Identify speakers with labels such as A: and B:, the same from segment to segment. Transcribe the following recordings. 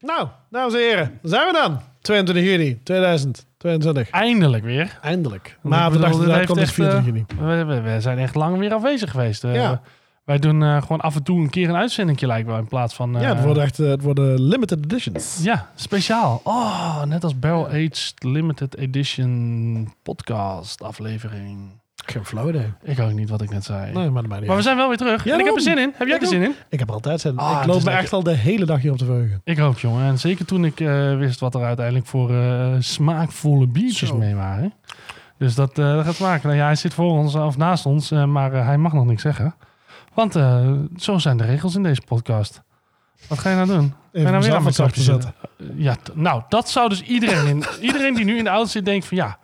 A: Nou, dames en heren, daar zijn we dan. 22 juni 2022.
B: Eindelijk weer.
A: Eindelijk. Maar we
B: bedoel,
A: dachten
B: dit
A: dat
B: heeft
A: komt dus
B: echt, eh,
A: 24 juni.
B: We, we- we zijn echt lang weer afwezig geweest. Eh,
A: Ja.
B: Wij doen eh, gewoon af en toe een keer een uitzending lijkt wel. In plaats van... eh,
A: Ja, het worden echt eh, het worden limited editions.
B: Ja, speciaal. Oh, net als Barrel Aged Limited Edition podcast aflevering.
A: Geen flow idee.
B: Ik ook niet wat ik net
A: Nee,
B: zei.
A: maar dat maakt niet
B: Maar we
A: uit.
B: zijn wel weer terug.
A: Ja,
B: en ik heb er
A: daarom.
B: zin in. Heb jij
A: Ik
B: er zin in?
A: Ik heb er altijd zin. in.
B: Ah,
A: ik
B: het
A: loop
B: is
A: me
B: lekker.
A: echt al de hele dag hier op te verheugen.
B: Ik ook, jongen. En zeker toen ik eh, wist wat er uiteindelijk voor eh, smaakvolle biertjes
A: Zo.
B: mee waren. Dus dat, eh, dat gaat maken. Nou ja, hij zit voor ons eh, of naast ons, eh, maar eh, hij mag nog niks zeggen. Want eh, zo zijn de regels in deze podcast. Wat ga je nou doen? Ga je
A: Even
B: nou
A: mezelf wat zachter
B: zakje
A: zetten.
B: zitten? Ja, t- nou, dat zou dus iedereen, in, iedereen die nu in de auto zit denkt van ja,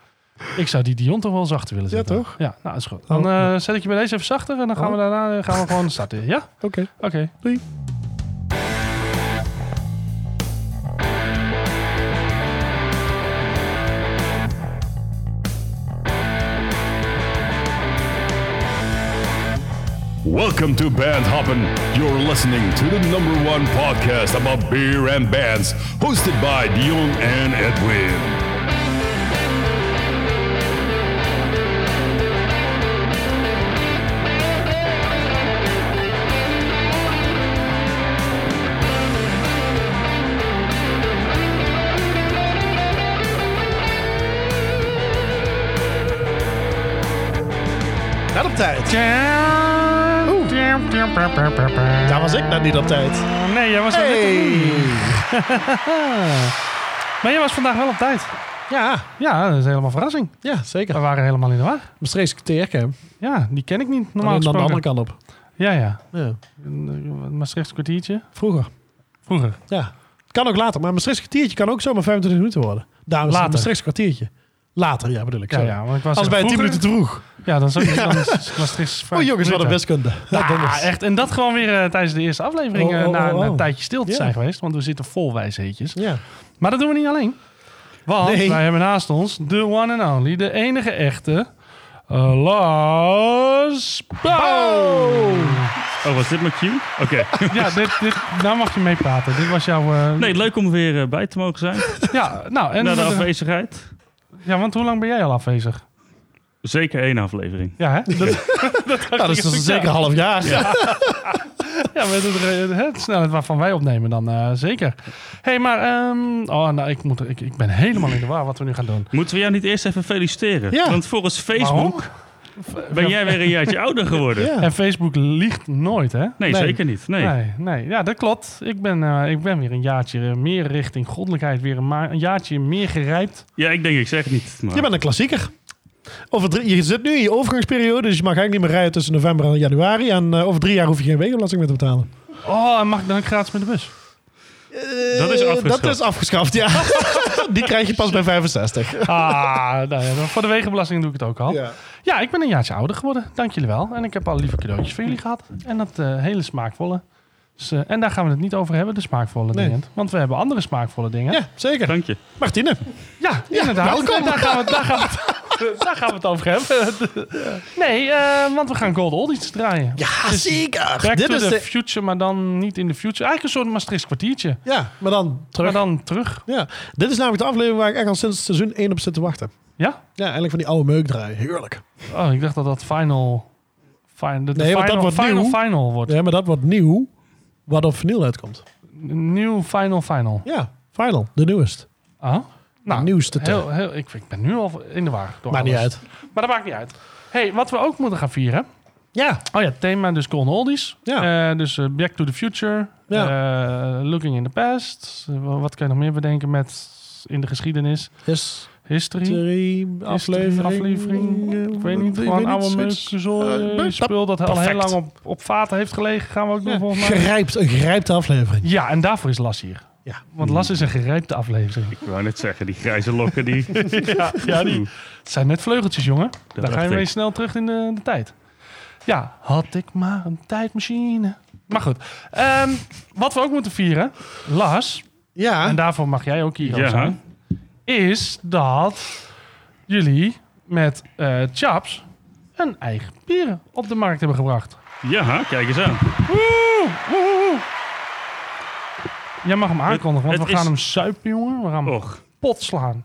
B: ik zou die Dion toch wel zachter willen
A: Ja,
B: zetten.
A: toch?
B: Ja, nou is goed. Dan
A: Oh,
B: eh,
A: ja. Oh.
B: zet ik je bij deze even zachter en dan gaan we daarna eh, gaan we gewoon starten. Ja?
A: Oké.
B: Oké.
A: Doei.
C: Welcome to Band Hoppin'. You're listening to the number one podcast about beer and bands, hosted by Dion and Edwin.
A: Net op tijd.
B: Oeh.
A: Daar was ik net niet op tijd.
B: Oh, Nee, jij was er net
A: Hey.
B: niet. Maar jij was vandaag wel op tijd.
A: Ja,
B: Ja, dat is helemaal verrassing.
A: ja,
B: We
A: zeker.
B: waren helemaal in de war.
A: Maastrichtse teercam.
B: Ja, die ken ik niet normaal
A: Alleen dan de
B: gesproken.
A: andere kant op.
B: Ja, ja.
A: Ja.
B: Een eh, Maastrichts kwartiertje.
A: Vroeger.
B: Vroeger.
A: Ja. Kan ook later. Maar een Maastrichtse kwartiertje kan ook zomaar 25 minuten worden. Dames,
B: Later.
A: een Maastrichtse kwartiertje. Later, ja bedoel ik.
B: Ja,
A: sorry.
B: ja, want ik was
A: Als
B: er
A: bij 10
B: vroeger.
A: minuten te vroeg.
B: Ja, dan zou ik dan is Maastrichts
A: Oh
B: vijf
A: jongens, wat een
B: minuten.
A: wiskunde. Ja,
B: Ah,
A: donders.
B: echt. En dat gewoon weer eh, tijdens de eerste aflevering
A: Oh,
B: eh,
A: oh,
B: na
A: oh, oh.
B: een tijdje stil te
A: Ja.
B: zijn geweest. Want we zitten vol wijsheidjes.
A: Ja.
B: Maar dat doen we niet alleen. Want
A: Nee.
B: wij hebben naast ons de one and only, de enige echte, eh, Lars Pauw.
D: Oh, was dit mijn cue? Oké.
B: Ja, dit, dit, nou mag je meepraten. Dit was jouw... eh,
D: Nee, leuk om weer eh, bij te mogen zijn.
B: Ja, nou, en
D: Na de
B: eh,
D: afwezigheid.
B: ja, want hoe lang ben jij al afwezig?
D: Zeker één aflevering.
B: Ja, hè? Dat,
A: Nou, dat is dus zeker een half jaar.
B: ja met het, re- het snelheid waarvan wij opnemen dan eh, zeker. hey, maar... ehm, oh, nou, ik, moet, er- ik, ik ben helemaal in de war wat we nu gaan doen.
D: Moeten we jou niet eerst even feliciteren?
A: Ja.
D: Want volgens Facebook ben jij weer een jaartje ouder geworden.
A: Ja.
B: En Facebook liegt nooit, hè?
D: Nee,
A: Nee.
D: zeker niet. Nee.
B: Nee, nee. Ja, dat klopt. Ik ben, eh, ik ben weer een jaartje eh, meer richting goddelijkheid. Weer een, ma- een jaartje meer gerijpt.
D: Ja, ik denk, ik zeg het niet. Maar...
A: Je bent een klassieker. Over drie, je zit nu in je overgangsperiode, dus je mag eigenlijk niet meer rijden tussen november en januari. En eh, over drie jaar hoef je geen wegenbelasting meer te betalen.
B: Oh, en mag ik dan ook gratis met de bus?
D: Dat is
A: Eh,
D: afgeschaft.
A: Dat is afgeschaft, ja. Die krijg je pas bij 65.
B: Ah, nou ja, maar voor de wegenbelasting doe ik het ook al. Ja.
A: Ja.
B: ik ben een jaartje ouder geworden. Dank jullie wel. En ik heb al lieve cadeautjes voor jullie gehad. En dat eh, hele smaakvolle. Dus, eh, en daar gaan we het niet over hebben, de smaakvolle
A: Nee.
B: dingen. Want we hebben andere smaakvolle dingen.
A: ja, zeker.
D: Dank je.
A: Martine.
B: Ja, inderdaad.
A: welkom.
B: En Daar gaan, we, daar, gaan we het, daar gaan we het over hebben. Nee, eh, want we gaan Gold Oldies draaien.
A: Ja, zeker.
B: Back
A: Dit
B: to
A: is
B: the
A: de...
B: future, maar dan niet in de future. Eigenlijk een soort Maastrichts kwartiertje.
A: Ja, maar dan terug.
B: Maar dan terug.
A: Ja, dit is namelijk de aflevering waar ik echt al sinds seizoen 1 op zit te wachten.
B: Ja?
A: Ja, eigenlijk van die oude meuk draaien. Heerlijk.
B: Oh, ik dacht dat dat final... Fin, dat de
A: Nee, want
B: final,
A: dat wordt
B: final,
A: nieuw.
B: final wordt.
A: Ja, maar dat wordt nieuw, wat op vinyl uitkomt.
B: Nieuw final final.
A: Ja, final, de nieuwst.
B: Oh? Nou,
A: de nieuwste.
B: heel, heel, ik, ik ben nu al in de war. door
A: Maakt niet
B: alles.
A: uit.
B: Maar dat maakt niet uit. hey, wat we ook moeten gaan vieren.
A: Ja,
B: Oh ja, thema dus Golden Oldies.
A: Ja.
B: Eh, dus eh, Back to the Future. eh, looking in the Past. Eh, wa- wat kan je nog meer bedenken met in de geschiedenis?
A: is
B: History.
A: drie aflevering.
B: aflevering.
A: eh,
B: Ik weet niet,
A: ik
B: gewoon
A: weet
B: oude
A: zoiets. Eh,
B: meukenzooi.
A: dat-
B: spul dat al heel
A: perfect.
B: lang op, op vaten heeft gelegen. Gaan we ook doen
A: Ja,
B: volgens mij.
A: Grijpt, een grijpte aflevering.
B: Ja, en daarvoor is Las hier.
A: Ja.
B: Want Las is een gerijpte aflevering.
D: Ik wou net zeggen, die grijze lokken die...
B: ja, ja, die het zijn net vleugeltjes, jongen. Daar
D: dacht
B: ga je mee
D: ik.
B: snel terug in de, de tijd. Ja, had ik maar een tijdmachine. Maar goed, ehm, wat we ook moeten vieren, Las, en
A: Ja,
B: daarvoor mag jij ook hier
D: Ja.
B: zijn, is dat jullie met eh, Chaps een eigen bier op de markt hebben gebracht.
D: Ja, kijk eens aan.
B: Woe! Woe! Jij mag hem aankondigen, want
D: het
B: we gaan
D: is- Oh.
B: hem suipen, jongen. We gaan hem
D: Och,
B: pot slaan.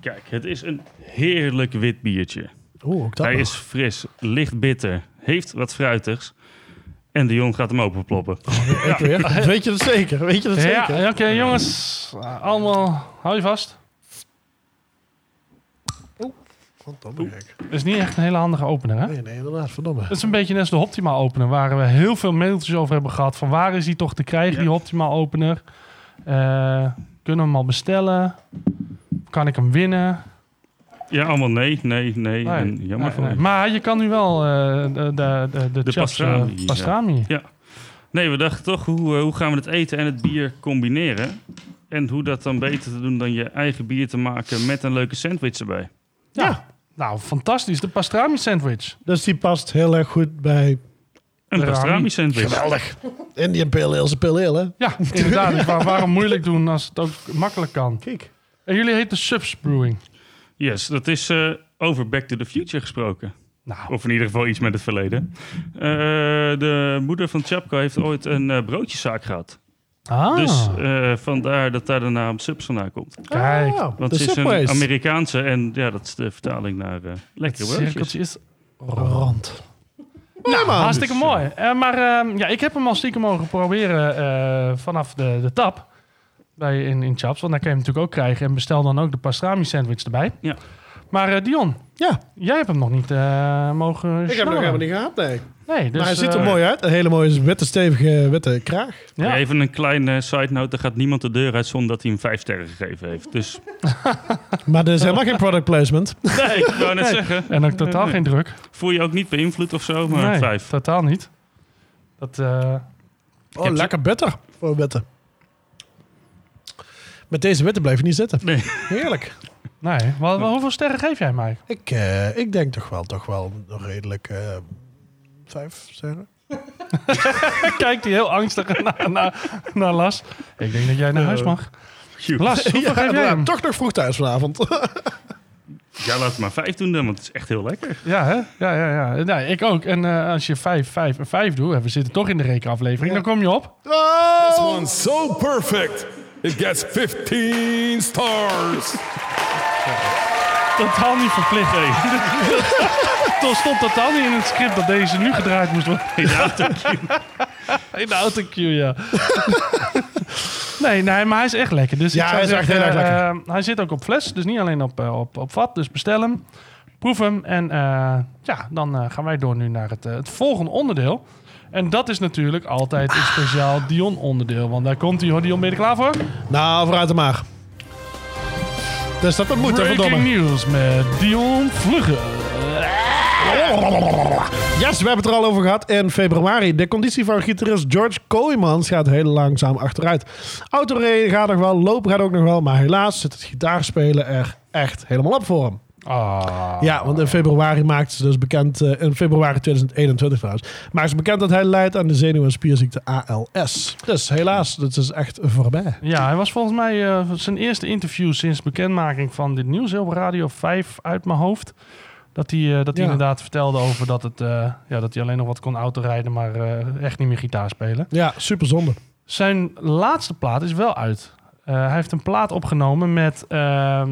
D: kijk, het is een heerlijk wit biertje.
A: Oeh, ook dat
D: Hij
A: nog.
D: is fris, licht bitter, heeft wat fruitigs. En de jong gaat hem openploppen.
A: Ik weer. Weet je dat zeker? Weet je dat
B: Ja,
A: zeker?
B: oké, jongens. Eh, Allemaal, hou je vast.
A: Want dan ben ik.
B: Dat is niet echt een hele handige opener, hè?
A: Nee, nee, inderdaad, verdomme.
B: Dat is een beetje net als de Optima opener, waar we heel veel mailtjes over hebben gehad. Van waar is die toch te krijgen,
D: Ja.
B: die Optima opener? Eh, kunnen we hem al bestellen? Kan ik hem winnen?
D: Ja, allemaal nee, nee, nee.
B: Nee,
D: En jammer
B: nee,
D: voor
B: nee.
D: je.
B: Maar je kan nu wel eh, de, de, de, de,
D: De
B: chaps, eh,
D: pastrami, ja.
B: pastrami.
D: Nee, we dachten toch, hoe, eh, hoe gaan we het eten en het bier combineren? En hoe dat dan beter te doen dan je eigen bier te maken met een leuke sandwich erbij.
B: Ja. Nou, fantastisch. De pastrami sandwich.
A: Dus die past heel erg goed bij...
D: Een
B: Rami.
D: pastrami sandwich.
A: Geweldig. Indian Pale Ale is een Pale Ale, hè?
B: Ja, inderdaad. Dus waar- waarom moeilijk doen als het ook makkelijk kan?
A: Kijk.
B: En jullie heten Subs Brewing.
D: Yes, dat is eh, over Back to the Future gesproken.
B: Nou,
D: Of in ieder geval iets met het verleden. Eh, de moeder van Chapko heeft ooit een eh, broodjeszaak gehad.
B: ah,
D: Dus eh, vandaar dat daar de naam Subs vandaan komt.
B: kijk.
A: Ah,
D: Want
A: de
D: ze is een
A: Subways.
D: Amerikaanse en ja, dat is de vertaling naar eh lekkere
B: Het
D: broodjes.
B: cirkeltje is
A: Rond.
B: Nou,
A: man.
B: hartstikke
D: Dus,
B: mooi. Eh, maar ehm, ja, ik heb hem al stiekem mogen proberen eh, vanaf de, de tap bij, in, in Chaps. Want daar kan je hem natuurlijk ook krijgen. En bestel dan ook de pastrami sandwich erbij.
D: Ja.
B: Maar eh, Dion,
A: Ja,
B: jij hebt hem nog niet eh, mogen
A: ik heb hem nog
B: snorren.
A: helemaal niet gehad, nee.
B: Nee, dus,
A: maar hij ziet er
B: eh,
A: mooi uit. Een hele mooie witte, stevige, witte kraag.
B: Ja.
D: Even een kleine side note: er gaat niemand de deur uit zonder dat hij hem vijf sterren gegeven heeft. Dus
A: Maar er is helemaal geen product placement.
D: nee, ik wou net
B: Nee.
D: zeggen,
B: En ook totaal
D: Nee.
B: geen druk.
D: voel je ook niet beïnvloed of zo, maar
B: nee,
D: vijf.
B: totaal niet. Dat, eh,
A: Oh, lekker bitter. Voor witte. Met deze witte blijf je niet zitten.
D: Nee.
A: Heerlijk.
B: nee. Wel, wel, hoeveel sterren geef jij mij?
A: Ik, eh, ik denk toch wel, toch wel een redelijk eh, vijf sterren.
B: Kijkt hij heel angstig naar, naar, naar Las. Ik denk dat jij naar huis mag. Las, hoeveel geef jij
A: Ja,
B: hem?
A: toch nog vroeg thuis vanavond.
D: Ja, laat het maar vijf doen dan, want het is echt heel lekker.
B: Ja, hè? Ja, ja, ja. Nee, ik ook. En eh, als je 5, 5 en 5 doet, en we zitten toch in de rekenaflevering, dan kom je op.
C: This
A: Oh!
C: one's so perfect, it gets 15 stars.
B: Totaal niet verplicht, hé. Toen stond totaal niet in het script dat deze nu gedraaid moest worden.
D: In de autocue.
B: In de autocue, ja. nee, nee, maar hij is echt lekker. Dus
A: Ja,
B: ik zou
A: hij is echt
B: zeggen,
A: heel erg
B: eh, hij zit ook op fles, dus niet alleen op, eh, op, op vat. Dus bestel hem, proef hem. En eh, ja, dan eh, gaan wij door nu naar het, eh, het volgende onderdeel. En dat is natuurlijk altijd een speciaal Dion-onderdeel. Want daar komt hij hoor. Dion, ben je er klaar voor?
A: Nou, vooruit de maag. Dus dat, dat moet, hè,
B: Breaking
A: verdomme.
B: nieuws met Dion Vlugge.
A: Yes, we hebben het er al over gehad in februari. De conditie van gitarist George Kooijmans gaat heel langzaam achteruit. Autorijden gaat nog wel, lopen gaat ook nog wel. Maar helaas zit het gitaarspelen er echt helemaal op voor hem.
B: Ah,
A: Ja, want eh, in februari maakte ze dus bekend, eh, in februari 2021 trouwens, maakte ze bekend dat hij leidt aan de zenuw- en spierziekte ALS. Dus helaas, dat is echt voorbij.
B: Ja, hij was volgens mij eh, zijn eerste interview sinds bekendmaking van dit nieuws. Heel op Radio 5 uit mijn hoofd. Dat hij, eh, dat hij
A: Ja.
B: inderdaad vertelde over dat, het, eh, ja, dat hij alleen nog wat kon autorijden, maar eh, echt niet meer gitaar spelen.
A: Ja, super zonde.
B: Zijn laatste plaat is wel uit. Eh, hij heeft een plaat opgenomen met ehm,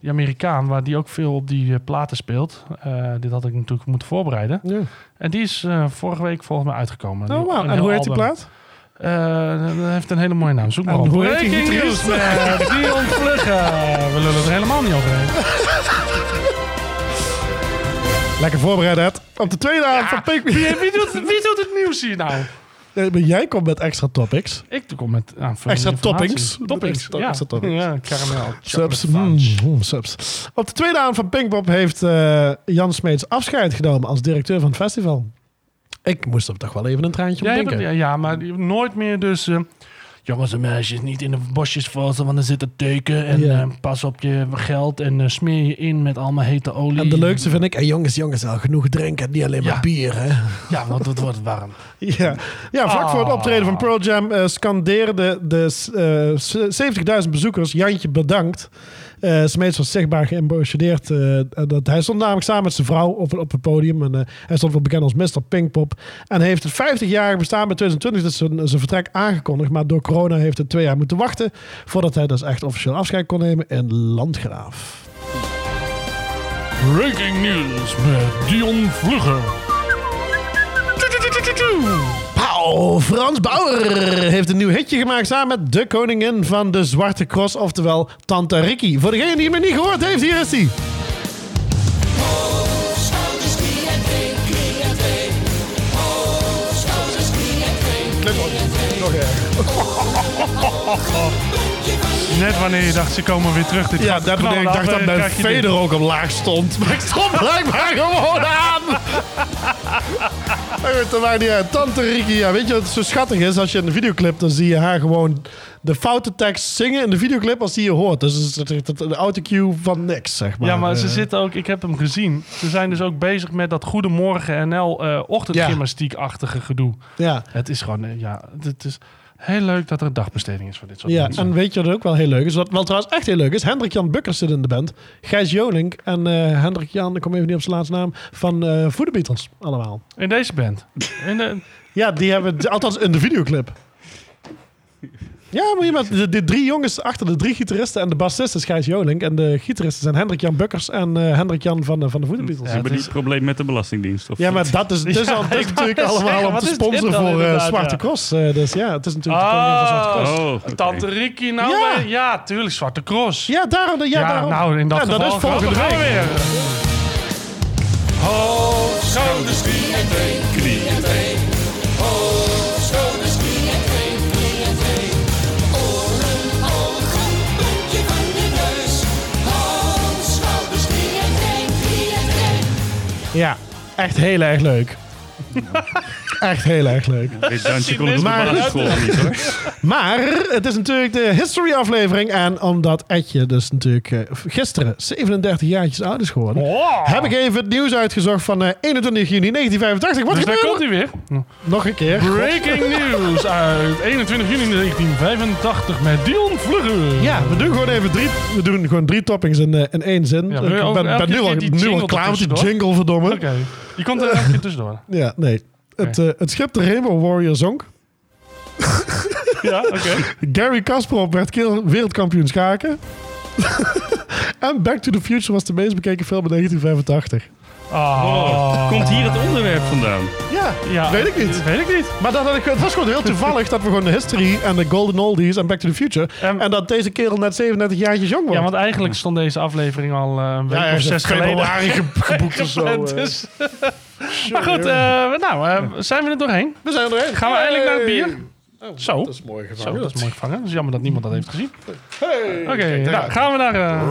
B: die Amerikaan, waar die ook veel op die eh, platen speelt. Eh, dit had ik natuurlijk moeten voorbereiden.
A: Ja.
B: En die is eh, vorige week volgens mij uitgekomen.
A: Oh,
B: Die-
A: wauw.
B: een
A: En
B: heel
A: hoe heet die
B: album.
A: plaat?
B: Eh, dat heeft een hele mooie naam. Zoek maar
A: En
B: op.
A: hoe heet die
B: Breaking
A: gitarist?
B: News met eh, Dion Vlugge. We lullen er helemaal niet overheen.
A: Lekker voorbereid, Ed. Op de tweede avond van Pink.
B: Wie, wie, doet, wie doet het nieuws hier nou?
A: Nee, maar jij komt met extra topics.
B: Ik kom met aanvullende
A: Extra
B: informatie.
A: toppings.
B: Toppings,
A: Extra-
B: ja.
A: extra toppings.
B: Ja, karamel. chocolate
A: Subs.
B: fudge.
A: Mm, mm, subs. Op de tweede avond van Pinkpop heeft eh, Jan Smeets afscheid genomen als directeur van het festival. Ik moest er toch wel even een traantje
B: Jij
A: om
B: hebt
A: denken.
B: het- ja, ja, maar nooit meer dus... eh, Jongens en meisjes, niet in de bosjes valsen, want er zit een teken. En
A: Ja.
B: eh, pas op je geld en eh, smeer je in met allemaal hete olie.
A: En de leukste vind ik, en jongens, jongens, al genoeg drinken, niet alleen maar
B: Ja.
A: bier. Hè?
B: Ja, want het wordt warm.
A: Ja, ja vlak voor het
B: Ah.
A: optreden van Pearl Jam eh, scandeerden de eh, 70.000 bezoekers Jantje bedankt. Eh Smeets was zichtbaar geëmotioneerd. eh, dat, hij stond namelijk samen met zijn vrouw op, op het podium. En, eh, hij stond wel bekend als Mr. Pinkpop. En hij heeft het 50-jarige bestaan bij 2020 dus zijn, zijn vertrek aangekondigd. Maar door corona heeft het twee jaar moeten wachten voordat hij dus echt officieel afscheid kon nemen in Landgraaf.
B: Breaking news met Dion Vlugger.
A: Pauw, Frans Bauer heeft een nieuw hitje gemaakt samen met de koningin van de Zwarte Cross, oftewel Tante Ricky. Voor degene die hem niet gehoord heeft, hier is hij.
E: Schouders, knie en been, knie en been. Oh, schouders, knie en been.
B: Net wanneer je dacht, ze komen weer terug. Dit
A: Ja,
B: gaat
A: dat
B: knallen
A: ik dacht dat
B: af,
A: mijn
B: krijg je dit.
A: veder ook omlaag stond. Maar ik stond blijkbaar gewoon aan. Maar goed, dat maakt niet uit. Tante Riki, ja, weet je wat zo schattig is? Als je een videoclip, dan zie je haar gewoon de foute tekst zingen in de videoclip als die je hoort. Dus het is het- het- de autocue van niks, zeg maar.
B: Ja, maar ze
A: Eh,
B: zitten ook, ik heb hem gezien. Ze zijn dus ook bezig met dat Goedemorgen NL eh ochtendgymnastiek-achtige gedoe.
A: Ja.
B: Het is gewoon, eh, ja, het is heel leuk dat er een dagbesteding is voor dit soort
A: Ja,
B: mensen.
A: en weet je wat ook wel heel leuk is? Wat, wat trouwens echt heel leuk is, Hendrik-Jan Bukkers zit in de band. Gijs Jonink en eh, Hendrik-Jan, ik kom even niet op zijn laatste naam, van eh Food Beatles allemaal.
B: In deze band. In de,
A: Ja, die hebben, althans in de videoclip. Ja, moet je met de, de drie jongens achter, de drie gitaristen en de bassist is Gijs Jolink. En de gitaristen zijn Hendrik-Jan Bukkers en eh, Hendrik-Jan van, de- van de Food Beatles.
D: Ze
A: Ja,
D: hebben
B: het
D: die probleem met de Belastingdienst. Of
A: maar dat is, dat is, al- dat is
B: ik wou
A: natuurlijk
B: zeggen,
A: allemaal om
B: wat
A: te
B: is dit
A: sponsoren
B: dan
A: voor eh
B: inderdaad,
A: Zwarte
B: ja.
A: Cross. eh, dus ja, het is natuurlijk de koningin van Zwarte Cross.
B: Oh,
D: Oh, oké.
B: Tante Ricky, nou
A: Ja.
B: ja. ja, tuurlijk, Zwarte Cross.
A: Ja, daarom. Ja,
B: Ja,
A: daarom.
B: nou, in dat
A: ja,
B: geval
A: dat is volgende
B: gaan we
A: week.
B: weer.
E: Schouders, knie en been, knie en been. Oh, schouders, knie en been, knie en been. Oren, ogen, puntje van je neus. Hand, schouders, knie en been, knie en been.
A: Ja, echt heel erg leuk. echt heel erg leuk.
D: Dit dansje komt op de
A: Maar-
D: basisschool niet hoor.
A: Maar het is natuurlijk de history aflevering. En omdat Edje dus natuurlijk eh, gisteren 37 jaartjes oud is geworden...
B: Oh.
A: heb ik even het nieuws uitgezocht van eh, 21 juni 1985. Wat
B: Dus daar komt
A: gebeurde?
B: hij weer.
A: Nog een keer.
B: Breaking news uit 21 juni 1985 met Dion Vlugger.
A: Ja, we doen gewoon even drie, we doen gewoon drie toppings in, eh, in één zin.
B: Ja,
A: ik
B: wil je
A: ben,
B: ook elke
A: ben nu
B: keer
A: al,
B: die
A: nu al
B: jingle
A: klaar met die
B: ertussendoor?
A: jingle, verdomme.
B: Oké. Je komt er elke keer tussendoor.
A: Ja, nee. Het, eh, het schip de Rainbow Warrior zonk.
B: Ja, oké.
A: Gary Kasparov werd keel- wereldkampioen schaken. en Back to the Future was de meest bekeken film in 1985.
B: Oh.
D: Komt hier het onderwerp vandaan?
A: Ja,
B: Ja,
A: weet ik niet. Oh.
B: Weet ik niet.
A: Maar dat, had ik- het was gewoon heel toevallig dat we gewoon de history en de golden oldies en Back to the Future...
B: Ehm,
A: en dat deze kerel net 37 jaartjes jong wordt.
B: Ja, want eigenlijk stond deze aflevering al eh, een week
A: Ja,
B: of
A: ergens in
B: zes geleden.
A: februari ge- gepland of zo.
B: gepland,
A: eh.
B: dus. maar goed, eh, nou, eh, zijn we er doorheen?
A: We zijn er doorheen. Oh,
B: Gaan we eindelijk naar het bier? Zo.
A: Dat is mooi gevangen.
B: Zo, dat is mooi gevangen. Het is jammer dat niemand dat heeft gezien.
A: Hey,
B: Oké,
A: kijk, daar
B: nou,
A: gaat
B: gaan we naar... eh,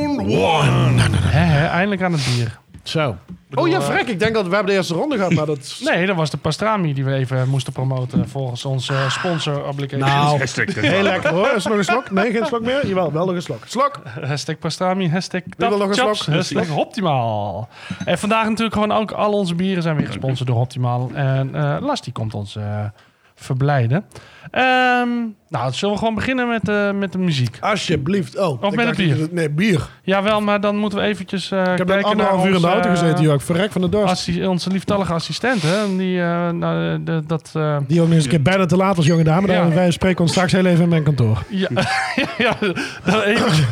C: Round one.
B: hè, hè, eindelijk aan het bier.
A: het. Zo. Oh ja, vrek. Ik denk dat we hebben de eerste ronde gehad, maar dat... is-
B: eh, Nee, dat was de pastrami die we even moesten promoten volgens onze
A: Ah.
B: sponsor application.
A: Nou.
D: Hashtag.
A: Heel lekker hoor. Is er nog een slok? Nee, geen slok meer? Jawel, wel nog een slok. Slok!
B: Hashtag pastrami, hashtag
A: wil nog een
B: tap, chops,
A: slok?
B: hashtag optimaal. En vandaag natuurlijk gewoon ook al onze bieren zijn weer gesponsord door optimaal. En eh Las die komt ons eh, verblijden. Ehm, nou, zullen we gewoon beginnen met, eh, met de muziek?
A: Alsjeblieft. Oh,
B: met
A: ik dacht
B: het bier.
A: dat het- Nee, bier.
B: Jawel, maar dan moeten we eventjes eh
A: Ik heb net
B: kijken
A: anderhalf
B: naar
A: uur in de
B: ons,
A: auto
B: eh,
A: gezeten, joh. Ik verrek van de dorst.
B: assi- onze lieftallige assistent, hè? Die, eh, nou, eh, de- dat... eh,
A: Die ook nog eens een keer bijna te laat was, jonge dame. Daar-
B: Ja.
A: Wij spreken ons straks heel even in mijn kantoor.
B: Ja, ja dan, even,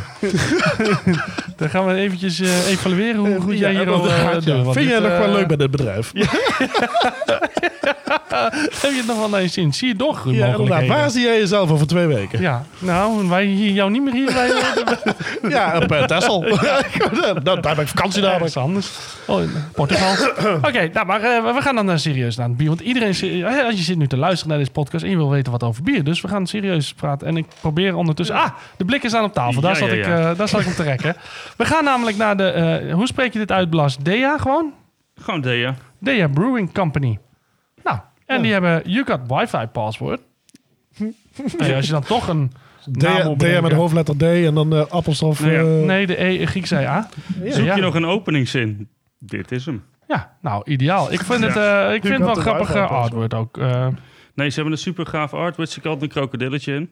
B: dan gaan we eventjes eh, evalueren hoe goed jij hier al eh, doet. Want
A: Vind
B: dit,
A: jij nog
B: eh,
A: wel leuk bij dit bedrijf? Ja,
B: eh, Heb je het nog wel eens in? Zie je toch mogelijkheden?
A: inderdaad. Waar zie jij jezelf over twee weken?
B: Ja, nou, wij hier, jou niet meer hier eh, bij
A: Ja, op eh, Texel. Dat-
B: Nou,
A: Daar ben ik vakantie dadelijk.
B: ergens anders. Oh, in Portugal. Oké, nou, maar eh, we gaan dan eh, serieus naar het bier. Want iedereen, is- eh, als je zit nu te luisteren naar deze podcast en je wil weten wat over bier, dus we gaan serieus praten. En ik probeer ondertussen. Ah, de blik is aan op tafel. Daar,
D: Ja,
B: zat,
D: ja,
B: Ik,
D: ja.
B: eh, daar zat ik hem te rekken. We gaan namelijk naar de. eh, hoe spreek je dit uit, Blas? Dea gewoon?
D: Gewoon Dea.
B: Dea Brewing Company. Nou, en die hebben You Got Wi-Fi Password. Nee, als je dan toch een naam
A: D,
B: Nou, moet
A: D
B: bedenken.
A: met hoofdletter D en dan eh, appelstof.
D: Nee,
A: eh,
B: Nee, de E, Griekse A.
D: Zoek
B: Ja.
D: je nog een openingszin? Dit is hem.
B: Ja, nou, ideaal. Ik vind het, eh, ik vind het
A: got
B: wel
A: the
B: grappig
A: Wi-Fi
B: eh,
A: password.
B: artwork ook. eh.
D: Nee, ze hebben een super gaaf artwork. Ze kalten een krokodilletje in.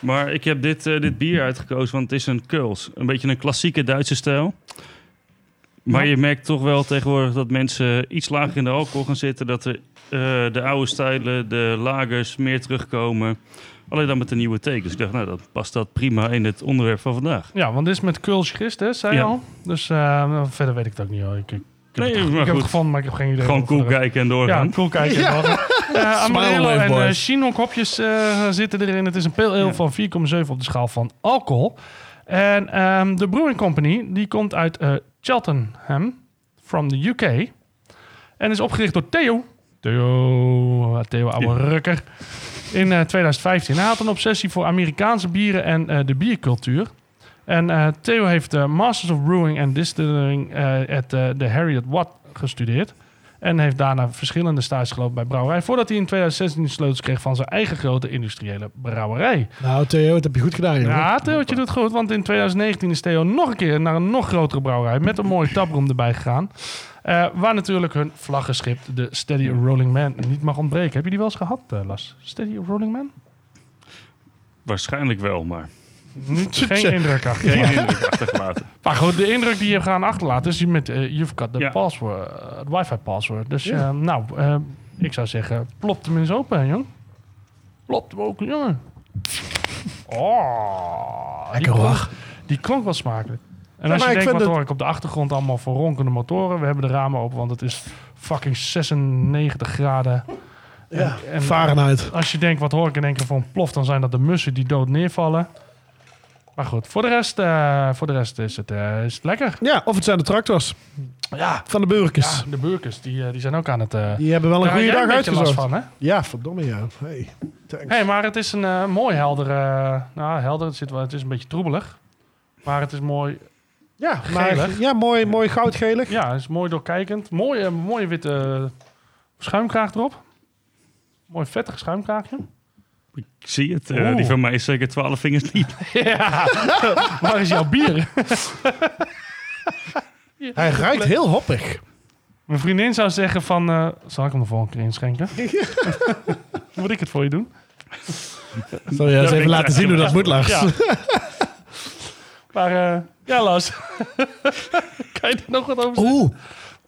D: Maar ik heb dit, eh, dit bier uitgekozen, want het is een Kuls. Een beetje een klassieke Duitse stijl. Maar je merkt toch wel tegenwoordig dat mensen iets lager in de alcohol gaan zitten. Dat er, eh, de oude stijlen, de lagers meer terugkomen. Alleen dan met de nieuwe tekens. ik dacht, nou, dan past dat prima in het onderwerp van vandaag.
B: Ja, want dit is met Kulsch gisteren, zei je
D: Ja.
B: al. Dus eh, verder weet ik het ook niet hoor. Ik, ik, ik heb,
D: Nee,
B: het, ge-
D: maar
B: ik heb het
D: goed.
B: gevonden, maar ik heb geen idee.
D: Gewoon
B: wat het
D: cool
B: verder-
D: kijken en
B: Ja,
D: doorgaan.
B: cool kijken. Ja. Amarelo
F: Life
B: en eh,
F: Boys.
B: Chinook hopjes eh, zitten erin. Het is een pale ale
D: Ja.
B: van 4,7 op de schaal van alcohol. En ehm, de Brewing Company, die komt uit eh, Cheltenham, from the UK. En is opgericht door Theo. Theo, eh, Theo oude rukker. In eh, 2015. Hij had een obsessie voor Amerikaanse bieren en eh, de biercultuur. En eh, Theo heeft eh, Masters of Brewing and Distilling eh at eh, de Harriet Watt gestudeerd. En heeft daarna verschillende stages gelopen bij brouwerij. Voordat hij in 2016 de sleutels kreeg van zijn eigen grote industriële brouwerij.
A: Nou, Theo, dat heb je goed gedaan, jongen.
B: Ja, Theotje doet goed, want in 2019 is Theo nog een keer naar een nog grotere brouwerij met een mooie taproom erbij gegaan. Eh, waar natuurlijk hun vlaggenschip, de Steady Rolling Man, niet mag ontbreken. Heb je die wel eens gehad, eh, Las? Steady Rolling Man?
D: Waarschijnlijk wel, maar
B: Niet, geen indruk achter.
D: geen indruk achtergelaten.
B: Maar goed, de indruk die je gaan achterlaten is die met eh, You've Got the
D: Ja.
B: password, eh, het wifi password. Dus eh, nou, eh, ik zou zeggen, plop hem eens open, jong. Plop hem open, jongen. Oh,
A: Lekker, hoor.
B: die, klonk, die klonk wel smakelijk. En
A: Ja,
B: als
A: maar
B: je
A: ik
B: denkt,
A: vind het-
B: wat hoor ik op de achtergrond allemaal voor ronkende motoren. We hebben de ramen open, want het is fucking 96 graden.
A: Ja.
B: En-
A: Fahrenheit.
B: als je denkt, wat hoor ik in één keer voor een plof, dan zijn dat de mussen die dood neervallen. Maar goed, voor de rest, eh, voor de rest is, het, eh, is het lekker.
A: Ja, of het zijn de tractors
B: Ja,
A: van de burkers.
B: ja de burkers die, eh, die zijn ook aan het... eh
A: Die hebben wel een
B: daar had
A: goede
B: jij
A: dag
B: een beetje last
A: uitgezocht.
B: van, hè?
A: Ja, verdomme ja. Hey, thanks.
B: Hey, maar het is een eh, mooi helder... eh, nou, helder, het, zit wel, het is een beetje troebelig. Maar het is mooi,
A: ja,
B: gelig.
A: maar, ja, mooi, mooi goudgelig.
B: ja, het is mooi doorkijkend. Mooie, mooie witte schuimkraag erop. Mooi vettig schuimkraagje.
D: Ik zie het. eh,
B: Oeh.
D: die van mij is zeker twaalf vingers diep.
B: Ja, waar is jouw bier?
A: Hij ruikt heel hoppig.
B: Mijn vriendin zou zeggen van... eh, zal ik hem de volgende keer inschenken? Moet ik het voor je doen?
A: Zal je eens even laten zien hoe dat moet, Lars.
B: Ja. maar eh, ja, Lars. kan je er nog wat over zeggen?
A: Oeh, Oh.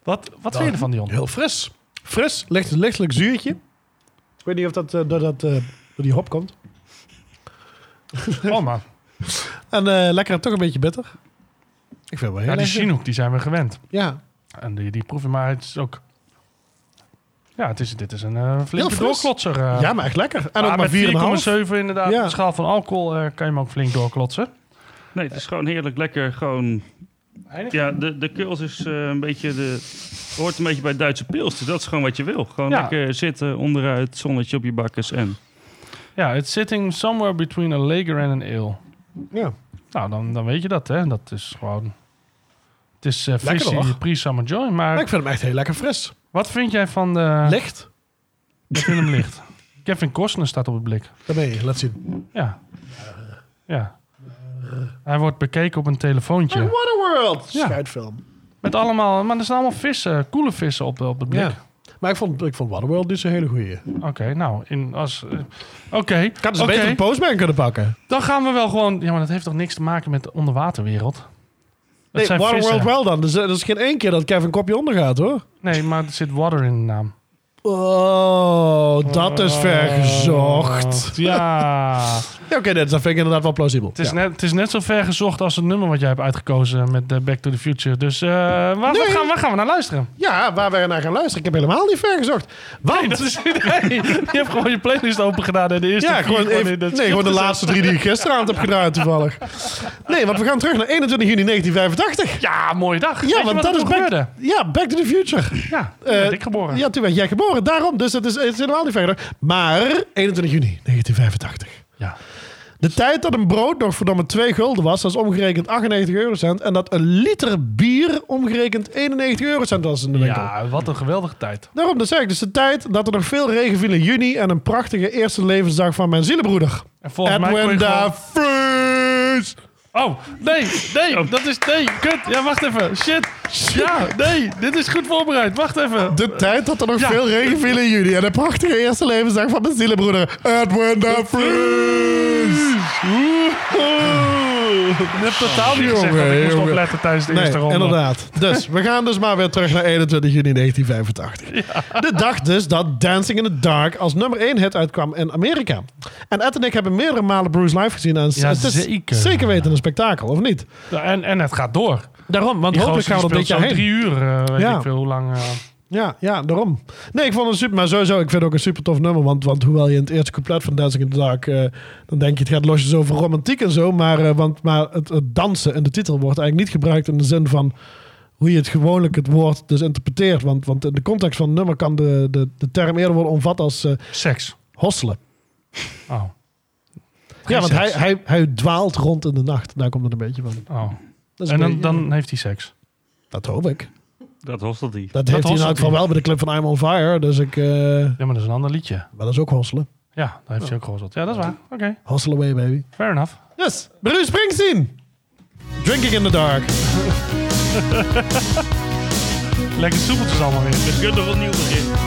B: Wat, wat vind je ervan, Dion?
A: heel fris. Fris, licht, lichtelijk zuurtje. Ik weet niet of dat eh, door, dat, eh, door die hop komt.
B: Oh, maar
A: En eh, lekker en toch een beetje bitter. Ik vind het wel heel
B: ja, die
A: lekker.
B: Chinook, die zijn we gewend.
A: Ja,
B: En die, die proef je maar, het is ook... Ja, het is, dit is een eh flinke
A: fris.
B: doorklotser. eh.
A: ja, maar echt lekker. En
B: Maar
A: ook maar 4,5.
B: met 4,7 inderdaad.
A: Ja.
B: Op de schaal van alcohol eh, kan je hem ook flink doorklotsen.
D: Nee, het is gewoon heerlijk lekker. Gewoon, ja, de, de Kuls is eh, een beetje de, hoort een beetje bij Duitse pils. Dus dat is gewoon wat je wil. Gewoon
B: Ja.
D: lekker zitten onderuit, zonnetje op je bakkers en...
B: Ja, it's sitting somewhere between a lager en an ale.
A: Ja.
B: Nou, dan, dan weet je dat, hè. Dat is gewoon... Het is eh
A: Lekker,
B: frissie,
A: hoor.
B: pre-summer joy. Maar
A: Maar ik vind hem echt heel lekker fris.
B: wat vind jij van de...
A: Licht.
B: Ik vind hem licht. Kevin Costner staat op het blik.
A: Daar ben je, laat zien.
B: Ja. Ja. Hij wordt bekeken op een telefoontje.
A: Waterworld!
B: Ja.
A: Scheidfilm.
B: Met allemaal... Maar er staan allemaal vissen. Coole vissen op, op het blik.
A: Ja. Maar ik vond, ik vond Waterworld dus een hele goeie.
B: Oké, nou. In, als, eh, Oké.
A: Ik had dus
B: oké.
A: beter een postman kunnen pakken.
B: Dan gaan we wel gewoon... Ja, maar dat heeft toch niks te maken met de onderwaterwereld? Dat
A: Nee,
B: zijn
A: Waterworld
B: vissen.
A: wel dan. Dus eh, dat is geen één keer dat Kevin kopje ondergaat, hoor.
B: Nee, maar er zit water in de naam.
A: Oh, dat is vergezocht.
B: Ja.
A: Ja, oké, dat dat vind ik inderdaad wel plausibel.
B: Het is,
A: Ja.
B: net, het is net zo ver gezocht als het nummer wat jij hebt uitgekozen met eh, Back to the Future. Dus eh, waar, waar
A: Nee.
B: gaan, waar gaan we naar luisteren?
A: Ja, waar we naar gaan luisteren. Ik heb helemaal niet vergezocht. Want...
B: Dat is, nee, je hebt gewoon je playlist open gedaan en de eerste
A: ja,
B: vier
A: gewoon, even-
B: in dat
A: nee, gewoon de laatste drie die ik gisteravond heb gedaan toevallig. Nee, want we gaan terug naar 21 juni 1985.
B: Ja, mooie dag. Weet
A: Ja,
B: je
A: want
B: wat
A: dat
B: er
A: is
B: toen
A: back,
B: gebeurde?
A: ja, back to the Future.
B: Ja, toen
A: Eh,
B: werd ik geboren.
A: Ja, toen werd jij geboren. Daarom, dus het is, het is helemaal niet verder. Maar 21 juni 1985.
B: Ja.
A: De tijd dat een brood nog verdomme 2 gulden was, dat is omgerekend 98 eurocent. En dat een liter bier omgerekend 91 eurocent was in de winkel.
B: Ja, wat een geweldige tijd.
A: Daarom, dat zeg ik. Dus de tijd dat er nog veel regen viel in juni en een prachtige eerste levensdag van mijn zielenbroeder.
B: En volgens mij kon je
A: Edwin
B: gewoon-
A: da Vries.
B: Oh, nee, nee, dat is... Nee, kut. Ja, wacht even. Shit. Ja, nee, dit is goed voorbereid. Wacht even.
A: De tijd dat er nog
B: Ja.
A: veel regen viel in juli en de prachtige eerste levensdag van mijn zielenbroeder Edwin da Vries.
B: Oeh. hebt totaal niet
A: Jongen,
B: gezegd dat ik moest
A: jongen.
B: opletten tijdens de
A: Nee,
B: eerste ronde.
A: inderdaad. Dus we gaan dus maar weer terug naar 21 juni 1985. De dag dus dat Dancing in the Dark als nummer 1 hit uitkwam in Amerika. En Ed en ik hebben meerdere malen Bruce live gezien. En
B: Ja,
A: het is
B: zeker.
A: zeker weten een spektakel, of niet?
B: Ja, En, en het gaat door.
A: Daarom, want
B: Die
A: hopelijk gaan we er dit jaar heen.
B: drie uur, eh, weet
A: Ja.
B: ik veel hoe lang. eh.
A: Ja, ja, daarom. Nee, ik vond het super, maar sowieso, ik vind het ook een super tof nummer. Want, want hoewel je in het eerste couplet van Dancing in the Dark, eh, dan denk je het gaat losjes over romantiek en zo. Maar, eh, want, maar het, het dansen in de titel wordt eigenlijk niet gebruikt in de zin van hoe je het gewoonlijk het woord dus interpreteert. Want, want in de context van het nummer kan de, de, de term eerder worden omvat als eh
B: seks.
A: hosselen.
B: Oh.
A: ja, want hij,
B: seks.
A: hij, hij dwaalt rond in de nacht. Daar komt het een beetje van.
B: oh.
A: Dat is een
B: En dan,
A: beetje-
B: dan heeft hij seks.
A: dat hoop ik.
D: Dat hostelt hij.
A: Dat, heeft hij in
B: hosselt
A: elk geval
B: hij.
A: wel bij de clip van I'm on Fire. Dus ik... eh,
B: Ja, maar dat is een ander liedje.
A: maar dat is ook hosselen.
B: Ja, dat heeft hij ook gehoord. Ja, dat is waar. Oké,
A: Hustle away, baby.
B: fair enough.
A: Yes, Bruce Springsteen. Drinking in the dark.
B: Lekker soepeltjes allemaal weer.
D: We kunnen opnieuw beginnen.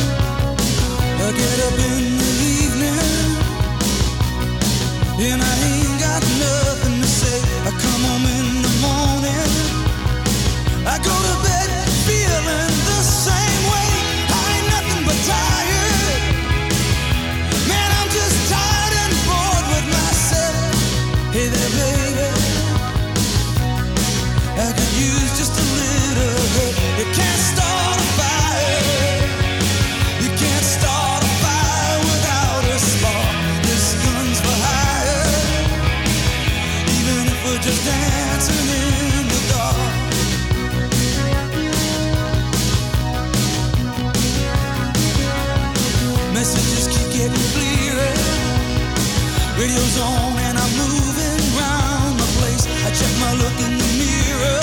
E: I get up in the evening and I ain't got nothing to say. I come home in the morning. I go to bed feeling the same way. I ain't nothing but tired. Man, I'm just tired and bored with myself. Hey there, baby. I could use just a little help. You can't start a fire. You can't start a fire without a spark. This gun's for hire. Even if we're just dancing in the dark. Messages keep getting clearer. Radio's on and I'm moving round the place. I check my look in the mirror.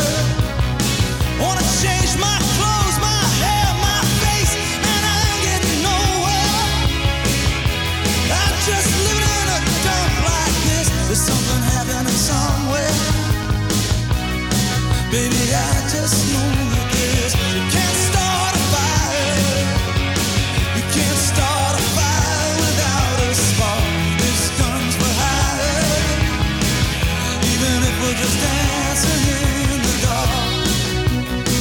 E: Wanna change my clothes, my hair, my face, and I'm getting nowhere. I'm just living in a dump like this. There's something happening somewhere. Baby, I just know it is. You can't start a fire. You can't start a fire without a spark. This gun's for hire. Even if we're just dancing in the dark.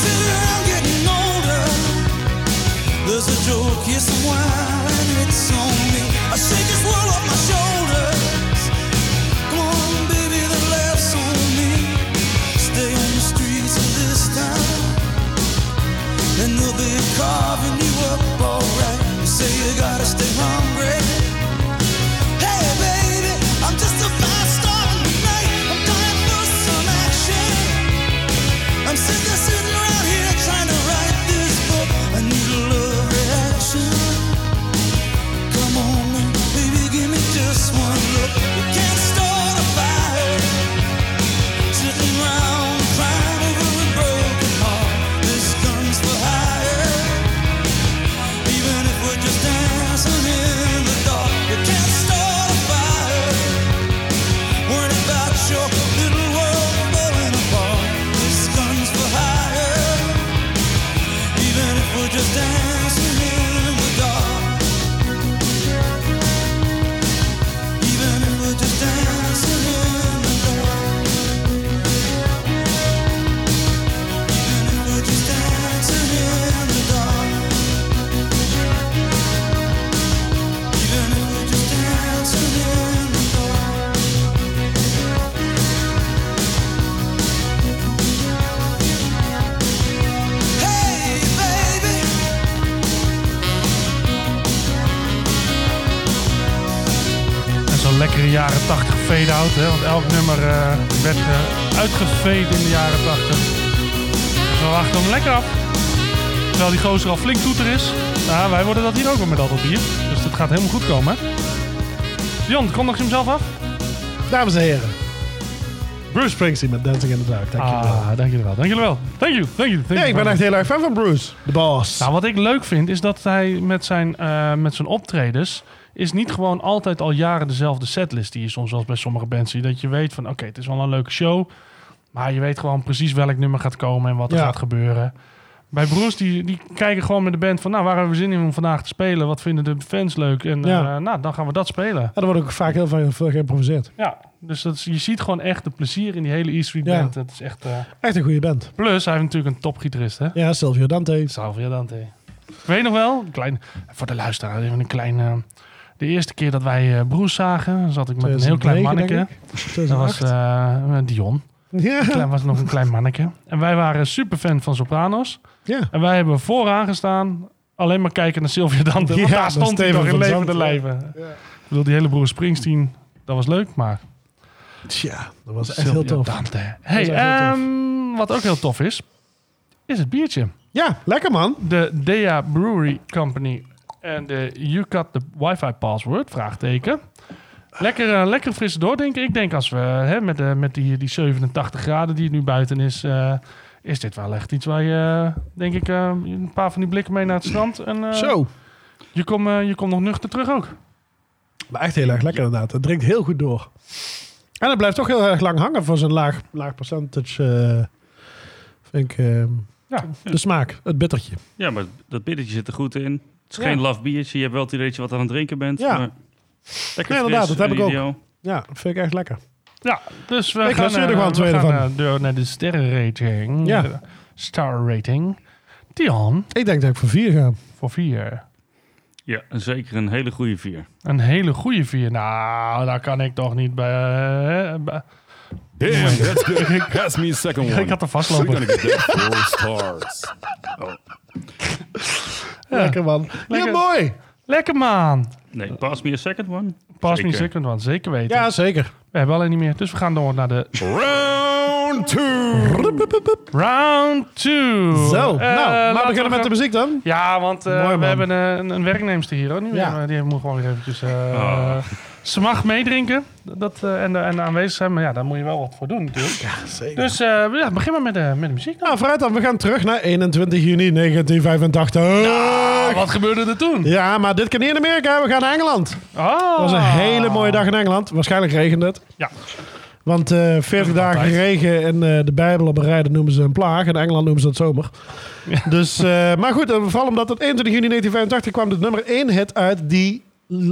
E: Sit around getting older. There's a joke here somewhere, and it's on me. I shake this world off my shoulders. Come on, baby, the laughs on me. Stay on the streets of this town, and they'll be carving you up alright. You say you gotta stay hungry. Hey, baby, I'm just a fast star tonight. I'm dying for some action. I'm sick of sitting around here trying to write this book. I need a love reaction. Come on, in, baby, give me just one look. You can't start a fire. Sitting around crying over a broken heart. This gun's for hire. Even if we're just dancing in the dark, you can't start a fire. Worried about your little world blowing apart. This gun's for hire. Even if we're just dancing in the dark. Even if we're just dancing in the dark. Even if we're just dancing in the dark. Even if we're just dancing in the dark. Hey, baby.
B: En zo'n lekkere jaren 80 fade-out, hè? Want elk nummer eh, werd eh uitgefade in de jaren 80. Dus we wachten hem lekker af. Terwijl die gozer al flink toeter is. Nou, wij worden dat hier ook wel met al dat bier. Dus dat gaat helemaal goed komen, hè? Jan, kondig je hem zelf af?
A: Dames en heren. Bruce Springsteen met Dancing in the Dark. Dank je wel.
B: Ah, dank jullie wel. Dank jullie wel. Thank you, thank you, thank you.
A: Nee, ik ben echt heel erg fan van Bruce. De boss.
B: Nou, wat ik leuk vind is dat hij met zijn, eh, met zijn optredens is niet gewoon altijd al jaren dezelfde setlist die je soms wel eens bij sommige bands ziet. Dat je weet van, oké, het is wel een leuke show, maar je weet gewoon precies welk nummer gaat komen en wat er
A: Ja.
B: gaat gebeuren. Bij Broers, die, die kijken gewoon met de band van, nou, waar hebben we zin in om vandaag te spelen? Wat vinden de fans leuk? En
A: Ja.
B: eh, nou, dan gaan we dat spelen.
A: En er wordt ook vaak heel veel, veel geïmproviseerd.
B: Ja, dus dat is- je ziet gewoon echt de plezier in die hele E-Street
A: Ja.
B: band. Dat is echt... eh,
A: Echt een goede band.
B: Plus, hij heeft natuurlijk een topgitarist, hè?
A: Ja, Silvio Dante.
B: Salvia Dante. Ik weet nog wel, een klein, voor de luisteraar even een klein... eh, de eerste keer dat wij eh Broes zagen, zat ik met een heel klein
A: 2009,
B: manneke.
A: denk ik.
B: Dat was
A: 2008.
B: eh, Dion.
A: ja.
B: Klein was nog een klein manneke. En wij waren superfan van Sopranos.
A: ja.
B: En wij hebben vooraan gestaan, alleen maar kijken naar Sylvia Dante. Want
A: Ja,
B: daar
A: dat
B: stond hij
A: Steven
B: nog in
A: van
B: levende
A: Zandt, ja.
B: lijven. Ik bedoel, die hele broer Springsteen, dat was leuk, maar...
A: Tja, dat was echt
B: Sylvia
A: heel tof.
B: Dante. Hey,
A: Dat is echt heel tof.
B: ehm, wat ook heel tof is, is het biertje.
A: Ja, lekker man.
B: de Dea Brewery Company en de You Got the Wi-Fi Password? Vraagteken. Lekker, eh, lekker frisse doordrinken. Ik denk als we hè, met, eh, met die, die 87 graden die het nu buiten is, eh, is dit wel echt iets waar je, eh, denk ik, eh, een paar van die blikken mee naar het strand. En, eh,
A: Zo.
B: Je komt eh, je komt nog nuchter terug ook.
A: Maar echt heel erg lekker inderdaad. Het drinkt heel goed door. En het blijft toch heel erg lang hangen voor zo'n laag, laag percentage. eh, vind ik eh,
B: Ja.
A: de smaak, het bittertje.
D: Ja, maar dat bittertje zit er goed in. Het is
B: Ja.
D: geen laf biertje. Je hebt wel het idee dat je wat aan het drinken bent.
A: Ja.
D: maar lekker
A: Ja, inderdaad,
D: fris
A: dat heb
D: en
A: ik ook.
D: ideaal.
A: Ja, vind ik echt lekker.
B: Ja, dus we
A: Ik
B: gaan,
A: was er
B: eh,
A: nog wel een
B: we
A: tweede
B: gaan
A: van.
B: eh, door naar de sterrenrating.
A: Ja.
B: De Star rating. Dion,
A: Ik denk dat ik voor vier ga.
B: voor vier.
D: Ja, en zeker een hele goede vier.
B: Een hele goede vier. Nou, daar kan ik toch niet bij. eh, bij-
D: Oh
C: Damn, that's good. Pass me a second one.
B: ik had er
C: We're
B: vastlopen.
C: gonna get that four stars.
A: Lekker man.
B: Lekker.
A: Heel mooi.
B: Lekker man.
D: Nee, pass me a second one.
B: Pas
D: Zeker.
B: me second one, zeker weten.
A: Ja, zeker.
B: We hebben alleen niet meer. Dus we gaan door naar de
C: Round two.
B: round Eh, 2.
A: Zo, nou, maar we beginnen met de muziek dan.
B: Ja, want eh,
A: Mooi,
B: we
A: man.
B: hebben eh, een, een werknemster hier. Hoor. Die,
A: Ja.
B: die moet gewoon weer eventjes... eh,
D: Ah.
B: Ze mag meedrinken dat, eh, en, en aanwezig zijn. Maar ja, daar moet je wel wat voor doen natuurlijk.
A: Zeker.
B: Dus eh, ja, begin maar met, de met de muziek.
A: Nou, vooruit dan. We gaan terug naar 21 juni 1985.
B: wat gebeurde er toen?
A: Ja, maar dit kan niet in Amerika. We gaan naar Engeland.
B: Oh.
A: Het was een hele mooie dag in Engeland. Waarschijnlijk regende het.
B: Ja.
A: Want eh 40 dagen
B: altijd.
A: regen en eh, de Bijbel op een rijden noemen ze een plaag. In Engeland noemen ze dat zomer. Dus, eh, maar goed, eh, vooral omdat het 21 juni 1985 kwam de nummer 1 hit uit die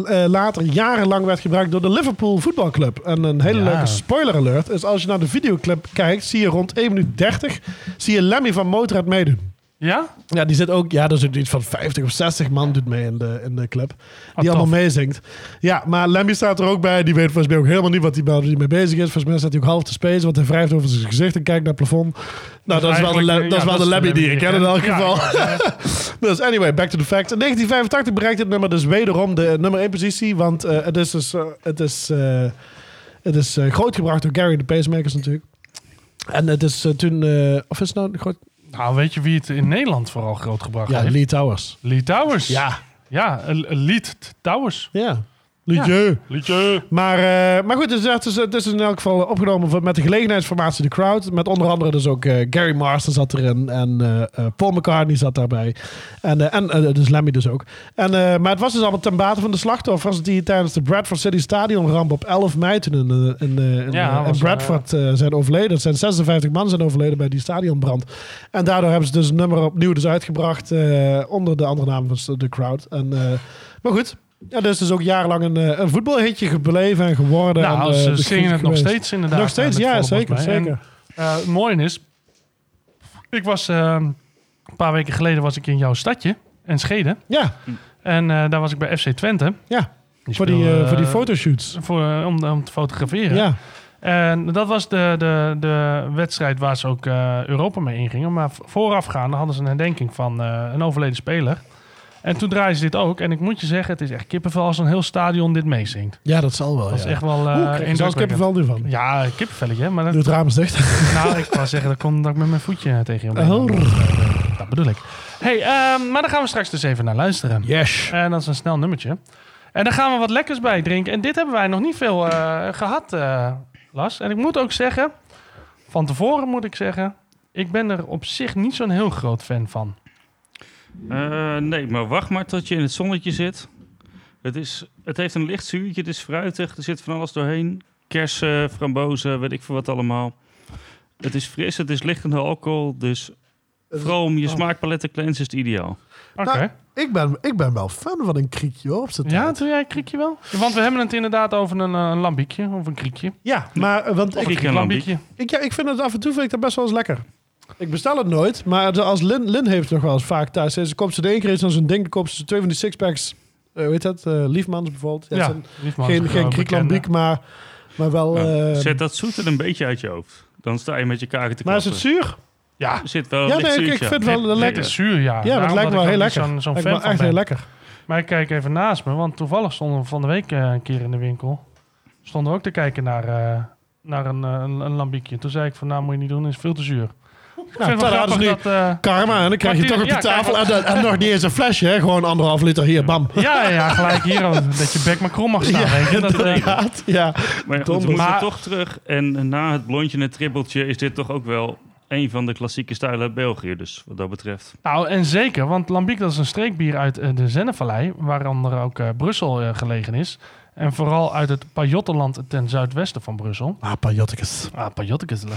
A: eh, later jarenlang werd gebruikt door de Liverpool voetbalclub. En een hele
B: Ja.
A: leuke spoiler alert is als je naar de videoclip kijkt, zie je rond 1 minuut 30 zie je Lemmy van Motorhead meedoen.
B: Ja?
A: Ja, die zit ook. Ja, dat is ook iets van 50 of 60 man doet mee in de, in de club. Die
B: tof.
A: allemaal meezingt. Ja, maar Lemmy staat er ook bij. Die weet volgens mij ook helemaal niet wat hij waar die mee bezig is. Volgens mij staat hij ook half te spacen, want hij wrijft over zijn gezicht en kijkt naar het plafond. Nou, dat is wel de,
B: Eigenlijk,
A: Le-
B: eh,
A: dat is
B: ja,
A: wel de Lemmy die ik ken in elk
B: Ja,
A: geval.
B: ik wou zeggen.
A: Dus anyway, back to the facts. In 1985 bereikt het nummer dus wederom de eh, nummer 1 positie. Want eh, het is dus... eh, het is, eh, het is eh, grootgebracht door Gary de Pacemakers natuurlijk. En het is eh, toen... eh, of is het nou... Groot...
B: Nou, weet je wie het in Nederland vooral grootgebracht
A: Ja,
B: heeft?
A: Lee Towers.
B: Lee Towers.
A: Ja.
B: Ja, een- een Lied Towers.
A: Ja. Liedje.
B: Liedje.
A: Maar, eh, maar goed, dus het is, het is in elk geval opgenomen voor- met de gelegenheidsformatie The Crowd. Met onder andere dus ook eh, Gary Marston zat erin en eh, eh, Paul McCartney zat daarbij. En, eh, en eh, dus Lemmy dus ook. En, eh, maar het was dus allemaal ten bate van de slachtoffers die tijdens de Bradford City Stadium ramp op 11 mei toen in, eh, in, eh, in,
B: Ja,
A: eh, in
B: was, eh,
A: Bradford eh, zijn overleden. Er zijn 56 man zijn overleden bij die stadionbrand. En daardoor hebben ze dus een nummer opnieuw dus uitgebracht eh, onder de andere naam van The Crowd. En, eh, maar goed, ja, dat is dus ook jarenlang een, eh, een voetbalhitje gebleven en geworden. en,
B: Nou,
A: eh,
B: ze
A: de
B: zingen het
A: griet
B: nog
A: geweest.
B: steeds inderdaad.
A: Nog steeds,
B: eh,
A: ja,
B: met volle
A: zeker.
B: bas bij. En,
A: zeker.
B: eh, het mooie is, ik was eh, een paar weken geleden was ik in jouw stadje, en Schede.
A: Ja,
B: En eh, daar was ik bij FC Twente.
A: ja. voor,
B: speelde,
A: die, eh, voor die
B: eh,
A: fotoshoots.
B: Voor, eh, om, om te fotograferen.
A: Ja.
B: En dat was de, de, de wedstrijd waar ze ook eh, Europa mee ingingen. Maar v- voorafgaande hadden ze een herdenking van eh, een overleden speler. En toen draaien ze dit ook. En ik moet je zeggen, het is echt kippenvel als een heel stadion dit meezingt.
A: ja, dat zal wel.
B: Dat is
A: ja.
B: echt wel
A: Oeh, krijg
B: eh
A: je zelfs
B: indrukwekkend.
A: kippenvel nu van.
B: Ja, kippenvelletje. Maar dat,
A: Doe het raam eens dicht.
B: nou, ik wou zeggen, dat komt dat ik met mijn voetje eh, tegen je.
A: Oh.
B: Dat bedoel ik. hey, ehm, maar daar gaan we straks dus even naar luisteren.
A: Yes.
B: En Eh, dat is een snel nummertje. En daar gaan we wat lekkers bij drinken. En dit hebben wij nog niet veel eh, gehad, eh, Las. En ik moet ook zeggen, van tevoren moet ik zeggen, ik ben er op zich niet zo'n heel groot fan van.
D: Eh, nee, maar wacht maar tot je in het zonnetje zit. Het, is, het heeft een licht zuurtje, het is fruitig, er zit van alles doorheen. Kersen, frambozen, weet ik veel wat allemaal. Het is fris, het is licht in de alcohol, dus vooral om je
A: Oh.
D: smaakpalet te cleansen is het ideaal.
B: Oké.
A: Nou, ik, ben, ik ben wel fan van een kriekje hoor, op z'n
B: ja,
A: tijd.
B: doe jij een kriekje wel? Want we hebben het inderdaad over een, eh, een lambiekje of een kriekje.
A: Ja, maar eh, want
D: Of
A: ik,
D: ik een lambiekje.
A: ik, ja, ik vind het af en toe vind ik dat best wel eens lekker. Ik bestel het nooit, maar de- als Lin, Lin heeft het nog wel eens vaak thuis. Ze koopt ze de één keer eens dan zo'n ding, dan koopt ze twee van die sixpacks. Eh weet dat? eh, Liefmans bijvoorbeeld. Ja,
B: Ja,
A: het zijn
B: Liefman is
A: geen
B: een
A: geen
B: grote
A: Griek lambiek, maar, maar wel...
D: Nou,
A: eh,
D: zet dat zoet er een beetje uit je hoofd. Dan sta je met je kaken te
A: maar is
D: klappen.
A: het zuur?
B: bekende. Ja,
D: Er zit wel een
A: Ja,
D: licht
A: nee, ik- ik
D: zuurtje aan.
A: vind wel
D: Nee,
A: een
D: nee,
B: het is zuur, ja.
A: Ja, dat
B: Daarom
A: lijkt me wel
B: ik
A: heel
B: er niet
A: lekker.
B: Zo'n zo'n
A: Lijkt me
B: fan
A: echt
B: van
A: heel
B: ben.
A: lekker.
B: Maar ik kijk even naast me, want toevallig stonden we van de week eh, een keer in de winkel. Stonden we ook te kijken naar, eh, naar een, eh, een, een lambiekje. Toen zei ik van, nou moet je niet doen, is veel te zuur. Ik vind het wel
A: dat hadden ze
B: grappig
A: Nou, nu.
B: dat... eh,
A: Karma, en dan krijg je
B: Maar
A: toch op
B: die-
A: je
B: ja,
A: tafel.
B: kijk,
A: En, dan- en nog niet eens een flesje, hè? gewoon anderhalf liter hier, bam.
B: ja, ja, gelijk hier al, dat je bek maar krom mag staan. weet je. Dat, eh,
A: Inderdaad, ja.
D: Maar ja,
A: Donder.
D: goed, we moeten
B: Maar-
D: toch terug. En na het blondje en het trippeltje is dit toch ook wel een van de klassieke stijlen uit België. Dus wat dat betreft.
B: nou, en zeker, want Lambiek dat is een streekbier uit eh, de Zennevallei, waaronder ook eh, Brussel eh, gelegen is. En vooral uit het Pajottenland ten zuidwesten van Brussel.
A: Ah, pajottekes.
B: Ah, Pajottekes. En,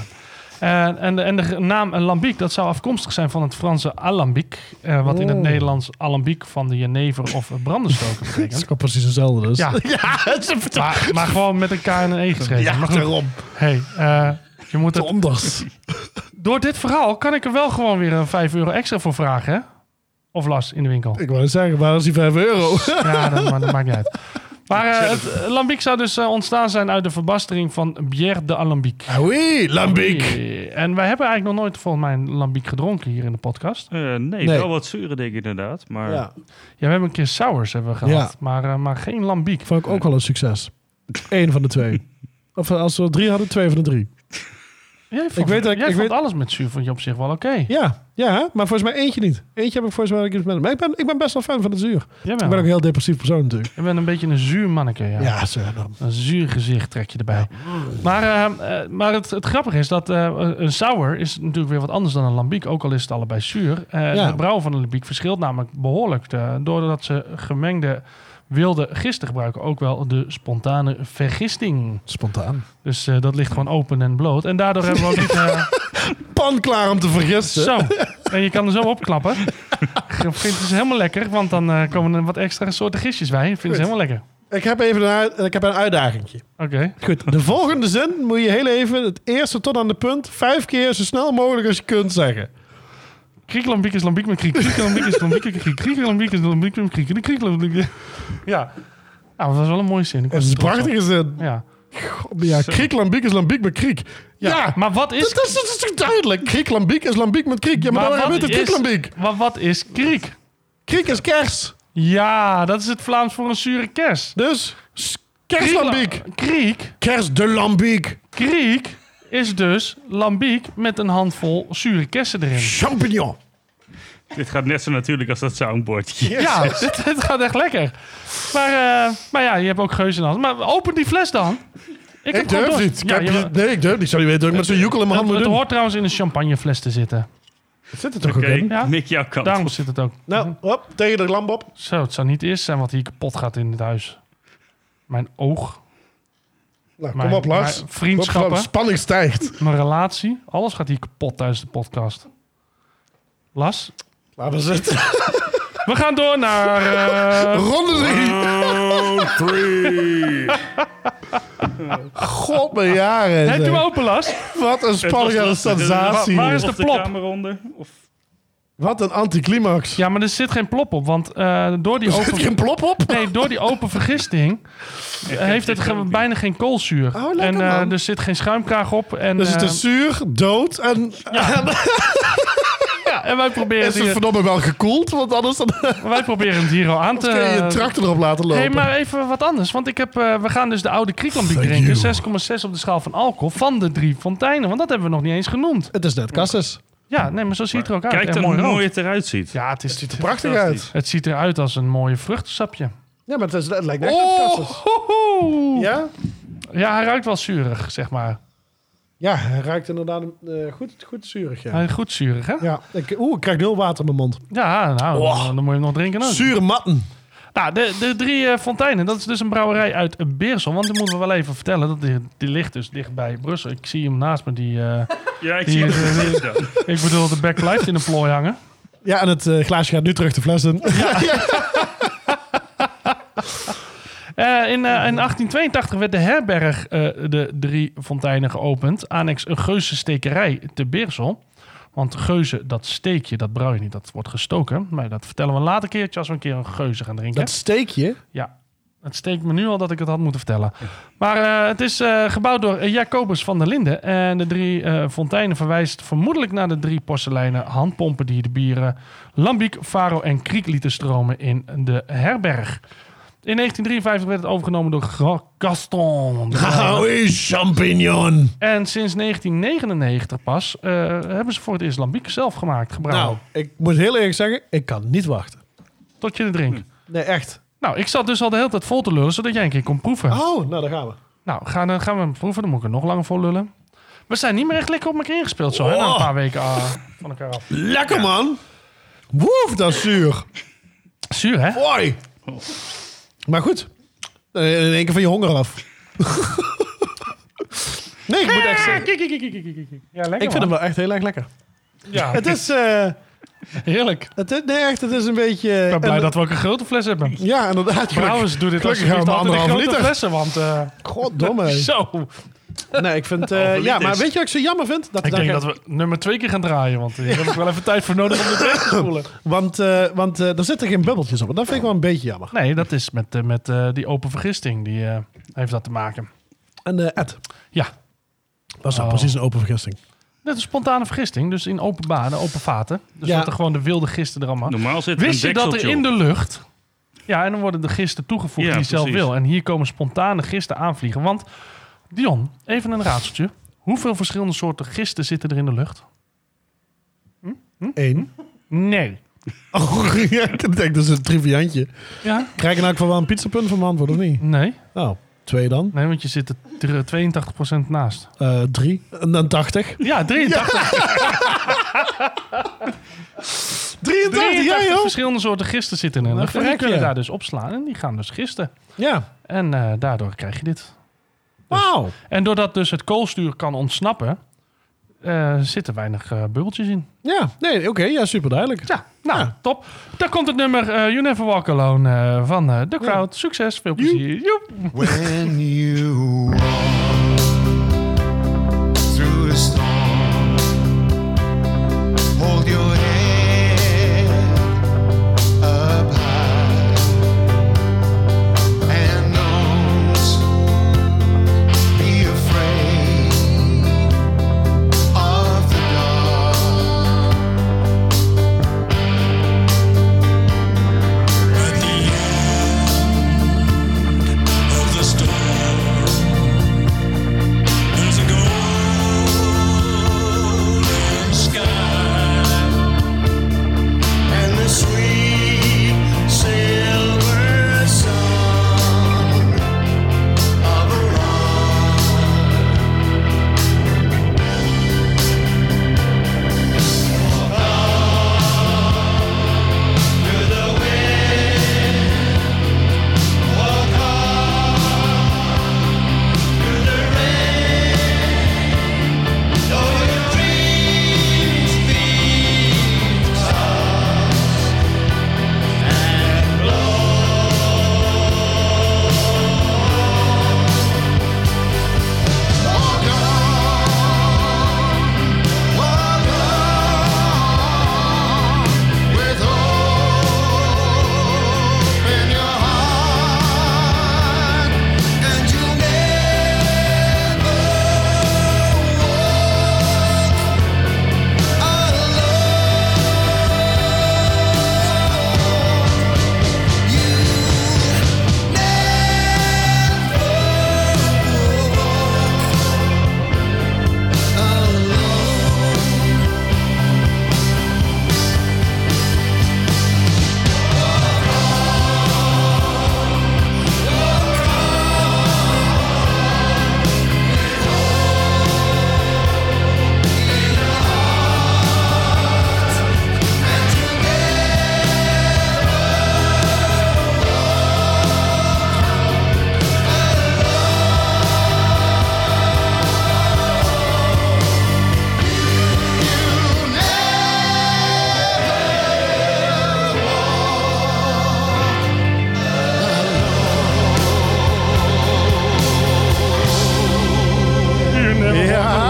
B: Eh, en, de- en de naam Lambiek, dat zou afkomstig zijn van het Franse alambiek. eh, wat in het
A: Oh.
B: Nederlands alambiek van de jenever of brandenstoker
A: Dat is
B: betekent.
A: gewoon precies hetzelfde dus.
B: Ja.
A: het is een vertaal-
B: Maar, maar gewoon met een K en een E geschreven.
A: Ja,
B: maar goed,
A: daarom.
B: hey, eh, je moet het...
A: Anders.
B: Door dit verhaal kan ik er wel gewoon weer een 5 euro extra voor vragen, hè? Of Lars, in de winkel.
A: Ik wou net zeggen, maar dat is die 5 euro.
B: Ja, dat, maar dat maakt niet uit. Maar eh, het eh, lambiek zou dus eh, ontstaan zijn uit de verbastering van bière de alambiek.
A: Ah, oui, lambiek.
B: Eh, En wij hebben eigenlijk nog nooit volgens mij een lambiek gedronken hier in de podcast.
D: Eh, nee,
A: Nee.
D: wel wat zure denk ik inderdaad. Maar
A: Ja,
B: Ja, we hebben een keer sours hebben we gehad,
A: Ja.
B: maar, eh, maar geen lambiek.
A: vond ik ook wel een succes. Eén van de twee. Of als we drie hadden, twee van de drie.
B: Jij vond,
A: Ik weet dat ik-
B: jij
A: ik
B: vond
A: weet-
B: alles met zuur vond je op zich wel oké.
A: Ja, ja, hè? maar volgens mij eentje niet. Eentje heb ik volgens mij dat ik iets met. Maar ik ben, ik ben best wel fan van het zuur.
B: Jawel.
A: Ik ben ook een heel depressief persoon natuurlijk.
B: Je bent een beetje een zuur manneke, ja.
A: Ja, zo dan.
B: Een zuur gezicht trek je erbij. Maar, eh, eh, maar het, het grappige is dat eh, een sour is natuurlijk weer wat anders dan een lambiek. Ook al is het allebei zuur. Eh,
A: Ja.
B: De brouw van een lambiek verschilt namelijk behoorlijk. eh, doordat ze gemengde wilde gisten gebruiken. Ook wel de spontane vergisting.
A: Spontaan.
B: Dus eh, dat ligt gewoon open en bloot. En daardoor hebben we ook niet... eh,
A: Pan klaar om te vergissen.
B: zo. En je kan er zo opklappen. Ik vind het helemaal lekker. Want dan eh, komen er wat extra soorten gistjes bij. Ik vind het helemaal lekker.
A: Ik heb even een, uit- ik heb een uitdagingje.
B: Oké.
A: Goed, de volgende zin moet je heel even, het eerste tot aan de punt, vijf keer zo snel mogelijk als je kunt zeggen.
B: Griekenlambiek is lambiek met Griek. Griekenlambiek is lambiek met Griek. Griekenlambiek is lambiek met Griek. Griekenlambiek. Ja. Nou, dat was wel een mooie zin. Ik
A: Dat
B: was
A: is een
B: er trots op.
A: prachtige zin.
B: Ja.
A: Ja, kriek lambiek is lambiek met kriek. Ja,
B: Maar wat
A: dat,
B: is,
A: dat is, dat is toch duidelijk? Kriek lambiek is lambiek met kriek. Ja, maar,
B: Maar
A: dan
B: wat
A: gebeurt het
B: is-
A: kriek lambiek.
B: maar wat is kriek?
A: Kriek is kers.
B: Ja, dat is het Vlaams voor een zure kers.
A: Dus s- kerslambiek.
B: Kriek.
A: Kers de lambiek.
B: Kriek is dus lambiek met een handvol zure kersen erin.
A: Champignon.
D: dit gaat net zo natuurlijk als dat soundboardje.
B: Ja, dit, dit gaat echt lekker. Maar, eh, maar ja, je hebt ook geuze in de hand. Maar open die fles dan. Ik, heb
A: Ik
B: gewoon
A: durf
B: dorst.
A: niet. Ik
B: Ja,
A: heb-
B: je-
A: nee, ik durf niet. Sorry, weet ik met zo'n joekel in mijn hand
B: het,
A: moet
B: het
A: doen.
B: hoort trouwens in een champagnefles te zitten.
A: Zit er toch
D: Oké,
A: ook in?
B: Ja.
D: mik jouw kant.
B: Daarom zit het ook.
A: Nou, hop, tegen de lamp op.
B: Zo, het zou niet eerst zijn wat hier kapot gaat in het huis. Mijn oog,
A: Nou,
B: mijn,
A: kom op, Lars.
B: mijn
A: Kom op,
B: vriendschappen,
A: Spanning stijgt.
B: mijn relatie. Alles gaat hier kapot tijdens de podcast. Lars,
A: Laten we zitten.
B: we gaan door naar... eh,
A: Ronde drie.
C: Round three.
A: God, mijn jaren.
B: het
A: zeg.
B: doe open, Lars.
A: Wat een spannende sensatie.
B: Waar is
D: Of
B: de plop?
D: kamer onder? Of
A: Wat een anticlimax.
B: Ja, maar er zit geen plop op, want eh, door, die
A: Zit er
B: open,
A: een plop op?
B: nee, door die open vergisting eh, heeft het ge- bijna geen koolzuur.
A: Oh, lekker,
B: en eh,
A: man.
B: er zit geen schuimkraag op. En,
A: Dus het
B: eh,
A: is zuur, dood en
B: ja, en wij proberen,
A: is
B: het
A: het
B: hier,
A: verdomme wel gekoeld. Want anders dan
B: wij proberen het hier al aan te...
A: kun je je tractor erop laten lopen.
B: Eh, Hey, maar even wat anders. Want ik heb, eh, we gaan dus de oude Krieklambiek
A: Fuck
B: drinken.
A: you.
B: 6,6 op de schaal van alcohol van de drie fonteinen. Want dat hebben we nog niet eens genoemd.
A: Het is net kasses.
B: Ja, nee, maar zo ziet het er ook uit.
D: kijk
B: Echt
D: dan hoe
B: rood.
D: mooi het eruit ziet.
B: Ja, het, is, het, ziet er
A: Prachtig uit.
B: het ziet eruit als een mooie vruchtensapje.
A: Ja, maar het, is, het lijkt net
B: Oh, hoehoe. Ja.
A: Ja?
B: hij ruikt wel zuurig, zeg maar.
A: Ja, hij ruikt inderdaad eh, goed, goed zuurig, ja.
B: Hij is goed zuurig, hè? Ja,
A: Ja, ik, oeh, ik krijg nu al water in mijn mond.
B: nou,
A: Oh.
B: dan, dan moet je hem nog drinken. ook.
A: Ah. Zure matten.
B: Nou, de, de Drie eh, Fonteinen, dat is dus een brouwerij uit Beersel. Want die moeten we wel even vertellen. Dat die, die ligt dus dicht bij Brussel. Ik zie hem naast me. Die, eh,
D: Ja, ik
B: Die
D: zie
B: is-
D: het. Ja.
B: ik bedoel, de bek blijft in de plooi hangen.
A: Ja, en het eh, glaasje gaat nu terug de fles in.
B: Eh, in, eh, in 1882 werd de herberg eh, de Drie Fonteinen geopend. Annex een Geuze stekerij te Beersel. Want geuzen, dat steek je, dat brouw je niet. Dat wordt gestoken. Maar dat vertellen we een later keertje als we een keer een geuze gaan drinken.
A: Dat steekje.
B: Ja, het steekt me nu al dat ik het had moeten vertellen. Maar eh, het is eh, gebouwd door eh, Jacobus van der Linden. En de drie eh, fonteinen verwijst vermoedelijk naar de drie porseleinen handpompen die de bieren Lambiek, Faro en Kriek lieten stromen in de herberg. In 1953 werd het overgenomen door Gra- Gaston.
A: Nou,
B: de Brouwer.
A: is champignon.
B: En sinds 1999 pas eh, hebben ze voor het eerst Lambiek zelf gemaakt, gebrouwen.
A: Nou, ik moet heel eerlijk zeggen, ik kan niet wachten.
B: Tot je het drinkt.
A: Nee, echt.
B: Nou, ik zat dus al de hele tijd vol te lullen, zodat jij een keer kon proeven.
A: Oh, nou daar gaan we.
B: Nou, gaan, eh, gaan we hem proeven. Dan moet ik er nog langer voor lullen. We zijn niet meer echt lekker op elkaar ingespeeld zo, hè? Na een paar weken ah, van elkaar af.
A: Lekker man. Woef, dat is zuur.
B: Zuur, hè?
A: Mooi. Maar goed, dan in één keer van je honger af. nee, ik moet echt zeggen.
B: Kijk, kijk, kijk, kijk, kijk, kijk. Ja, lekker,
A: Ik vind hem
B: man.
A: wel echt heel erg lekker.
B: ja,
A: Het is, eh,
B: heerlijk.
A: het is nee echt, het is een beetje... eh,
B: Ik ben
A: en-
B: blij dat we ook een grote fles hebben.
A: Ja, inderdaad.
B: Trouwens, doe dit
A: gelukkig
B: alsjeblieft
A: hebben
B: altijd
A: we
B: in grote
A: anderhalf liter.
B: flessen, want... eh,
A: Goddomme.
B: Zo.
A: Nee, ik vind... eh, ja, maar weet je wat ik zo jammer vind? Dat we
B: Ik
A: daar
B: denk
A: geen-
B: dat we nummer twee keer gaan draaien, want hier heb ik wel even tijd voor nodig om dit weg te spoelen.
A: Want, eh, want eh, er zitten geen bubbeltjes op. En Dat vind ik wel een beetje jammer.
B: Nee, dat is met, eh, met eh, die open vergisting. Die eh, heeft dat te maken.
A: En eh, Ed,
B: Ja,
A: was nou
B: Oh.
A: precies een open vergissing.
B: Net een spontane vergisting, dus in open banen, open vaten. Dus
A: Ja.
B: dat er gewoon de wilde gisten er allemaal.
D: Normaal zit er
B: Wist je
D: een
B: dat er
D: dekseltje
B: in
D: op.
B: de lucht. Ja, en dan worden de gisten toegevoegd
D: Ja,
B: die je zelf
D: precies.
B: wil. En hier komen spontane gisten aanvliegen. Want, Dion, even een raadseltje. Hoeveel verschillende soorten gisten zitten er in de lucht?
A: Eén.
B: Hm? Nee.
A: Oh, ja, ik denk dat is een triviantje.
B: Ja?
A: Krijg ik nou ook wel een pizzapunt van mijn antwoord of niet?
B: Nee.
A: Nou, twee dan.
B: Nee, want je zit er tr- 82% naast.
A: Eh, drie. En dan 80.
B: Ja, 83.
A: 83,
B: 83
A: ja joh.
B: verschillende soorten gisten zitten in de
A: Nou,
B: lucht. En die
A: verrek
B: kunnen
A: je.
B: daar dus opslaan. En die gaan dus gisten.
A: Ja.
B: En eh, daardoor krijg je dit.
A: Wauw.
B: En doordat dus het koolstuur kan ontsnappen, eh, zitten weinig eh, bubbeltjes in.
A: Ja, nee, oké. ja, super duidelijk.
B: Ja, nou,
A: Ja.
B: top. Daar komt het nummer eh, You Never Walk Alone eh, van eh, The Crowd. Succes, veel plezier. Joep.
F: when you walk through a storm, hold your head up high and don't be afraid of the dark.
E: At the end of the storm,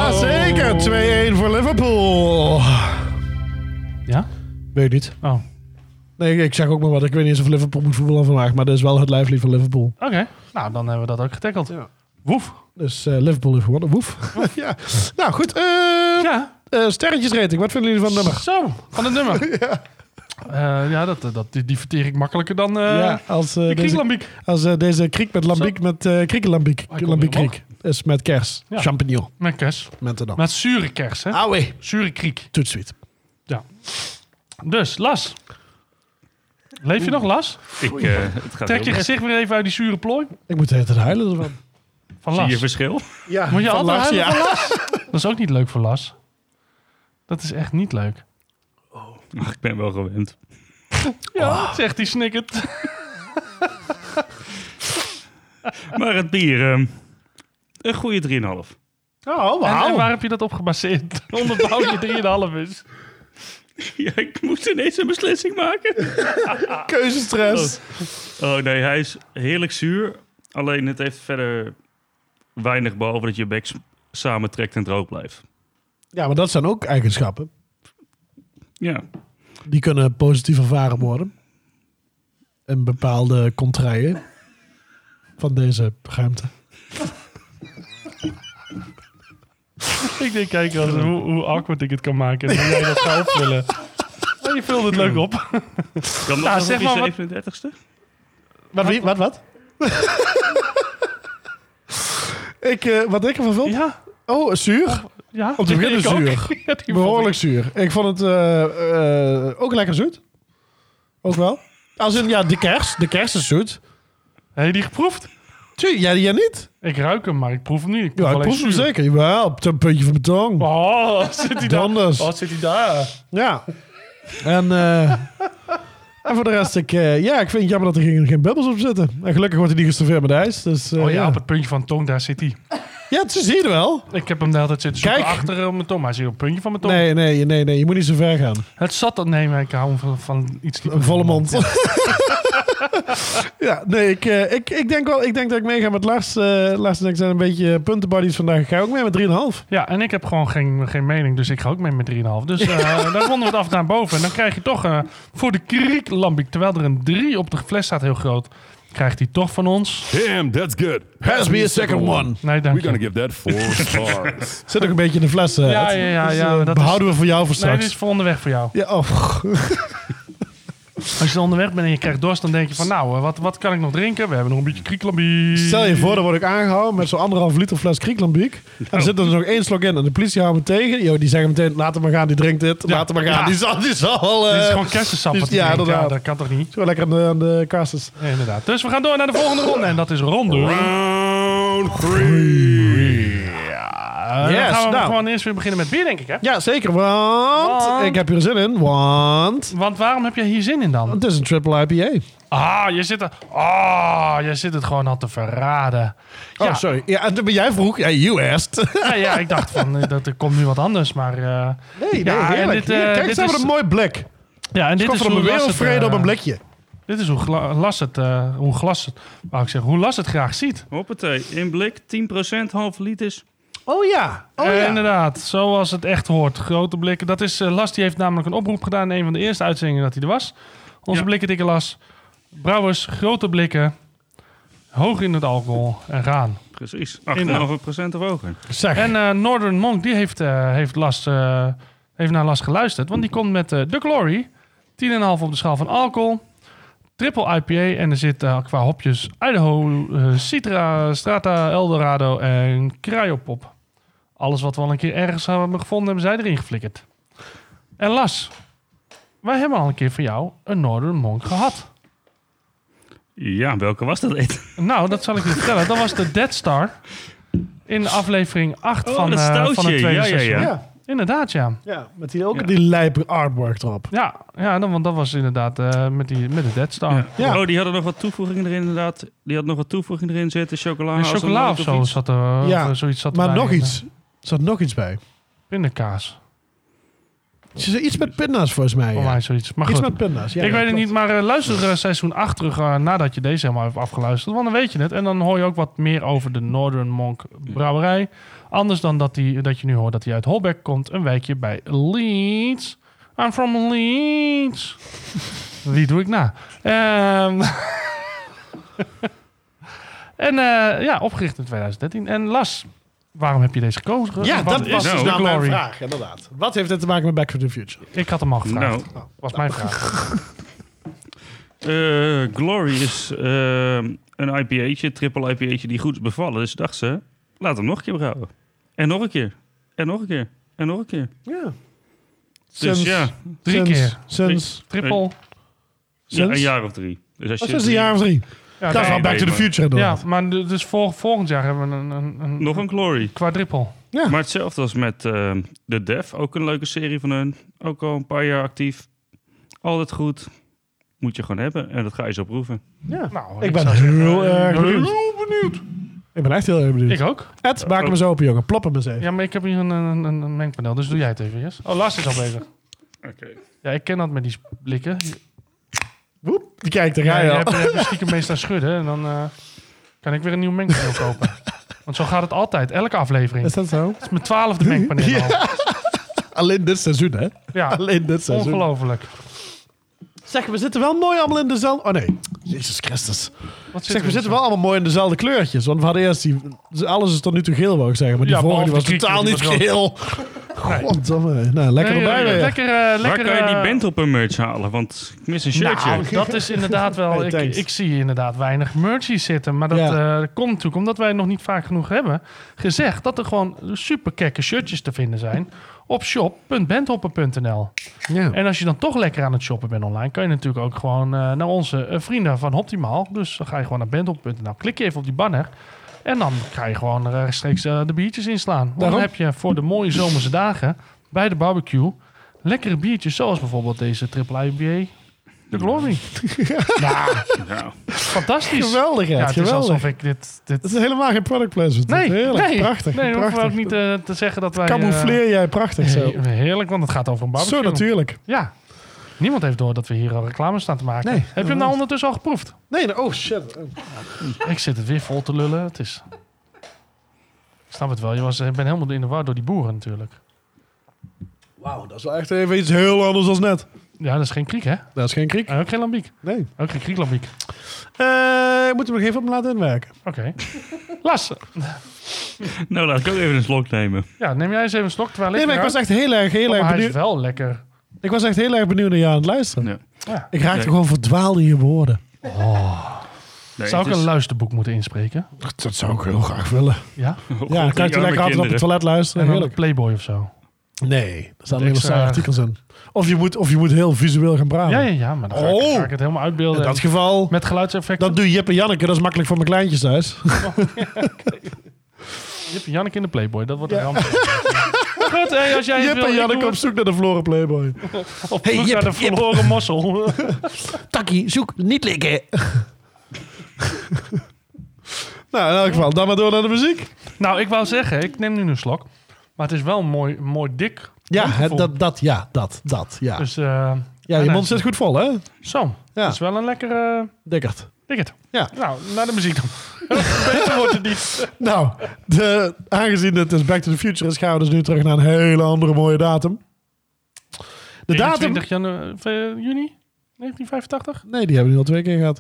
A: 2-1 voor Liverpool.
B: Ja?
A: Weet je niet.
B: Oh,
A: Nee, ik zeg ook maar wat. Ik weet niet eens of Liverpool moet voetballen vandaag. Maar dat is wel het lijflied van Liverpool.
B: oké. Nou, dan hebben we dat ook getackeld.
A: Ja.
B: Woef.
A: Dus eh, Liverpool heeft gewonnen. Woef. ja. Nou goed. eh
B: Ja,
A: eh, sterretjesrating. Wat vinden jullie van het nummer?
B: zo. Van het nummer. ja, ja dat, dat, die, die verteer ik makkelijker dan eh
A: ja, als, eh,
B: de
A: deze,
B: krieklambiek.
A: als eh, deze kriek met lambiek met eh kriekenlambiek.
B: Hij komt
A: Lambiek
B: Ah, weer
A: kriek. Is met kers.
B: Ja.
A: Champignon.
B: Met kers.
A: Met de dan.
B: Met zure kers, hè.
A: Auwe.
B: Zure kriek.
A: Toet sweet.
B: Dus, Las. Leef je nog, Las?
D: Ik, eh, het gaat
B: Trek je
D: heel
B: gezicht weer even uit die zure plooi
A: Ik moet de hele tijd huilen ervan.
B: van
D: Zie
B: Las.
D: je verschil?
A: Ja,
B: Moet je
A: van
B: altijd
A: Lars,
B: huilen
A: ja.
B: van Las? Dat is ook niet leuk voor Las. Dat is echt niet leuk.
D: Ach, ik ben wel gewend.
B: Ja, Oh, zegt hij snikkend.
D: Maar het bier, ehm, een goede 3,5.
A: Oh,
B: En, en eh,
A: wauw.
B: waar heb je dat op gebaseerd? Onderbouw je 3,5 is.
D: Ja, ik moest ineens een beslissing maken.
A: Keuzestress.
D: Oh nee, hij is heerlijk zuur. Alleen het heeft verder weinig behalve dat je bek s- samentrekt en droog blijft.
A: Ja, maar dat zijn ook eigenschappen.
D: Ja,
A: Die kunnen positief ervaren worden. En bepaalde contraien van deze ruimte.
B: Ik denk, kijk, als, hoe, hoe awkward ik het kan maken. En hoe jij dat gaat opvullen. Maar je vult het leuk op.
D: kan dat
B: zeg
D: Nou, zeg
B: maar
D: maar
B: wat-
D: 37ste?
A: Wat, wie, wat, wat? ik, eh, wat ik ervan vond?
B: Ja,
A: Oh, zuur.
B: ja.
A: Om te
B: die
A: beginnen
B: ik ook.
A: zuur.
B: Ja, die
A: Behoorlijk zuur. Ik vond het eh, eh, ook lekker zoet. Ook wel. Als in, ja, de kerst. De kerst is zoet.
B: vond ik- Heb je die geproefd?
A: Tjie, jij, jij niet?
B: Ik ruik hem, maar ik proef hem niet. Ik proef
A: Ja, ik
B: alleen
A: proef hem
B: zuur.
A: zeker. Jawel, op het puntje van mijn tong.
B: Oh, zit hij
A: Iets
B: daar?
A: anders.
B: Oh, zit hij daar?
A: Ja. En, eh, en voor de rest, ik, eh, ja, ik vind het jammer dat er geen, geen bubbels op zitten. En gelukkig wordt hij niet geserveerd met ijs. Dus, eh,
B: Oh ja,
A: ja.
B: op het puntje van de tong, daar zit hij.
A: ja, ze zien het wel.
B: Ik heb hem de hele tijd zitten zoeken
A: Kijk.
B: achter eh, op mijn tong. Maar hij zit op het puntje van mijn tong.
A: Nee, nee, nee, nee, je moet niet zo ver gaan.
B: Het zat dat... Nee, maar ik hou hem van, van iets...
A: Een volle mond. ja, nee, ik, eh, ik, ik, denk wel, ik denk dat ik meega met Lars. Eh, Lars en ik zijn een beetje puntenbuddies vandaag. Ik ga ook mee met 3,5.
B: Ja, en ik heb gewoon geen, geen mening, dus ik ga ook mee met 3,5. Dus eh dan ronden we het af naar boven. En dan krijg je toch eh, voor de kriek Lambiek, terwijl er een 3 op de fles staat heel groot, krijgt hij toch van ons.
C: Damn, that's good.
A: Has be a second one.
B: Nee, dank
C: We're gonna
B: je.
C: give that four stars.
A: Zit ook een beetje in de fles. eh,
B: Ja,
A: Ed.
B: ja, ja,
A: Dus,
B: ja,
A: eh,
B: dat is-
A: behouden we voor jou voor
B: Nee,
A: straks.
B: dit is voor onderweg voor jou.
A: Ja, oh.
B: Als je onderweg bent en je krijgt dorst, dan denk je van nou, eh, wat, wat kan ik nog drinken? We hebben nog een beetje krieklambiek.
A: Stel je voor, dan word ik aangehouden met zo'n anderhalf liter fles krieklambiek. En er zit er nog één slok in en de politie houdt me tegen. Yo, die zeggen meteen, laat hem maar gaan, die drinkt dit. Laat hem maar gaan,
B: Ja.
A: die zal, die zal wel...
B: Dit is
A: eh,
B: gewoon kersensap.
A: dus-
B: wat hij
A: ja,
B: drinkt. ja,
A: inderdaad.
B: dat kan toch niet?
A: Zo lekker aan de, aan de kastjes.
B: Nee, inderdaad. Dus we gaan door naar de volgende ronde. En dat is ronde.
C: Round three.
B: Eh, dan
A: Yes,
B: gaan we
A: nou.
B: gewoon eerst weer beginnen met bier, denk ik. Hè?
A: Ja, zeker, want,
B: Want-
A: Ik heb hier zin in, want...
B: Want waarom heb jij hier zin in dan?
A: Het is een triple IPA.
B: Ah, je zit, er, ah, je zit het gewoon al te verraden.
A: Oh,
B: Ja.
A: sorry. Ja, en toen ben jij vroeg. Ja, you asked.
B: Ja, ja, ik dacht van, eh, dat er komt nu wat anders, maar... eh,
A: Nee,
B: nee,
A: ja, eh,
B: heerlijk.
A: heerlijk.
B: Hier, kijk,
A: kijk,
B: dit
A: ze hebben
B: is-
A: een mooi blik.
B: ja, en dit
A: Komt
B: is
A: van
B: hoe
A: een
B: Las het,
A: wereldvrede
B: eh,
A: op een blikje.
B: Dit is hoe gla- Las het, eh, hoe glas het, wou ik zeggen, hoe Las het graag ziet.
D: Hoppatee, in blik 10% half liters.
A: Oh ja. Oh
B: Eh,
A: ja.
B: Inderdaad, zoals het echt hoort. Grote blikken. Dat is, eh, Las die heeft namelijk een oproep gedaan in een van de eerste uitzendingen dat hij er was. Onze blikken dikke Las. Brouwers, grote blikken, hoog in het alcohol en gaan.
D: Precies, 8,5% of hoger.
A: Zeg.
B: En eh, Northern Monk, die heeft, eh, heeft, Las, eh, heeft naar Las geluisterd. Want die komt met eh The Glory. 10,5 op de schaal van alcohol. Triple IPA. En er zit eh, qua hopjes Idaho, eh, Citra, Strata, Eldorado en Cryopop. Alles wat we al een keer ergens hebben gevonden, hebben zij erin geflikkerd. En Las, wij hebben al een keer van jou een Northern Monk gehad.
D: Ja, welke was dat? Ed?
B: Nou, dat zal ik je vertellen. Dat was de Dead Star. In aflevering 8
D: Oh,
B: van,
D: dat
B: eh, van
D: stoutje.
B: het tweede
D: Ja, ja, ja.
B: seizoen.
A: ja.
B: Inderdaad, ja.
A: ja, met die, ook
D: Ja.
A: die lijpe artwork erop.
B: Ja, ja dan, want dat was inderdaad eh, met, die, met de Dead Star.
A: Ja.
D: Oh, die hadden nog wat toevoegingen erin inderdaad. Die had nog wat toevoegingen erin zitten. Chocola,
B: En
D: als een
B: chocola of
D: noot
B: zo
D: iets.
B: zat er,
A: Ja,
B: of zoiets zat
A: Maar
B: erbij.
A: nog
B: En,
A: iets. Er zat nog iets bij.
B: eh, Pindakaas.
A: Het is iets met pinda's volgens mij. ja.
B: Online zoiets. Maar
A: Iets
B: goed.
A: met pinda's. Ja,
B: ik
A: ja,
B: weet het
A: klopt.
B: niet, maar eh, luister eh, seizoen 8 terug eh, nadat je deze helemaal hebt afgeluisterd. Want dan weet je het. En dan hoor je ook wat meer over de Northern Monk Brouwerij. Anders dan dat, die, dat je nu hoort dat hij uit Holbeck komt. Een wijkje bij Leeds. I'm from Leeds. Wie doe ik na? Ehm, en eh, ja, opgericht in 2013. En Las, waarom heb je deze gekozen?
A: Ja,
B: Wat
A: dat was
D: nou
A: dus nou mijn
B: Glory?
A: vraag, inderdaad. Wat heeft dit te maken met Back to the Future?
B: Ik had hem al gevraagd.
D: Nou,
B: was mijn vraag.
D: eh, Glory is eh, een IPA'tje, triple IPA'tje die goed is bevallen. Dus dacht ze, laat hem nog een keer brouwen. En nog een keer. En nog een keer. En nog een keer.
A: Ja.
D: Dus
A: Sinds-
D: ja,
B: Drie
A: sinds-
B: keer.
A: Sinds,
B: Triple.
D: ja, een
A: Sinds?
D: jaar of drie. Dus als
A: oh,
D: je
A: sinds een jaar of drie.
B: Ja,
A: Dat is
D: nee,
A: wel Back to
D: nee,
A: the
D: maar-
A: Future
B: Ja,
A: inderdaad.
B: maar d- dus vol- volgend jaar hebben we een, een, een
D: Nog een Glory.
B: quadruppel.
A: Ja.
D: Maar hetzelfde als met ehm The Def. Ook een leuke serie van hun. Ook al een paar jaar actief. Altijd goed. Moet je gewoon hebben. En dat ga je zo proeven.
A: Ja.
B: Nou,
A: Ik ben
B: zou zeggen,
A: heel
B: eh,
A: erg benieuwd. Ik ben echt heel erg benieuwd.
B: Ik ook.
A: Ed, maak hem eens open, jongen. Plop hem eens even.
B: Ja, maar ik heb hier een, een, een- een mengpaneel, dus doe jij het even eerst. Oh, Lars is al bezig.
D: Oké.
B: Ja, ik ken dat met die blikken.
A: Woep. Kijk, daar ga
B: Ja,
A: je
B: je
A: al.
B: hebt, je hebt er stiekem meestal schudden en dan eh, kan ik weer een nieuw mengpaneel kopen. Want zo gaat het altijd, elke aflevering.
A: Is
B: Het
A: dat zo?
B: is mijn twaalfde mengpaneel al.
A: Alleen dit seizoen, hè?
B: Ja,
A: Alleen dit seizoen.
B: ongelooflijk.
A: Zeg, we zitten wel mooi allemaal in dezelfde... Oh nee, Jezus Christus.
B: Wat zit
A: Zeg,
B: er
A: we
B: in
A: zitten
B: zo?
A: wel allemaal mooi in dezelfde kleurtjes. Want we hadden eerst die... Alles is tot nu toe geel, wou ik zeggen. Maar die
B: Ja,
A: vorige die was
B: behalve de
A: totaal niet
B: krieken, die
A: geel. Goddomme. Nou, lekker
B: Nee,
A: erbij
B: eh,
A: weer.
B: Lekker, eh,
D: Waar
B: lekker
D: kan je
B: eh,
D: die band op een merch halen? Want ik mis een shirtje.
B: Nou, dat is inderdaad wel.
A: Hey,
B: ik,
A: thanks.
B: ik zie inderdaad weinig merchie zitten. Maar dat
A: Ja.
B: eh, komt natuurlijk omdat wij nog niet vaak genoeg hebben gezegd dat er gewoon super kekke shirtjes te vinden zijn op shop.bandhopper.nl.
A: Ja.
B: En als je dan toch lekker aan het shoppen bent online, kan je natuurlijk ook gewoon eh, naar onze eh, vrienden van Optimaal. Dus dan ga je gewoon naar bandhopper.nl. Klik je even op die banner. En dan ga je gewoon rechtstreeks eh, de biertjes inslaan. Want
A: Daarom.
B: dan heb je voor de mooie zomerse dagen bij de barbecue lekkere biertjes. Zoals bijvoorbeeld deze Triple IPA. De Glory.
D: Nou,
B: Fantastisch.
A: Geweldig, Ed,
B: Ja, het is
A: geweldig.
B: alsof ik dit... dit...
A: Het is helemaal geen product placement.
B: Nee,
A: Heerlijk,
B: nee,
A: prachtig.
B: Nee, we hoeven
A: prachtig.
B: ook niet eh, te zeggen dat wij... eh,
A: Camoufleer jij prachtig zo.
B: he- heerlijk, want het gaat over een barbecue.
A: Zo natuurlijk.
B: Ja. Niemand heeft door dat we hier al reclame staan te maken.
A: Nee.
B: Heb je hem nou ondertussen al geproefd?
A: Nee, nee, oh shit. Oh.
B: Ik zit het weer vol te lullen. Het is... Ik snap het wel. Je was, ik ben helemaal in de war door die boeren natuurlijk.
A: Wauw, dat is wel echt even iets heel anders dan net.
B: Ja, dat is geen kriek, hè?
A: Dat is geen kriek.
B: En ook geen lambiek.
A: Nee.
B: Ook geen krieklambiek.
A: Eh, ik moet hem nog even op me laten inwerken.
B: Oké. Las,
D: nou, laat ik ook even een slok nemen.
B: ja, neem jij eens even een slok terwijl ik...
A: Nee, maar ik
B: eruit-
A: was echt heel erg, heel
B: Oh,
A: erg
B: maar hij is
A: benieuwd.
B: wel lekker.
A: Ik was echt heel erg benieuwd naar jou aan het luisteren.
D: Ja.
B: Ja.
A: Ik raakte
D: Nee.
A: gewoon verdwaald in je woorden.
D: Nee,
B: Zou
D: het
B: ik een
D: is-
B: luisterboek moeten inspreken?
A: Dat zou ik heel graag willen.
B: Ja?
D: Oh,
A: Ja, dan
D: God,
A: kan ik
D: die
A: je lekker
D: arme
A: altijd op het
D: kinderen.
A: toilet luisteren.
B: En dan een
A: Heerlijk. Oh.
B: Playboy of zo.
A: Nee, er staan hele
B: Extra-
A: saaie artikels in. Of je, moet, of je moet heel visueel gaan praten.
B: Ja, ja, ja, maar dan ga ik,
A: Oh.
B: ga ik het helemaal uitbeelden.
A: In dat geval,
B: Met geluidseffecten.
A: dat doe Jip en Janneke. Dat is makkelijk voor mijn kleintjes thuis.
B: Jip en Janneke in de Playboy, dat wordt een ramp. Goed, hey, als jij het
A: Jip
B: wil,
A: en
B: ik
A: Janneke
B: doe
A: op zoek naar de verloren Playboy.
B: het. Op zoek naar de verloren mossel.
A: Takkie, zoek, niet likken. nou, in elk geval, dan maar door naar de muziek.
B: nou, ik wou zeggen, ik neem nu een slok. Maar het is wel een mooi, mooi dik.
A: Ja,
B: mondgevoel.
A: hè, dat, dat, ja, dat, dat, ja.
B: Dus, eh,
A: ja, je
B: en,
A: mond
B: eh,
A: zit goed vol, hè?
B: Zo,
A: Ja.
B: dat is wel een lekkere... eh,
A: Dikkert.
B: Ticket.
A: Ja.
B: Nou, naar de muziek dan. Beter wordt het niet.
A: Nou, de, aangezien het dus Back to the Future is, gaan we dus nu terug naar een hele andere mooie datum. De datum...
B: 21 janu- eh, juni 1985.
A: Nee, die hebben we nu al twee keer gehad.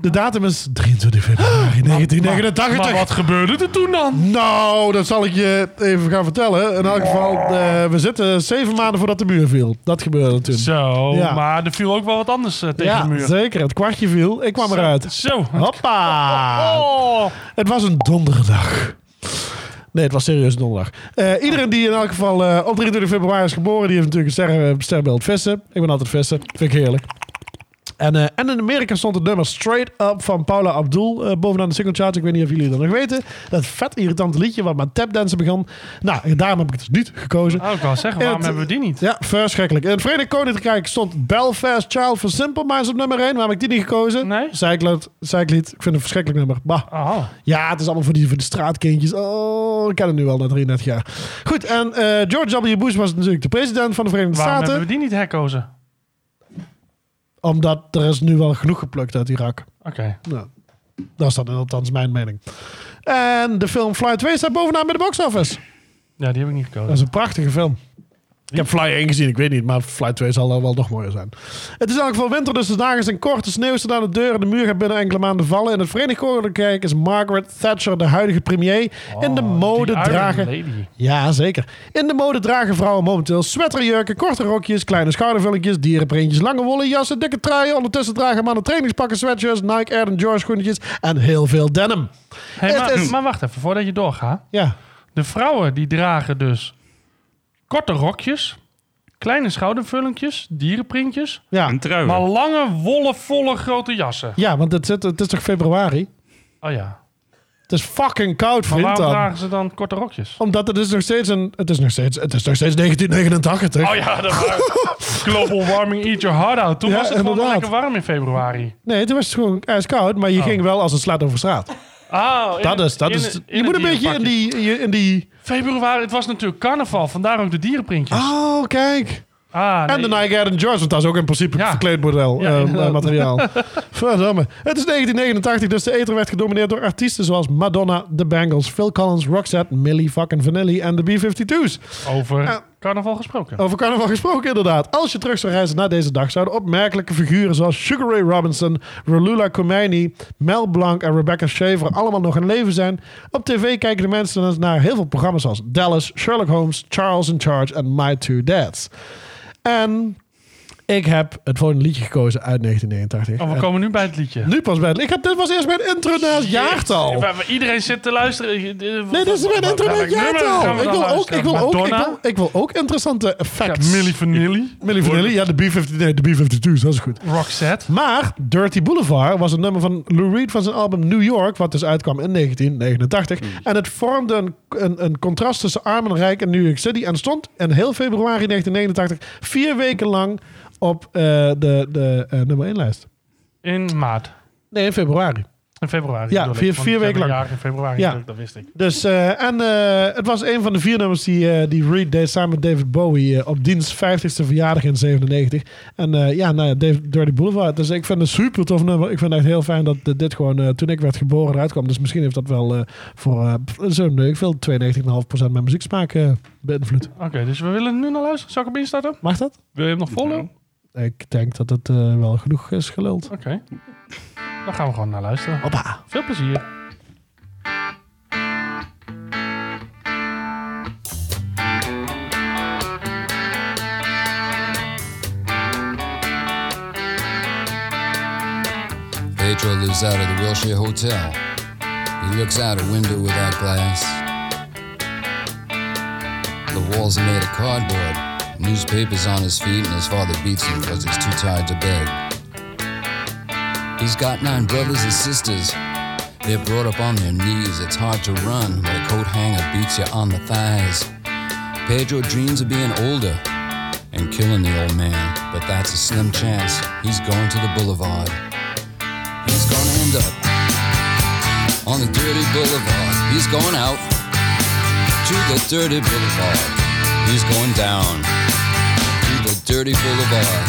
A: De datum is 23 februari 1989.
B: Maar wat gebeurde er toen dan?
A: Nou, dat zal ik je even gaan vertellen. In elk geval, eh, we zitten zeven maanden voordat de muur viel. Dat gebeurde toen.
B: Zo,
A: Ja.
B: maar er viel ook wel wat anders eh, tegen
A: ja,
B: de muur.
A: zeker. Het kwartje viel. Ik kwam eruit.
B: Zo.
A: Hoppa!
B: Oh.
A: Het was een donderdag. Nee, het was serieus een donderdag. Eh, iedereen die in elk geval eh, op 23 februari is geboren, die heeft natuurlijk een ster, eh, sterrenbeeld vissen. Ik ben altijd vissen. Vind ik heerlijk. En, eh, en in Amerika stond het nummer Straight Up van Paula Abdul eh, bovenaan de single charts. Ik weet niet of jullie dat nog weten. Dat vet irritante liedje waar maar tapdansen begon. Nou, daarom heb ik het dus niet gekozen.
B: Oh, ik wou zeggen, waarom
A: Het-
B: hebben we die niet?
A: Ja, verschrikkelijk. In het Verenigd Koninkrijk stond Belfast Child for Simple Minds op nummer 1. Waarom heb ik die niet gekozen?
B: Nee?
A: Zijklied. Zijklied. Ik vind het een verschrikkelijk nummer. Bah.
B: Oh,
A: Ja, het is allemaal voor die, voor die straatkindjes. Oh, ik ken het nu al na 33 jaar. Goed, en eh, George W. Bush was natuurlijk de president van de Verenigde
B: waarom hebben
A: Staten.
B: we die niet herkozen?
A: Omdat er is nu wel genoeg geplukt uit Irak.
B: Oké.
A: Nou, dat is dan althans mijn mening. En de film Fly 2 staat bovenaan bij de box office.
B: Ja, die heb ik niet
A: Dat is
B: gekozen.
A: een prachtige film. Ik heb Fly 1 gezien, ik weet niet, maar Fly 2 zal dan wel nog mooier zijn. Het is in elk geval winter, dus de dagen zijn kort. De sneeuw staat aan de deur en de muur gaat binnen enkele maanden vallen. In het Verenigd Koninkrijk is Margaret Thatcher, de huidige premier, in de mode
B: Oh, Die Iron
A: dragen...
B: Lady.
A: Ja, zeker. In de mode dragen vrouwen momenteel sweaterjurken, korte rokjes, kleine schoudervulletjes, dierenprintjes, lange wollen jassen, dikke truien. Ondertussen dragen mannen trainingspakken, sweatshirts, Nike Air en George schoentjes en heel veel denim.
B: Hey,
A: Het
B: maar,
A: is-
B: maar wacht even, voordat je doorgaat.
A: Ja,
B: De vrouwen die dragen dus korte rokjes, kleine schoudervullingjes, dierenprintjes,
A: ja.
D: Een trui.
B: maar lange, wollen, volle, grote jassen.
A: ja want het, zit- het is toch februari?
B: Oh ja.
A: Het is fucking koud,
B: Maar
A: vriend
B: waarom
A: dan.
B: dragen ze dan korte rokjes?
A: Omdat het is nog steeds een... Het is nog steeds, het is nog steeds 1989.
B: Oh ja, dat Global warming, eat your heart out. Toen
A: Ja,
B: was het gewoon
A: inderdaad.
B: lekker warm in februari.
A: Nee, toen was het gewoon ijskoud, maar je ging wel als een slaat over straat.
B: Oh, in-
A: Dat is... Dat
B: in-
A: is
B: in
A: je moet een
B: het
A: beetje in
B: dierenpakje.
A: die, je- in die...
B: Februari, het was natuurlijk carnaval, vandaar ook de dierenprintjes.
A: Oh, kijk.
B: Ah,
A: En de
B: nee.
A: Nike Air George, want dat is ook in principe
B: Ja.
A: verkleedmodel
B: Ja,
A: eh,
B: inderdaad.
A: materiaal. Verdomme. Het is 1989, dus de ether werd gedomineerd door artiesten zoals Madonna, The Bangles, Phil Collins, Roxette, Millie fucking Vanilli en de B-52's.
B: Over
A: Eh.
B: carnaval gesproken.
A: Over carnaval gesproken inderdaad. Als je terug zou reizen naar deze dag, zouden opmerkelijke figuren zoals Sugar Ray Robinson, Rolula Khomeini, Mel Blanc en Rebecca Shaver allemaal nog in leven zijn. Op tv kijken de mensen naar heel veel programma's zoals Dallas, Sherlock Holmes, Charles in Charge en My Two Dads. En ik heb het volgende liedje gekozen uit 1989.
B: Oh, we
A: En
B: komen nu bij het liedje.
A: nu pas bij het- ik heb Dit was eerst mijn intro naar het jaartal.
B: Waar- waar Iedereen zit te luisteren. Nee,
A: Nee, dit is mijn intro naar het jaartal. Ik wil ook, ik wil ook, ik wil, ik wil ook interessante facts.
B: Millie Vanilli.
A: Milli Vanilli, ja, de B-52, nee, de B-52's, dat is goed.
B: Roxette.
A: Maar Dirty Boulevard was een nummer van Lou Reed van zijn album New York, wat dus uitkwam in 1989. En het vormde een, een, een contrast tussen arm en rijk in New York City en stond in heel februari 1989 vier weken lang op eh, de, de eh, nummer 1 lijst.
B: In maart.
A: Nee, in februari.
B: In februari.
A: Ja,
B: bedoel ik,
A: vier-
B: want
A: vier
B: ik
A: weken
B: heb een
A: lang.
B: jaar in februari,
A: Ja.
B: natuurlijk, dat wist ik.
A: Dus, eh, en eh, het was een van de vier nummers die, eh, die Reed deed samen met David Bowie eh, op diens 50ste verjaardag in 97. En eh, ja, nou ja, Dave- Dirty Boulevard. Dus ik vind het een super tof nummer. Ik vind het echt heel fijn dat eh, dit gewoon eh, toen ik werd geboren eruit kwam. Dus misschien heeft dat wel eh, voor eh, pff, zo'n, eh, ik wil 92,5% mijn muzieksmaak eh, beïnvloed.
B: Oké, dus we willen nu naar luisteren. Zal ik hem instarten?
A: Mag dat?
B: Wil je hem nog volgen? Oké.
A: Ik denk dat het eh, wel genoeg is geluld.
B: Dan gaan we gewoon naar luisteren.
A: Hoppa.
B: Veel plezier.
G: Pedro lives out of the Wilshire Hotel. He looks out a window without glass. The walls are made of cardboard. Newspapers on his feet, and his father beats him because he's too tired to beg. He's got nine brothers and sisters. They're brought up on their knees. It's hard to run when a coat hanger beats you on the thighs. Pedro dreams of being older and killing the old man, but that's a slim chance. He's going to the boulevard. He's gonna end up on the dirty boulevard. He's going out to the dirty boulevard. He's going down to the dirty boulevard.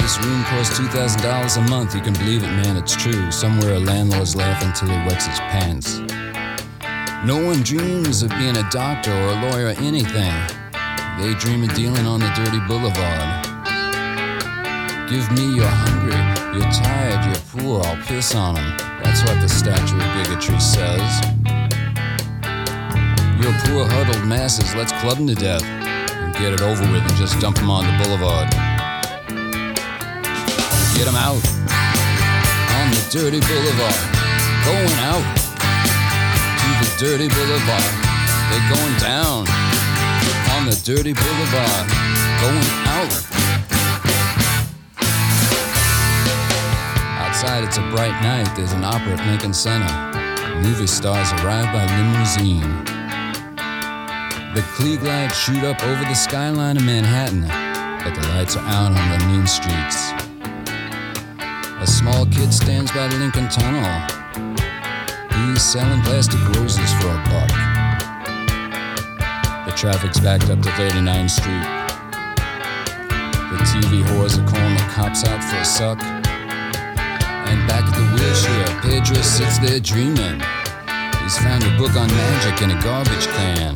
G: This room costs two thousand dollars a month. You can believe it, man. It's true. Somewhere a landlord's laughing till he wets his pants. No one dreams of being a doctor or a lawyer or anything. They dream of dealing on the dirty boulevard. Give me your hungry, you're tired, you're poor, I'll piss on them. That's what the statue of bigotry says. Your poor huddled masses, let's club them to death and get it over with and just dump them on the boulevard. Get them out on the dirty boulevard. Going out to the dirty boulevard. They're going down on the dirty boulevard. going out. Outside, it's a bright night. There's an opera at Lincoln Center. Movie stars arrive by limousine. The Klieg lights shoot up over the skyline of Manhattan, but the lights are out on the mean streets. A small kid stands by the Lincoln Tunnel. He's selling plastic roses for a buck. The traffic's backed up to 39th Street. The TV whores are calling the cops out for a suck. And back at the wheelchair, Pedro sits there dreaming. He's found a book on magic in a garbage can.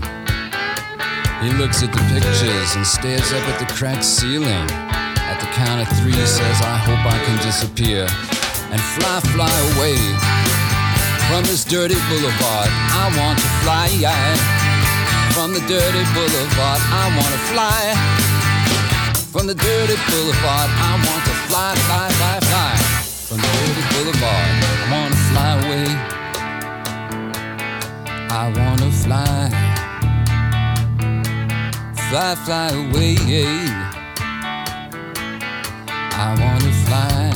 G: He looks at the pictures and stares up at the cracked ceiling. At the count of three, he says, I hope I can disappear and fly, fly away from this dirty boulevard. I want to fly from the dirty boulevard. I want to fly from the dirty boulevard. I want to fly, fly, fly, fly from the dirty boulevard. I want to fly away. I want to fly fly, fly away. I wanna fly,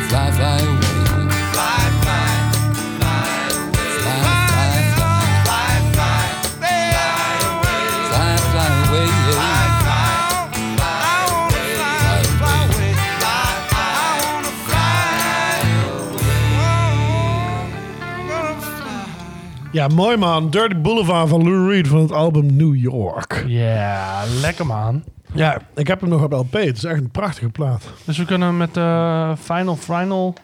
G: fly, fly away.
F: Fly, fly, fly away.
G: Fly, fly,
F: Fly,
G: fly,
F: fly, fly away.
G: fly, fly away.
F: Fly, fly, fly I wanna fly, fly away. Fly, fly, I wanna fly away. Gonna fly.
A: Ja, mooi man. Dirty Boulevard van Lou Reed van het album New York.
B: Ja, lekker man.
A: Ja, ik heb hem nog op LP. Het is echt een prachtige plaat.
B: Dus we kunnen hem met eh, Final Final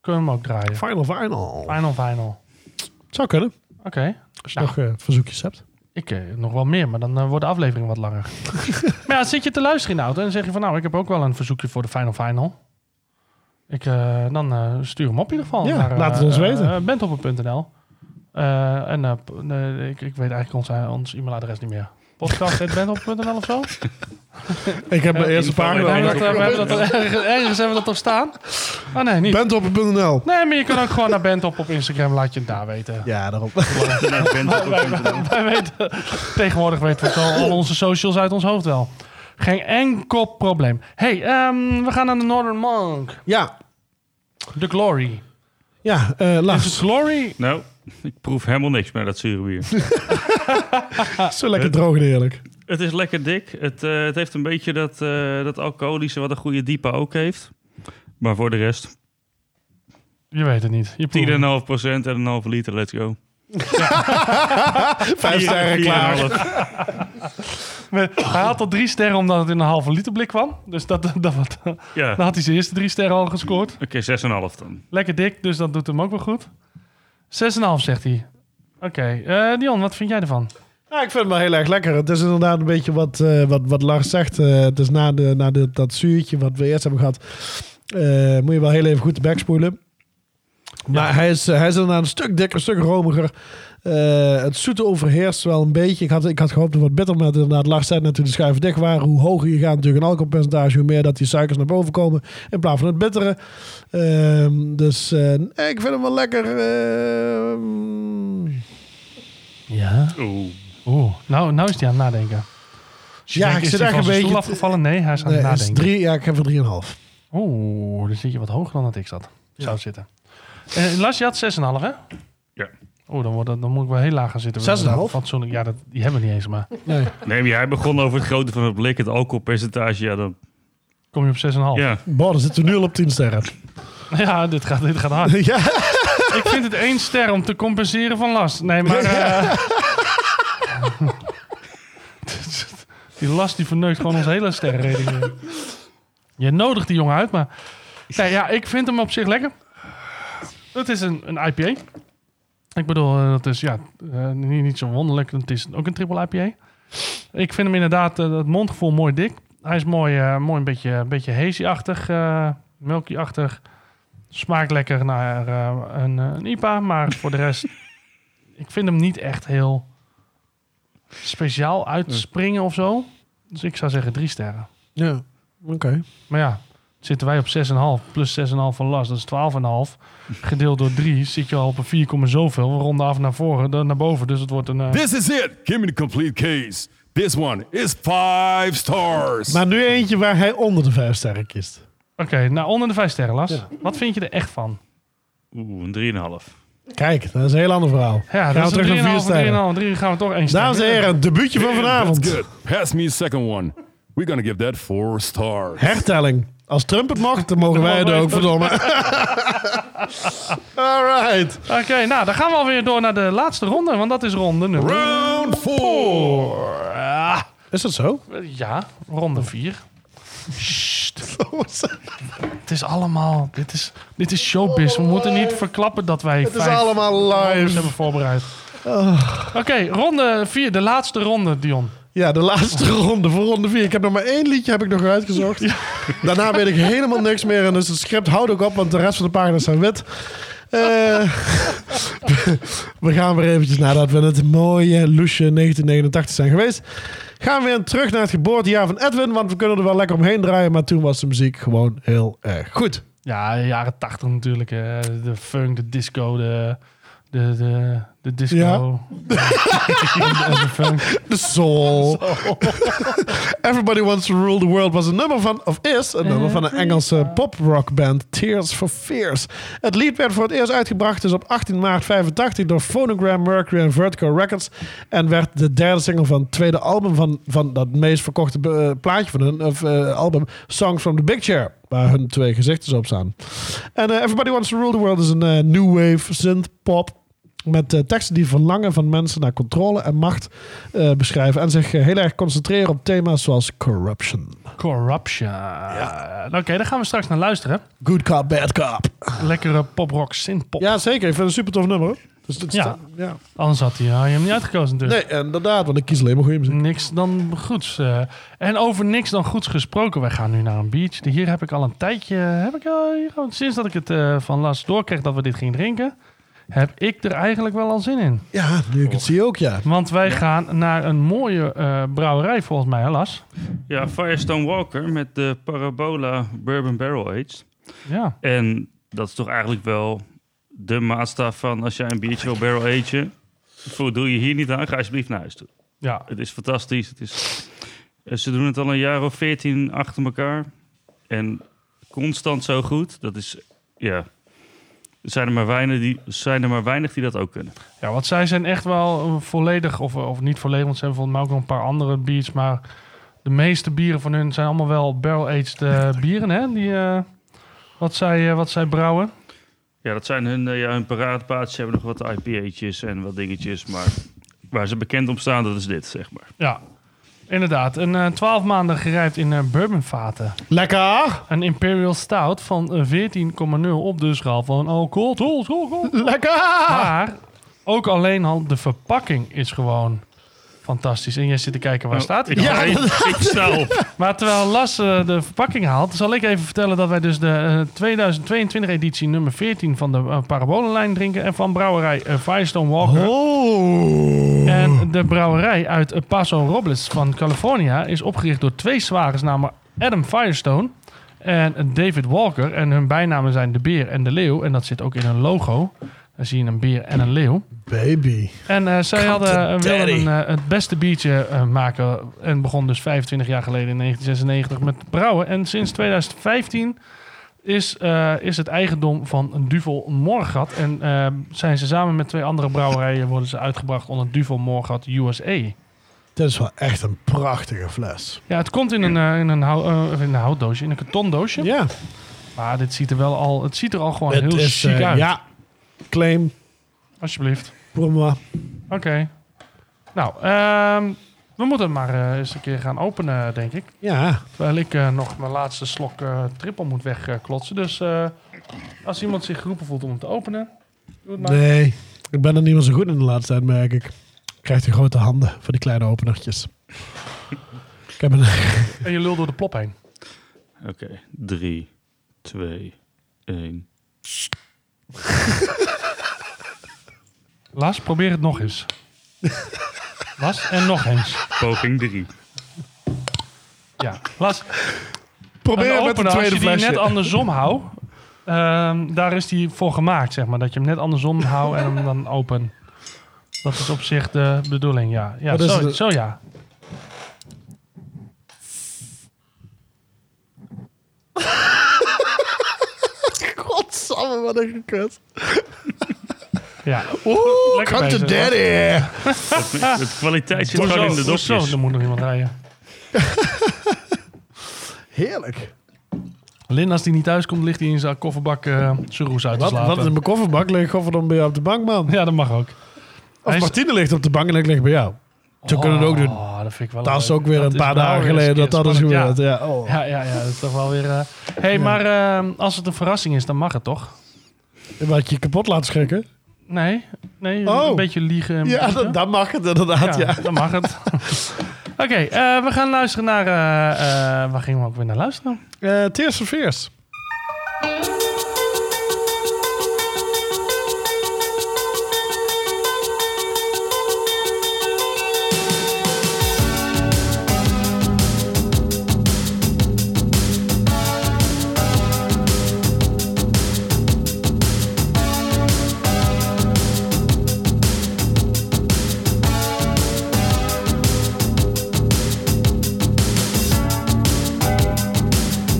B: kunnen we hem ook draaien.
A: Final Final.
B: Final Final.
A: Zou kunnen.
B: Oké.
A: Als je
B: Nou,
A: nog eh, verzoekjes hebt.
B: ik eh, nog wel meer, maar dan eh, wordt de aflevering wat langer. maar ja, zit je te luisteren in de auto en dan zeg je van nou, ik heb ook wel een verzoekje voor de Final Final. Ik, eh, dan eh, stuur hem op in ieder geval.
A: Ja,
B: eh,
A: laat het ons
B: eh,
A: weten.
B: eh, Bentopper.nl. Eh, en eh, p- nee, ik, ik weet eigenlijk ons, eh, ons e-mailadres niet meer. Podcast.bentopper.nl of zo?
A: Ik heb mijn eerste
D: info
A: pagina.
B: We hebben
A: al
B: dat, eh, we hebben dat ergens, ergens hebben we dat op staan. Oh nee, niet.
A: Bandhopper.nl.
B: Nee, maar je kan ook gewoon naar Bentop op Instagram. Laat je het daar weten.
A: Ja, daarop.
D: Naar bandhopper.nl.
B: Wij weten, tegenwoordig weten we het al, al onze socials uit ons hoofd wel. Geen enkel probleem. hey, ehm, we gaan naar de Northern Monk.
A: ja,
B: De Glory.
A: ja eh
B: Is het
A: Lars.
B: Glory?
D: Nou, ik proef helemaal niks meer dat zure bier.
A: Zo lekker droog en eerlijk.
D: het is lekker dik. Het, eh, het heeft een beetje dat, eh, dat alcoholische wat een goede diepa ook heeft. Maar voor de rest, 10,5%
B: Je weet het niet. Je proeft het.
D: en een halve liter, let's go.
A: Vijf sterren klaar.
D: 4,5.
B: We- Hij had al drie sterren omdat het in een halve liter blik kwam. Dus dat, dat, wat-
D: Ja,
B: dan had hij zijn eerste drie sterren al gescoord.
D: oké, 6,5 dan.
B: Lekker dik, dus dat doet hem ook wel goed. 6,5 zegt hij. Oké, eh, Dion, wat vind jij ervan?
A: Ja, ik vind het wel heel erg lekker. Het is inderdaad een beetje wat, eh, wat, wat Lars zegt. Eh, het is na, de, na de, dat zuurtje wat we eerst hebben gehad. eh, moet je wel heel even goed de bek spoelen. Maar hij, is, eh, hij is inderdaad een stuk dikker, een stuk romiger. Eh, het zoete overheerst wel een beetje. Ik had, ik had gehoopt op wat bitter, maar het inderdaad, Lars zei net toen de schuiven dicht waren. Hoe hoger je gaat natuurlijk een alcoholpercentage, hoe meer dat die suikers naar boven komen. In plaats van het bittere. Ehm, dus eh, ik vind hem wel lekker. ehm,
B: Ja.
D: Oeh.
B: Oeh, nou, nou is hij aan het nadenken.
A: Ja,
B: Denk,
A: ik
B: is
A: zit
B: hij
A: echt
B: van
A: een
B: zijn stoel
A: beetje...
B: afgevallen? Nee, hij is aan
A: Nee,
B: het
A: het is
B: nadenken.
A: drie, ja, ik heb er 3,5.
B: Oeh, dan zit je wat hoger dan dat ik zat. Zou zitten. Eh, Lars, je had 6,5 hè?
D: Ja.
B: Oh, dan, wordt dat, dan moet ik wel heel laag gaan zitten.
A: 6,5?
B: Fatsoenlijk. Ja, dat, die hebben we niet eens, maar...
A: Nee.
D: Nee, maar jij begon over het grootte van het blik, het alcoholpercentage. Ja, dan,
B: Kom je op 6,5?
D: ja.
A: Boah, dan zitten we nu al op 10 sterren.
B: Ja, dit gaat, dit gaat hard.
A: ja,
B: ik vind het één ster om te compenseren van last. Nee, maar... eh, die last die verneukt gewoon ons hele sterrenrating. Je nodigt die jongen uit, maar... Nee, ja, ik vind hem op zich lekker. Het is een, een IPA. Ik bedoel, eh, dat is ja, eh, niet, niet zo wonderlijk. Het is ook een triple IPA. Ik vind hem inderdaad, eh, dat mondgevoel mooi dik. Hij is mooi, eh, mooi een beetje, een beetje hazy-achtig, eh, milky-achtig. Smaakt lekker naar eh, een, eh, een IPA, maar voor de rest... ik vind hem niet echt heel speciaal
A: Mm.
B: uitspringen of zo. Dus ik zou zeggen drie sterren.
A: ja. oké.
B: Maar ja, zitten wij op 6,5 plus 6,5 van last, dat is 12,5. Gedeeld door 3 zit je al op een 4, zoveel. We ronden af naar voren, dan naar boven, dus het wordt een... eh,
C: This is it. Give me the complete case. This one is five stars.
A: Maar nu eentje waar hij onder de vijf sterren kiest.
B: Oké, nou onder de vijf sterren, Las. Wat vind je er echt van?
D: Oeh, een 3,5.
A: Kijk, dat is een heel ander verhaal.
B: Ja,
A: Gaan
B: dat
A: we
B: is
A: terug naar vier sterren.
B: 3,5, 3,5, 3 gaan we toch één ster.
A: Dames en heren, debuutje van vanavond.
C: That's good. Pass me second one. We're gonna give that four stars.
A: Hertelling. Als Trump het mag, dan mogen wij het ook, verdomme. All right.
B: Oké, nou dan gaan we alweer door naar de laatste ronde, want dat is ronde nummer...
C: Round four.
B: Ah,
A: Is dat zo?
B: ja, ronde vier. Het is allemaal, dit is, dit is showbiz. We moeten niet verklappen dat wij
A: Het is
B: vijf
A: allemaal
B: rondes
A: live. Oh.
B: hebben voorbereid. Oké, ronde vier, de laatste ronde, Dion.
A: Ja, de laatste ronde voor ronde vier. Ik heb nog maar één liedje heb ik nog uitgezocht. Daarna weet ik helemaal niks meer. En dus het script houdt ook op, want de rest van de pagina's zijn wit. Eh, we gaan weer eventjes nadat we het mooie Loesje 1989 zijn geweest. Gaan we weer terug naar het geboortejaar van Edwin. Want we kunnen er wel lekker omheen draaien. Maar toen was de muziek gewoon heel erg goed.
B: Ja, de jaren tachtig natuurlijk. eh, de funk, de disco, de, de, de, de disco.
A: Ja.
B: En de funk.
A: De soul. Everybody Wants to Rule the World was een nummer van, of is, een nummer van een Engelse poprockband Tears for Fears. Het lied werd voor het eerst uitgebracht dus op 18 maart 85 door Phonogram, Mercury en Vertigo Records en werd de derde single van het tweede album van, van dat meest verkochte eh, plaatje van hun of, eh, album Songs from the Big Chair, waar hun twee gezichten op staan. En eh, Everybody Wants to Rule the World is een eh, new wave synth pop met eh, teksten die verlangen van mensen naar controle en macht eh, beschrijven. En zich eh, heel erg concentreren op thema's zoals corruption.
B: Corruption. Oké, daar gaan we straks naar luisteren.
A: Good cop, bad cop.
B: Lekkere poprock, synthpop.
A: Ja, zeker. Ik vind het een super tof nummer. hoor. Dus dat
B: Ja.
A: ja. ja.
B: Anders had hij, had je hem niet uitgekozen dus. natuurlijk.
A: Nee, inderdaad, want ik kies alleen maar goede muziek.
B: Niks dan goeds. eh. en over niks dan goeds gesproken. Wij gaan nu naar een beach. Hier heb ik al een tijdje... Heb ik, al- hier gewoon- sinds dat ik het eh, van Lars doorkreeg dat we dit gingen drinken... heb ik er eigenlijk wel al zin in.
A: Ja, nu ik het zie ook, ja.
B: Want wij gaan naar een mooie eh, brouwerij volgens mij, hè, Lars.
D: Ja, Firestone Walker met de Parabola Bourbon Barrel Aged.
B: Ja.
D: En dat is toch eigenlijk wel de maatstaf van als jij een biertje wil barrel agen. Voor doe je hier niet aan, ga alsjeblieft naar huis toe.
B: Ja.
D: Het is fantastisch. Het is, eh, ze doen het al een jaar of veertien achter elkaar. En constant zo goed. Dat is, ja. Er zijn er maar weinig die, zijn er maar weinig die dat ook kunnen.
B: ja, want zij zijn echt wel eh, volledig, of, of niet volledig, want ze hebben volgens mij ook nog een paar andere biertjes. Maar de meeste bieren van hun zijn allemaal wel barrel-aged eh, bieren, hè? Die, eh, wat, zij, eh, wat zij brouwen.
D: Ja, dat zijn hun, eh, ja, hun paradepaadjes. Ze hebben nog wat IPA'tjes en wat dingetjes. Maar waar ze bekend om staan, dat is dit, zeg maar.
B: Ja. Inderdaad, een eh, 12 maanden gerijpt in eh, bourbonvaten.
A: Lekker!
B: Een Imperial Stout van eh, 14,0 op de schaal van alcohol. tot alcohol.
A: Lekker!
B: Maar ook alleen al de verpakking is gewoon fantastisch. En jij zit te kijken, waar staat hij
D: Ik,
B: dan?
D: Oh, ja, ik, ik sta op.
B: Maar terwijl Las eh, de verpakking haalt, zal ik even vertellen dat wij dus de 2022-editie nummer 14 van de eh, Parabolenlijn drinken. En van brouwerij eh, Firestone Walker.
A: Oh!
B: En de brouwerij uit El Paso Robles van California is opgericht door twee zwagers, namelijk Adam Firestone en David Walker. En hun bijnamen zijn de beer en de leeuw. En dat zit ook in hun logo. Dan zie je een beer en een leeuw.
A: Baby.
B: En eh, zij hadden, wilden
A: daddy.
B: een, eh, het beste biertje eh, maken. En begon dus 25 jaar geleden in 1996 met brouwen. En sinds 2015 is, eh, is het eigendom van Duvel Morgat. En eh, zijn ze samen met twee andere brouwerijen worden ze uitgebracht onder Duvel Morgat USA.
A: Dit is wel echt een prachtige fles.
B: Ja, het komt in een, eh, in een, hou- eh, in een houtdoosje, in een kartondoosje.
A: Ja.
B: Maar dit ziet er wel al, het ziet er al gewoon
A: Het
B: heel
A: is,
B: chic
A: eh,
B: uit.
A: Ja. Claim.
B: Alsjeblieft.
A: Promo.
B: Oké. Nou, ehm, we moeten het maar eh, eens een keer gaan openen, denk ik.
A: Ja.
B: Terwijl ik eh, nog mijn laatste slok eh trippel moet wegklotsen. dus eh, als iemand zich geroepen voelt om hem te openen, doe het maar.
A: Nee. Ik ben er niet meer zo goed in de laatste tijd, merk ik. Krijgt de grote handen voor die kleine openertjes. ik heb een...
B: En je lul door de plop heen.
D: Oké, drie, twee, één.
B: Las, probeer het nog eens. Las, en nog eens.
D: Poging drie.
B: Ja, Las,
A: Probeer het
B: een
A: met een
B: opener, als
A: tweede
B: je die
A: flesje.
B: net andersom houdt, ehm, daar is die voor gemaakt, zeg maar. Dat je hem net andersom houdt en hem dan open. Dat is op zich de bedoeling, ja. ja
A: Wat is
B: zo,
A: het?
B: zo ja.
A: Godsamme, wat een gekut.
B: Ja.
A: Oeh,
B: Lekker
A: come to
B: bezig, hoor.
A: daddy.
D: Het kwaliteit zit
B: Hoezo?
D: gewoon in de
B: Hoezo?
D: dopjes.
B: Er moet nog iemand rijden.
A: Heerlijk.
B: Lin, als die niet thuis komt, ligt hij in zijn kofferbak eh zijn roes uit te
A: Wat,
B: slapen.
A: wat in mijn kofferbak ligt Gofferdom bij jou op de bank, man.
B: Ja, dat mag ook.
A: Of
B: Hij is-
A: Martine ligt op de bank en ik lig bij jou. Zo kunnen we het ook doen.
B: Oh, dat vind ik wel
A: Dat is
B: leuk.
A: ook weer
B: Dat
A: een
B: is
A: paar
B: wel
A: dagen
B: weer eens
A: geleden
B: een
A: dat dat is
B: keer
A: gebeurd.
B: spannend.
A: Ja. oh.
B: Ja. Ja, ja, ja, dat is toch wel weer... eh, hey, maar eh, als het een verrassing is, dan mag het toch?
A: Wat je kapot laat schrikken.
B: Nee, nee
A: Oh.
B: een beetje liegen. een
A: Ja,
B: beetje.
A: dat, dat mag het inderdaad. Ja.
B: Ja, dan mag het. Oké, eh, we gaan luisteren naar... eh, eh, waar gingen we ook weer naar luisteren?
A: Eh, Tears for Fears.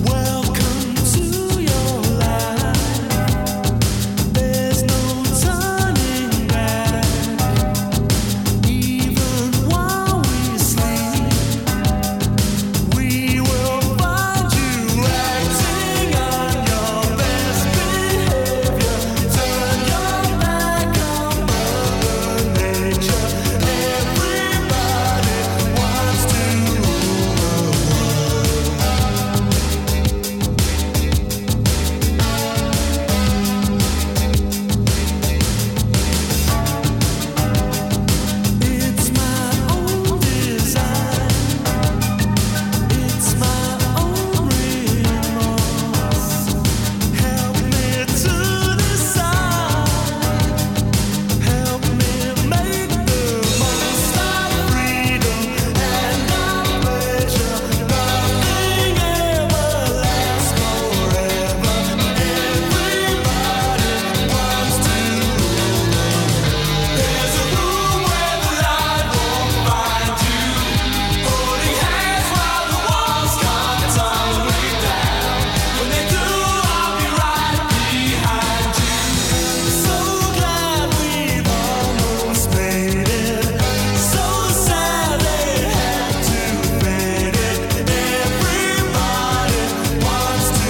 E: Welcome to your life. There's no turning back. Even while we sleep, we will find you acting on your best behavior. Turn your back on Mother Nature. Everybody wants to rule the world. It's my own desire. It's my own remorse. Help me to decide. Help me make the most of freedom and of pleasure. Nothing ever lasts forever. Everybody wants to. There's a room where the light won't find you. Holding hands while the walls come tumbling down. When they do, I'll be right behind you. So glad we've almost made it. So sad they had to fade it. Everybody wants to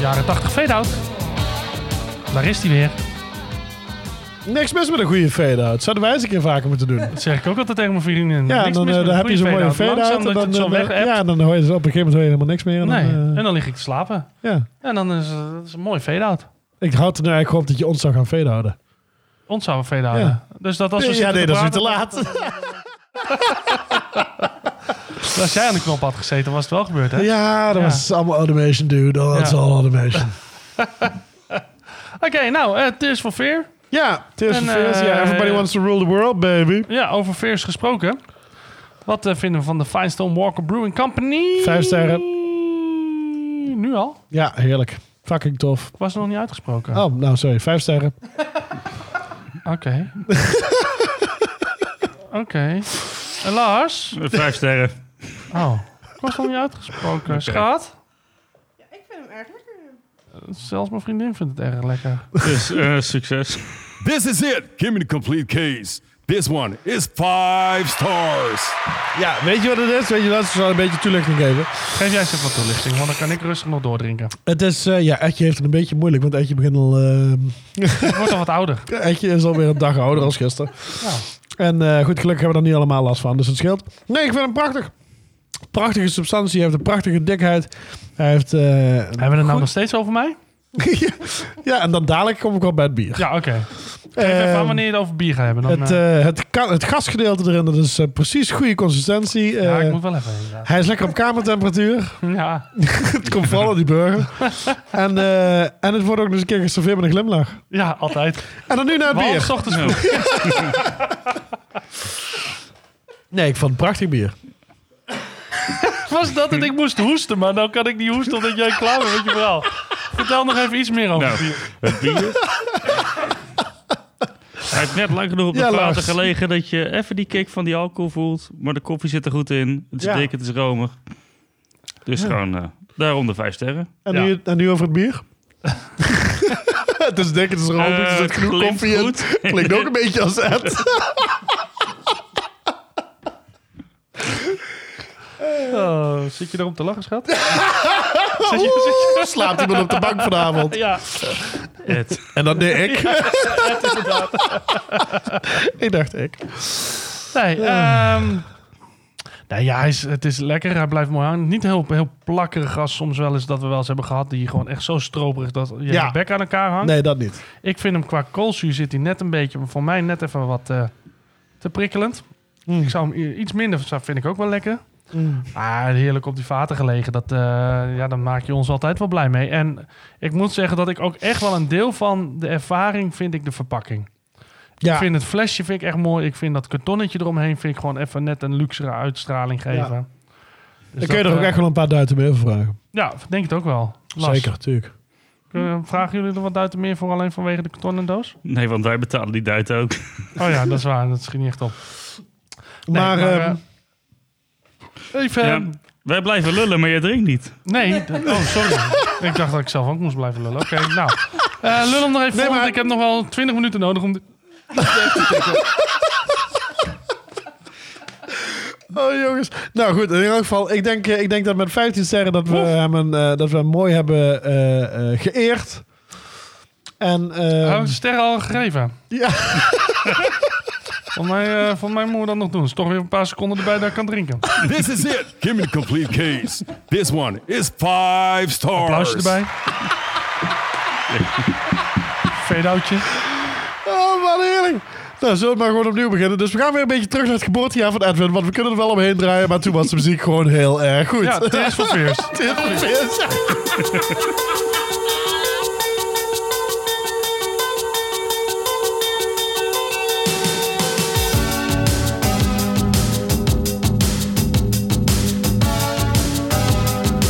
B: Jaren 80 fade-out. Daar is hij weer.
A: Niks mis met een goede fade-out. Zouden wij eens een keer vaker moeten doen.
B: Dat zeg ik ook altijd tegen mijn vriendin.
A: Ja,
B: Niks
A: dan,
B: mis
A: eh, dan
B: met een
A: heb je
B: goede
A: zo'n mooie
B: fade-out.
A: fade-out. en
B: Langzaam dat je
A: dan,
B: het zo weg
A: eh, Ja, dan hoor je dus op een gegeven moment hoor je helemaal niks meer. En dan,
B: Nee,
A: eh,
B: en dan lig ik te slapen.
A: ja.
B: En dan is eh, dat is een mooi fade-out.
A: Ik had er nou eigenlijk op dat je ons zou gaan veden houden.
B: Ons zouden we velen houden. Dus dat als we
A: ja,
B: zitten
A: nee,
B: te
A: dat is nu
B: praten-
A: te laat.
B: Als jij aan de knop had gezeten, was het wel gebeurd, hè?
A: Ja, dat
B: Ja.
A: was allemaal automation, dude. Oh, dat is
B: Ja.
A: allemaal automation.
B: Oké, nou, eh Tears for Fear.
A: Ja, Tears for
B: En,
A: Fears. Ja,
B: eh,
A: everybody wants to rule the world, baby.
B: Ja, over Fears gesproken. Wat eh, vinden we van de Firestone Walker Brewing Company?
A: Vijf sterren.
B: Nu al?
A: Ja, heerlijk. Fucking tof.
B: Ik was nog niet uitgesproken.
A: Oh, nou, sorry. Vijf sterren.
B: Oké. Oké. En Lars?
D: Eh, Vijf sterren.
B: Oh, ik was nog niet uitgesproken. Schat? Eh,
H: Ja, ik vind hem erg lekker.
B: Zelfs mijn vriendin vindt het erg lekker.
D: Dus eh, succes.
C: This is it. Give me the complete case. This one is five stars.
A: Ja, weet je wat het is? Weet je, dat is wel een beetje toelichting geven.
B: Geef jij ze wat toelichting, want dan kan ik rustig nog doordrinken.
A: Het is, eh, ja, Edje heeft het een beetje moeilijk, want Edje begint al... eh,
B: Ik word al wat ouder.
A: Edje is alweer een dag ouder als gisteren.
B: Ja.
A: En eh, goed, gelukkig hebben we er niet allemaal last van, dus het scheelt. Nee, ik vind hem prachtig. Prachtige substantie, hij heeft een prachtige dikheid. Hij heeft... eh,
B: Hebben we het nou nog steeds over mij?
A: ja, en dan dadelijk kom ik wel bij het bier.
B: Ja, oké. Geef even
A: Ehm,
B: aan wanneer je het over bier gaat hebben. Dan,
A: het,
B: eh,
A: eh, het, ka- het gasgedeelte erin, dat is eh, precies goede consistentie.
B: ja,
A: Eh,
B: ik moet wel even inderdaad.
A: Hij is lekker op kamertemperatuur.
B: Ja,
A: Het komt vooral uit die burger. en, eh, en het wordt ook nog eens een keer geserveerd met een glimlach.
B: ja altijd.
A: En dan nu naar het
B: Behalve
A: bier.
B: 's ochtends vroeg.
A: Nee, ik vond het prachtig bier.
B: was dat dat ik moest hoesten, maar dan kan ik niet hoesten omdat jij klaar bent met je verhaal. Vertel nog even iets meer over
D: Nou,
B: bier.
D: het bier. Hij heeft net lang genoeg op de
A: Ja,
D: platen
A: Lars.
D: gelegen dat je even die kick van die alcohol voelt. Maar de koffie zit er goed in. Het is
A: Ja.
D: dik, het is romig. Dus gewoon eh, daarom de vijf sterren.
A: En,
B: Ja.
A: nu, en nu over het bier. het is dik, het is rood,
D: Eh,
A: er zit genoeg
D: klinkt
A: koffie in.
D: goed.
A: Klinkt ook een beetje als Ed. Nou.
B: Oh, zit je daarom te lachen, schat? zit je, zit
A: Oeh, slaapt iemand op de bank vanavond.
B: je- ja,
D: Het.
A: En dat deed ik. ik dacht ik.
B: nee. ehm, nee, ja, hij is, het is lekker. Hij blijft mooi hangen. Niet heel, heel plakkerig als soms wel eens dat we wel eens hebben gehad. Die gewoon echt zo stroperig dat je
A: Ja.
B: je bek aan elkaar hangt.
A: Nee, dat niet.
B: Ik vind hem qua koolzuur zit hij net een beetje, voor mij net even wat eh, te prikkelend. Ik zou hem i- iets minder, zou- vind ik ook wel lekker.
A: mm.
B: Maar heerlijk op die vaten gelegen, dat, eh, ja, daar maak je ons altijd wel blij mee. En ik moet zeggen dat ik ook echt wel een deel van de ervaring vind ik de verpakking.
A: Ja,
B: Ik vind het flesje vind ik echt mooi. Ik vind dat kartonnetje eromheen vind ik gewoon even net een luxere uitstraling geven. Dus
A: dan kun je
B: dat,
A: er ook
B: eh,
A: echt wel een paar duiten mee over vragen.
B: Ja, denk het ook wel. Lars,
A: Zeker, tuurlijk.
B: kunnen- vragen jullie er wat uit meer voor alleen vanwege de kartonnen doos?
D: Nee, want wij betalen die duit ook.
B: Oh ja, dat is waar. Dat schiet niet echt op. Nee,
A: maar ehm,
B: eh, even...
D: Ja, wij blijven lullen, maar jij drinkt niet.
B: Nee, d- oh sorry. ik dacht dat ik zelf ook moest blijven lullen. Oké, nou. Eh lul hem nog even
A: Nee,
B: vol, want
A: maar-
B: ik heb nog wel 20 minuten nodig om... de- eh,
A: Oh jongens. Nou goed, in ieder geval, ik denk, eh, ik denk dat met 15 sterren dat we hem, een, eh, dat we hem mooi hebben eh, eh, geëerd. En eh,
B: Hebben we Oh, de sterren al gegeven?
A: Ja.
B: Voor mij, eh voor mij moeten we dat nog doen. is toch weer een paar seconden erbij dat ik kan drinken.
C: This is it. Give me the complete case. This one is five stars.
B: Applausje erbij. Fade-outje.
A: oh wat heerlijk. Nou, zullen we maar gewoon opnieuw beginnen. Dus we gaan weer een beetje terug naar het geboortejaar van Edwin. Want we kunnen er wel omheen draaien, maar toen was de muziek gewoon heel erg goed.
B: Ja, Tears for Fears.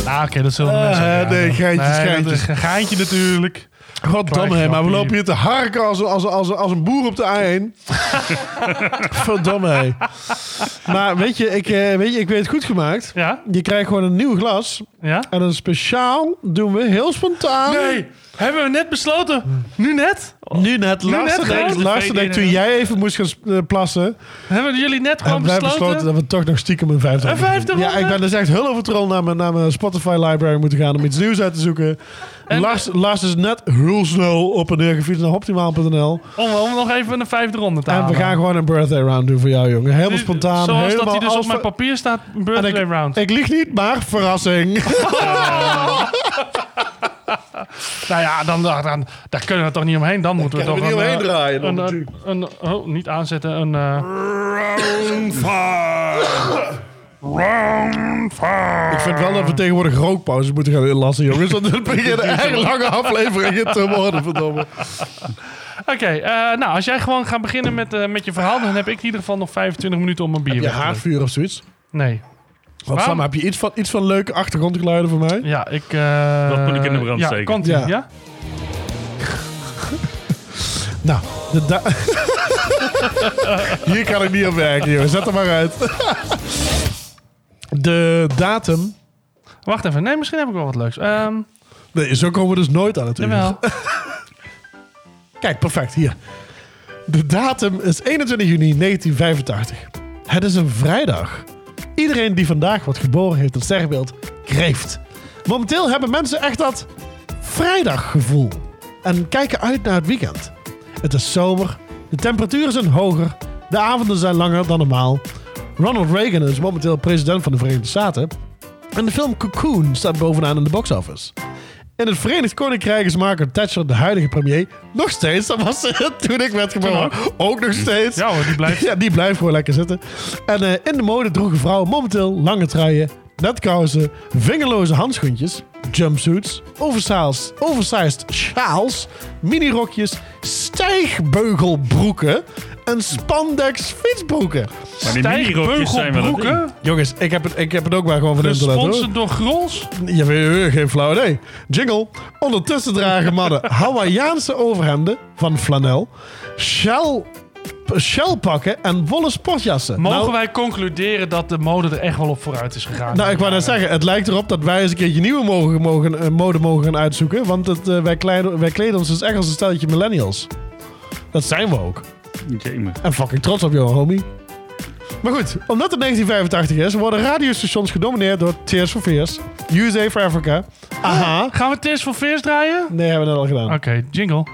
B: Ah, oké, dat zullen de mensen...
A: Eh,
B: ook
A: nee,
B: raden.
A: geintjes,
B: dat is
A: geintjes.
B: Een geintje natuurlijk.
A: Goddamme, hé, maar we
B: grapje.
A: lopen hier te harken als, als, als, als een boer op de A1. Verdomme, hé. Maar weet je, ik, eh, weet je, ik weet het goed gemaakt.
B: Ja?
A: Je krijgt gewoon een nieuw glas.
B: Ja?
A: En een speciaal doen we heel spontaan.
B: Nee, hebben we net besloten. Nu net?
A: Nu net. Laatste
B: net
A: denk,
B: gewoon?
A: laatste denk toen jij even moest gaan sp- eh, plassen.
B: Hebben jullie net gewoon
A: Hebben wij
B: besloten?
A: besloten dat Eh, we toch nog stiekem een 50
B: Een 50
A: Ja, ik ben dus echt heel overtrol naar mijn, naar mijn Spotify library moeten gaan om iets nieuws uit te zoeken. Lars, Lars is net heel snel op en neer gefietst naar optimaal.nl.
B: om, om nog even een vijfde ronde te
A: En we
B: halen.
A: gaan gewoon een birthday round doen voor jou, jongen. Helemaal spontaan.
B: Zoals
A: helemaal
B: dat hij dus
A: alles
B: op mijn
A: van-
B: papier staat, een
A: En
B: birthday
A: ik,
B: round.
A: Ik lieg niet, maar verrassing.
B: nou ja, dan, dan, dan- daar kunnen we toch niet omheen. Dan moeten we
A: kunnen
B: toch
A: we niet
B: een,
A: omheen
B: eh,
A: draaien,
B: Een,
A: dan
B: een, een- oh, niet aanzetten. Een eh,
C: Round five. Round five.
A: Ik vind wel dat we tegenwoordig rookpauzes moeten gaan inlassen, jongens. Want het beginnen echt lange afleveringen te worden, verdomme.
B: Oké, eh, nou als jij gewoon gaat beginnen met, eh, met je verhaal, dan heb ik in ieder geval nog 25 minuten om een bier
A: Je
B: weg te doen.
A: haardvuur of zoiets.
B: Nee.
A: Wat, Sam, heb je iets van, iets van leuke achtergrondgeluiden voor mij?
B: Ja, ik. eh,
D: Dat moet ik in de brand
B: ja,
D: steken.
B: Komt ja.
A: Ja.
B: ja?
A: Nou, de da- hier kan ik niet op werken, jongen. Zet er maar uit. de datum...
B: Wacht even. Nee, misschien heb ik wel wat leuks. Ehm
A: Nee, zo komen we dus nooit aan het uur.
B: jawel.
A: Kijk, perfect, hier. De datum is 21 juni 1985. Het is een vrijdag. Iedereen die vandaag wordt geboren heeft een sterrenbeeld, kreeft. Momenteel hebben mensen echt dat vrijdaggevoel. En kijken uit naar het weekend. Het is zomer, de temperaturen zijn hoger, de avonden zijn langer dan normaal. Ronald Reagan is momenteel president van de Verenigde Staten. En de film Cocoon staat bovenaan in de box office. In het Verenigd Koninkrijk is Margaret Thatcher de huidige premier nog steeds. Dat was ze toen ik werd geboren. Ook nog steeds.
B: Ja hoor, die blijft.
A: Ja, die blijft gewoon lekker zitten. En eh, in de mode droegen vrouwen momenteel lange truien, netkousen, vingerloze handschoentjes, jumpsuits, oversized, oversized sjaals, minirokjes, stijgbeugelbroeken en spandex fietsbroeken.
D: Maar die minirokjes zijn wel een ding.
B: Stijgbeugelbroeken.
A: Jongens, ik heb het, ik heb het ook maar gewoon van internet hoor.
B: Gesponsord door Grols.
A: Ja, eh, eh, geen flauw idee. Jingle. Ondertussen dragen mannen Hawaïaanse overhemden van flanel, shell, shellpakken en wollen sportjassen.
B: Mogen
A: Nou,
B: wij concluderen dat de mode er echt wel op vooruit is gegaan?
A: Nou, ik wou net zeggen, het lijkt erop dat wij eens een keertje nieuwe mogen, mogen, eh, mode mogen gaan uitzoeken. Want het, eh, wij, kleiden, wij kleden ons dus echt als een stelletje millennials. Dat zijn we ook.
D: Jemig.
A: En fucking trots op jou, homie. Maar goed, omdat het 1985 is, worden radiostations gedomineerd door Tears for Fears, USA for Africa. Aha.
B: Gaan we Tears voor Fears draaien?
A: Nee, hebben we net al gedaan.
B: Oké, jingle.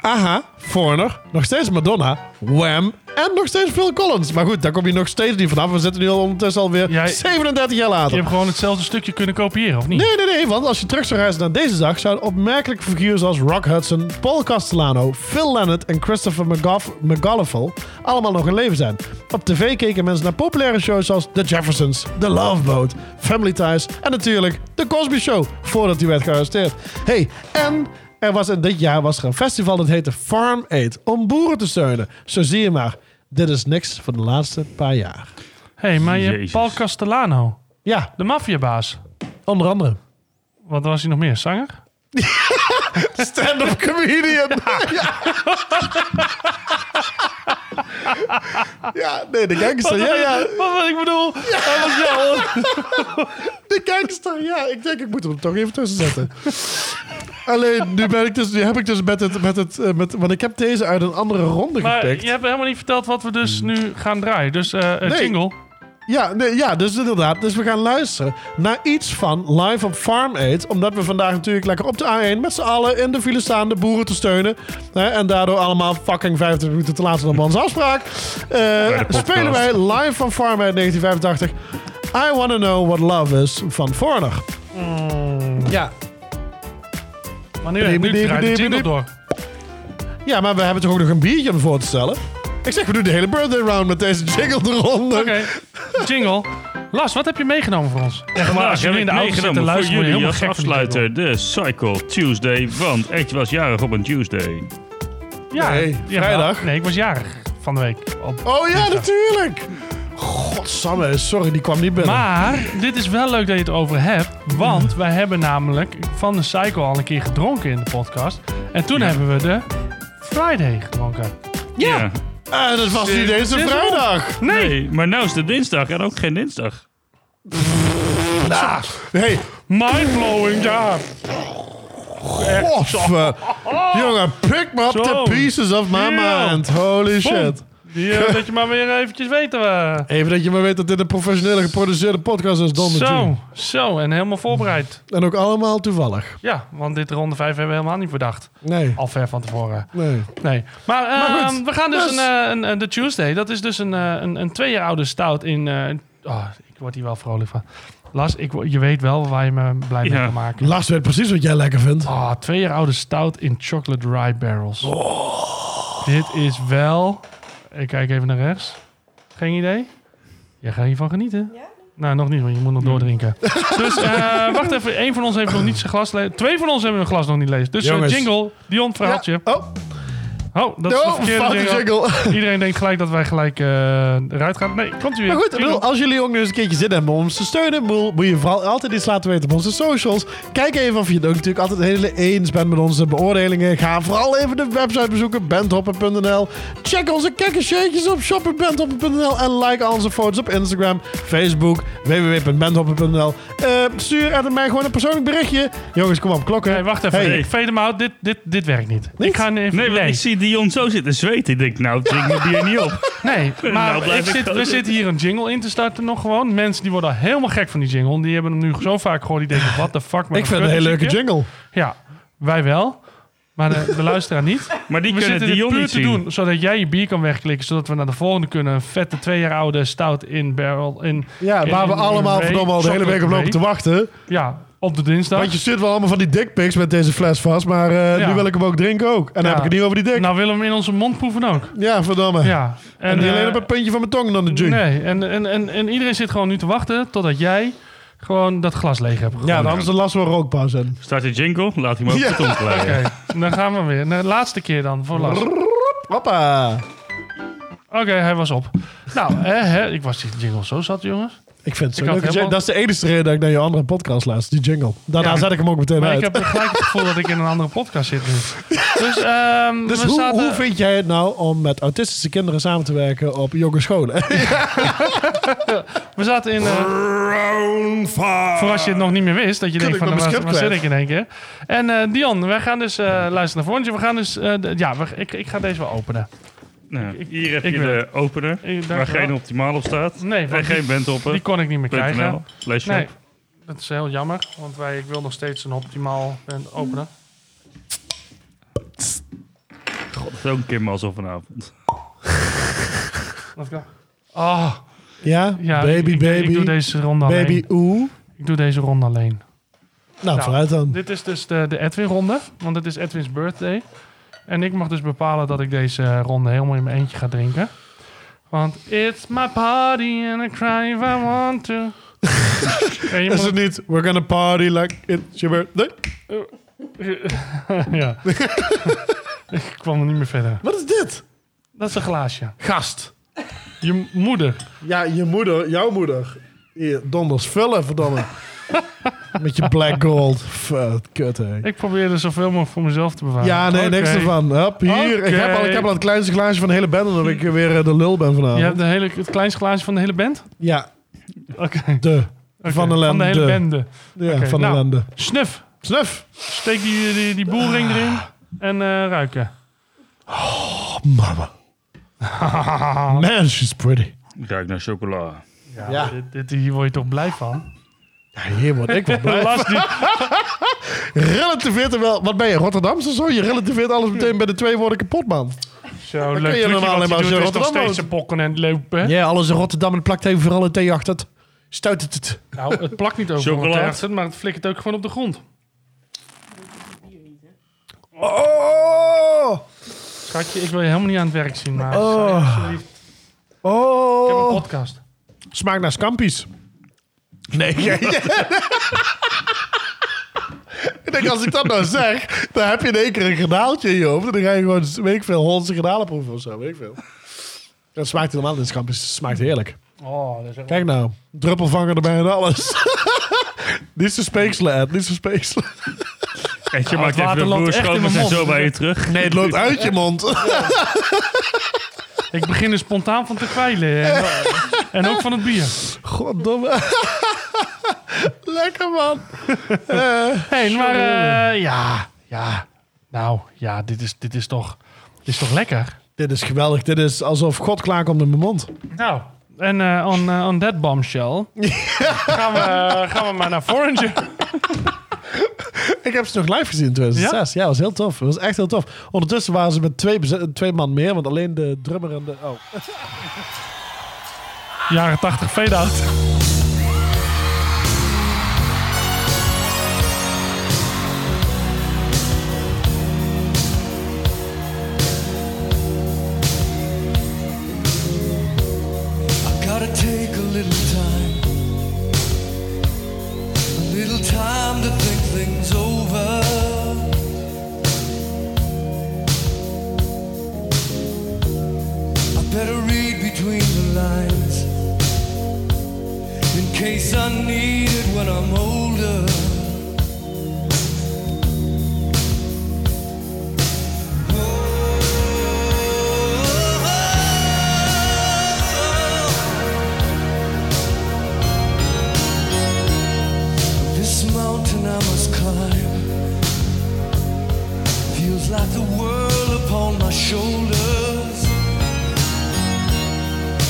A: Aha, Foreigner, nog steeds Madonna, Wham en nog steeds Phil Collins. Maar goed, daar kom je nog steeds niet vanaf. We zitten nu al ondertussen alweer
B: Jij-
A: 37 jaar
B: Je
A: later.
B: hebt gewoon hetzelfde stukje kunnen kopiëren, of niet?
A: Nee, nee, nee, want als je terug zou reizen naar deze dag, zouden opmerkelijke figuren zoals Rock Hudson, Paul Castellano, Phil Leonard en Christopher McGough- McGullivel allemaal nog in leven zijn. Op tv keken mensen naar populaire shows zoals The Jeffersons, The Love Boat, Family Ties en natuurlijk The Cosby Show, voordat hij werd gearresteerd. hey, en er was in dit jaar was er een festival dat heette Farm Aid, om boeren te steunen. Zo zie je maar, dit is niks van de laatste paar jaar.
B: hey, maar je hebt
D: Jezus.
B: Paul Castellano,
A: Ja,
B: de maffiabaas.
A: onder andere.
B: Wat was hij nog meer? Zanger?
A: Stand-up comedian. ja. ja, nee, de gangster. Ja, ja,
B: Wat, wat ik bedoel, hij was wel-
A: de gangster. Ja, ik denk ik moet hem toch even tussen zetten. Alleen, nu, ben ik dus, nu heb ik dus met het, met het eh, met, want ik heb deze uit een andere ronde
B: Maar
A: gepikt.
B: je hebt helemaal niet verteld wat we dus
D: Hmm.
B: nu gaan draaien. Dus eh, eh,
A: Nee.
B: jingle.
A: Ja, nee, ja, dus inderdaad. Dus we gaan luisteren naar iets van Live op Farm Aid. Omdat we vandaag natuurlijk lekker op de A1 met z'n allen in de file staan de boeren te steunen. Hè, en daardoor allemaal fucking 25 minuten te laat zijn op onze afspraak. Eh, spelen wij Live van Farm Aid 1985. I Wanna Know What Love Is van Foreigner. Ja.
B: Maar nu, nu draait de jingle door.
A: ja, maar we hebben toch ook nog een biertje om voor te stellen? Ik zeg, we doen de hele birthday round met deze jingle eronder.
B: Oké, jingle. Lars, wat heb je meegenomen voor ons? Ja,
D: Maar ik heb ik
B: te
D: meegenomen
B: luisteren,
D: voor
B: word je
D: jullie
B: helemaal
D: als
B: gek van die
D: afsluiter de Cycle Tuesday. Want Edje was jarig op een Tuesday.
B: jingle. Ja,
A: Nee,
B: ja,
A: vrijdag.
B: Nee, ik was jarig van de week. Op.
A: Oh ja, natuurlijk. Godsamme, sorry, die kwam niet binnen.
B: Maar dit is wel leuk dat je het over hebt. Want wij hebben namelijk van de Cycle al een keer gedronken in de podcast. En toen hebben we de Friday gedronken.
D: Ja.
A: En het Eh, was nu deze
B: Dit is
A: vrijdag.
D: Nee. maar nou is het dinsdag en ook geen dinsdag.
A: Hey,
B: Mindblowing, ja.
A: Eh, pof. jongen, pick me up
B: Zo.
A: the pieces of my
B: Ja.
A: mind. Holy shit.
B: Die, eh, dat je maar weer eventjes weten eh. we.
A: Even dat je maar weet dat dit een professionele geproduceerde podcast is, Don de
B: Zo,
A: June.
B: zo. En helemaal voorbereid.
A: En ook allemaal toevallig.
B: Ja, want dit ronde 5 hebben we helemaal niet bedacht.
A: Nee,
B: Al ver van tevoren.
A: nee.
B: Nee. Maar, eh,
A: Maar goed,
B: we gaan dus,
A: dus-
B: Een, eh, een, een- de Tuesday. Dat is dus een, eh, een, een twee jaar oude stout in... eh, oh, ik word hier wel vrolijk van. Lars, ik, wo- je weet wel waar je me blij mee
D: Ja.
B: kan maken.
A: Lars weet precies wat jij lekker vindt.
B: Ah, twee jaar oude stout in chocolate rye barrels. Dit is wel... Ik kijk even naar rechts. Geen idee? Jij gaat hiervan genieten.
H: Ja?
B: Nou, nog niet, want je moet nog doordrinken. dus eh, wacht even, één van ons heeft nog niet zijn glas leeg. Twee van ons hebben hun glas nog niet leeg. Dus eh,
A: Jongens.
B: jingle, Dion, verhaaltje.
A: Oh,
B: Oh, dat is de
A: oh
B: verkeerde
A: foute
B: jingle.
A: jingle.
B: Iedereen denkt gelijk dat wij gelijk eh, eruit gaan. Nee, komt u weer.
A: Maar goed, ik
B: Jingle.
A: bedoel, als jullie ook nog eens een keertje zin hebben om ons te steunen, moel, moet je vooral altijd iets laten weten op onze socials. Kijk even of je het ook natuurlijk altijd helemaal eens bent met onze beoordelingen. Ga vooral even de website bezoeken, bandhopper.nl. Check onze kekkershirtjes op shop.bandhopper.nl en like al onze foto's op Instagram, Facebook, www.bandhopper.nl. Eh, stuur Ed en mij gewoon een persoonlijk berichtje. Jongens, kom op, klokken.
B: Nee, wacht even.
A: Hey.
B: Ik fade hem out. Dit, dit, dit werkt niet. Ik ga nu even...
D: Nee,
B: Nee,
D: want ik zie Dion zo zitten zweten. Ik denk, nou, drink me bier niet op.
B: nee, maar
D: Nou blijf
B: ik
D: ik
B: zit,
D: zo
B: we
D: zitten.
B: zitten hier een jingle in te starten nog gewoon. Mensen die worden al helemaal gek van die jingle. Die hebben hem nu zo vaak gehoord. Die denken, wat de fuck. maar
A: Ik vind het
B: kut
A: een hele leuke
B: muziekje.
A: jingle.
B: Ja, wij wel. Maar de, de luisteraar niet.
D: Maar die
B: We
D: kunnen
B: zitten dit
D: Dion
B: puur
D: niet
B: te
D: zien.
B: doen, zodat jij je bier kan wegklikken. Zodat we naar de volgende kunnen. Een vette twee jaar oude stout in barrel. In,
A: Ja,
B: in-
A: waar we
B: in
A: allemaal
B: Ray,
A: verdomme al de hele week op lopen te
B: chocolate
A: wachten.
B: Ray. Ja, op de dinsdag.
A: Want je stuurt wel allemaal van die dickpics met deze fles vast, maar eh,
B: Ja.
A: nu wil ik hem ook drinken ook. En dan
B: Ja.
A: heb ik het niet over die dik.
B: Nou, willen we hem in onze mond proeven ook.
A: ja, verdomme.
B: Ja.
A: En, niet alleen
B: eh,
A: op een puntje van mijn tong dan de junk.
B: Nee, en, en, en, en iedereen zit gewoon nu te wachten totdat jij gewoon dat glas leeg hebt gegooid.
A: Ja, dan is de last wel rookpauze. in.
D: Start de jingle, laat hij maar op
A: Ja.
D: de tong glijden.
B: Oké, dan gaan we weer. De laatste keer dan, voor last. Oké,
A: Hoppa.
B: hij was op. Nou, hè, hè, ik was die jingle zo zat, jongens.
A: Ik vind het zo
B: Ik had
A: leuk.
B: helemaal-
A: Dat is de enige reden dat ik naar je andere podcast luister, die jingle. Daarna
B: Ja.
A: zet ik hem ook meteen
B: Maar
A: uit.
B: ik heb gelijk het gevoel dat ik in een andere podcast zit nu. Dus, ehm
A: Dus
B: we
A: hoe,
B: zaten...
A: hoe vind jij het nou om met autistische kinderen samen te werken op jonge scholen?
B: We zaten in. eh, Voor als je het nog niet meer wist, dat je denkt
A: ik
B: van
A: mijn
B: waar,
A: script
B: waar zit
A: kwijt?
B: ik in één keer. En eh, Dion, wij gaan dus eh luisteren naar voren. We gaan dus. eh, d- ja, we- ik, ik ga deze wel openen.
D: Nou, hier heb
B: ik
D: je
B: wil
D: de opener,
B: eh, Ik- dank
D: waar
B: je wel.
D: geen optimaal op staat.
B: Nee,
D: en
B: want
D: geen
B: die
D: bandhopper.
B: kon ik niet meer
D: .nl,
B: krijgen.
D: slash
B: Nee,
D: shop.
B: dat is heel jammer, want wij, ik wil nog steeds een optimaal band openen.
D: God, dat is ook een keer mazzel vanavond.
B: Dat kan. Oh,
A: ja?
B: ja, ik-
A: baby,
B: ik,
A: baby.
B: Ik doe deze ronde
A: baby,
B: alleen.
A: oeh.
B: Ik doe deze ronde alleen.
A: Nou, vooruit dan.
B: Dit is dus de, de Edwin-ronde, want het is Edwin's birthday. En ik mag dus bepalen dat ik deze eh, ronde helemaal in mijn eentje ga drinken. Want it's my party and I cry if I want to. en je
A: Is
B: moet-
A: het niet, we're gonna party like it's your birthday.
B: ja. ik kwam er niet meer verder.
A: Wat is dit?
B: Dat is een glaasje.
A: Gast.
B: Je moeder.
A: Ja, je moeder, jouw moeder. Hier, donders vullen, verdomme. Met je black gold. Fuck, kut, hè.
B: Ik probeer er zoveel mogelijk voor mezelf te bewaren.
A: Ja, nee, niks
B: Oké.
A: ervan. Hup, hier. Ik, heb al, ik heb al het kleinste glaasje van de hele band, omdat ik weer eh, de lul ben
B: Je
A: vanavond.
B: hebt de hele, het kleinste glaasje van de hele band?
A: Ja,
B: Oké.
A: de.
B: Oké,
A: Van de
B: Van de hele
A: lende.
B: bende.
A: Ja,
B: Oké,
A: van de
B: nou.
A: landen.
B: Snuf.
A: Snuf.
B: Steek die, die, die boelring erin en eh, ruiken.
A: Oh, Mama. Man, she's pretty.
D: Ruik naar chocola.
B: Ja,
A: Ja.
B: Dit, dit, hier word je toch blij van?
A: Ja, hier word ik wel blij.
B: Last die,
A: Relativeert er wel... Wat ben je, Rotterdamse zo? Je relativeert alles meteen bij de twee woorden kapot, man.
B: zo,
A: kun je
B: leuk je
A: normaal
B: normaal
A: helemaal
B: wat
A: als
B: je
A: je
B: doet, is nog
A: Rotterdam
B: steeds
A: woont.
B: een pokken en lopen.
A: Ja, alles in Rotterdam en plakt even vooral het thee achter het. Stuit het het.
B: Nou, het plakt niet over
D: Chocolade.
B: wat ergens zit, maar het flikkert ook gewoon op de grond.
A: Oh!
B: Schatje, ik wil je helemaal niet aan het werk zien, maar sorry,
A: Oh.
B: alsjeblieft. ik heb een
A: Oh!
B: podcast.
A: Smaakt naar scampi's. Nee, jij- Ik denk, als ik dat nou zeg, dan heb je in één keer een granaaltje in je hoofd. En dan ga je gewoon, weet ik veel, Hollandse granalen proeven of zo, weet ik veel. Dat smaakt helemaal niet, scampi's. Het smaakt heerlijk.
B: Oh, dat is echt...
A: Kijk nou, druppelvanger erbij en alles. niet zo speekselen, Ed, niet zo speekselen.
D: En je maakt
B: het
D: even
B: water
D: de
B: loopt
D: vloer
B: echt in
D: schoon, we
B: mijn
D: zijn
B: mond.
D: zo bij je terug.
A: Nee, het loopt uit je mond.
B: Ik begin er spontaan van te kwijlen. En, en ook van het bier.
A: Goddomme. Lekker, man. Eh,
B: hey, maar eh, ja, ja. Nou, ja, dit is, dit is toch... Dit is toch lekker?
A: dit is geweldig. Dit is alsof God klaarkomt in mijn mond.
B: Nou, en eh on, eh, on that bombshell gaan, we, eh, gaan we maar naar Foreigner.
A: Ik heb ze nog live gezien in 2006. Ja, was heel tof. Dat was echt heel tof. Ondertussen waren ze met twee, bezet- twee man meer, want alleen de drummer en de... Oh.
B: Jaren 80 fade-out.
E: between the lines. In case I need it when I'm older. Oh, This mountain I must climb feels like the world upon my shoulders.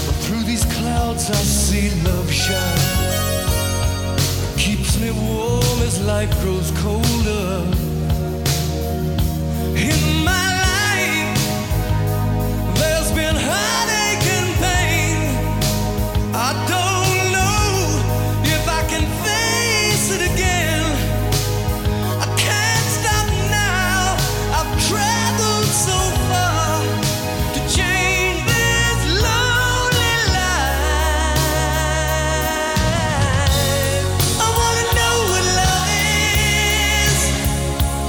E: But through these clouds I see love shine. Keeps me warm as life grows colder. In my life, there's been heartache and pain. I don't know if I can face it again. I can't stop now. I've traveled so far to change this lonely life. I wanna know what love is. Oh.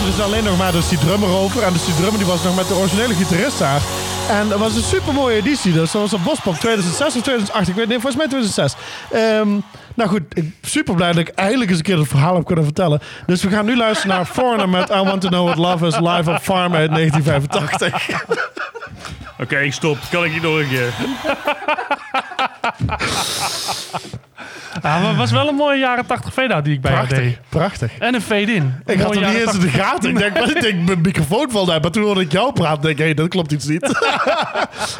A: er dus alleen nog maar dus die drummer over. En dus die drummer die was nog met de originele gitarist daar. En dat was een super mooie editie. Dus dat was op Bospop 2006 of 2008. Ik weet niet, volgens mij 2006. Ehm, nou goed, ik super blij dat ik eindelijk eens een keer het verhaal heb kunnen vertellen. Dus we gaan nu luisteren naar Foreigner met I Want To Know What Love Is live op Farm uit 1985.
D: Oké, ik stop. Kan ik niet nog een keer?
B: Ja, maar het was wel een mooie jaren 80 fade-out die ik bij je deed.
A: Prachtig, prachtig.
B: En een fade-in. Een
A: Ik had
B: mooie
A: hem niet
B: jaren
A: eens in
B: 80.
A: de gaten. Ik denk, ik denk, mijn microfoon valt uit. Maar toen hoorde ik jou praten, denk ik, hé, dat klopt iets niet.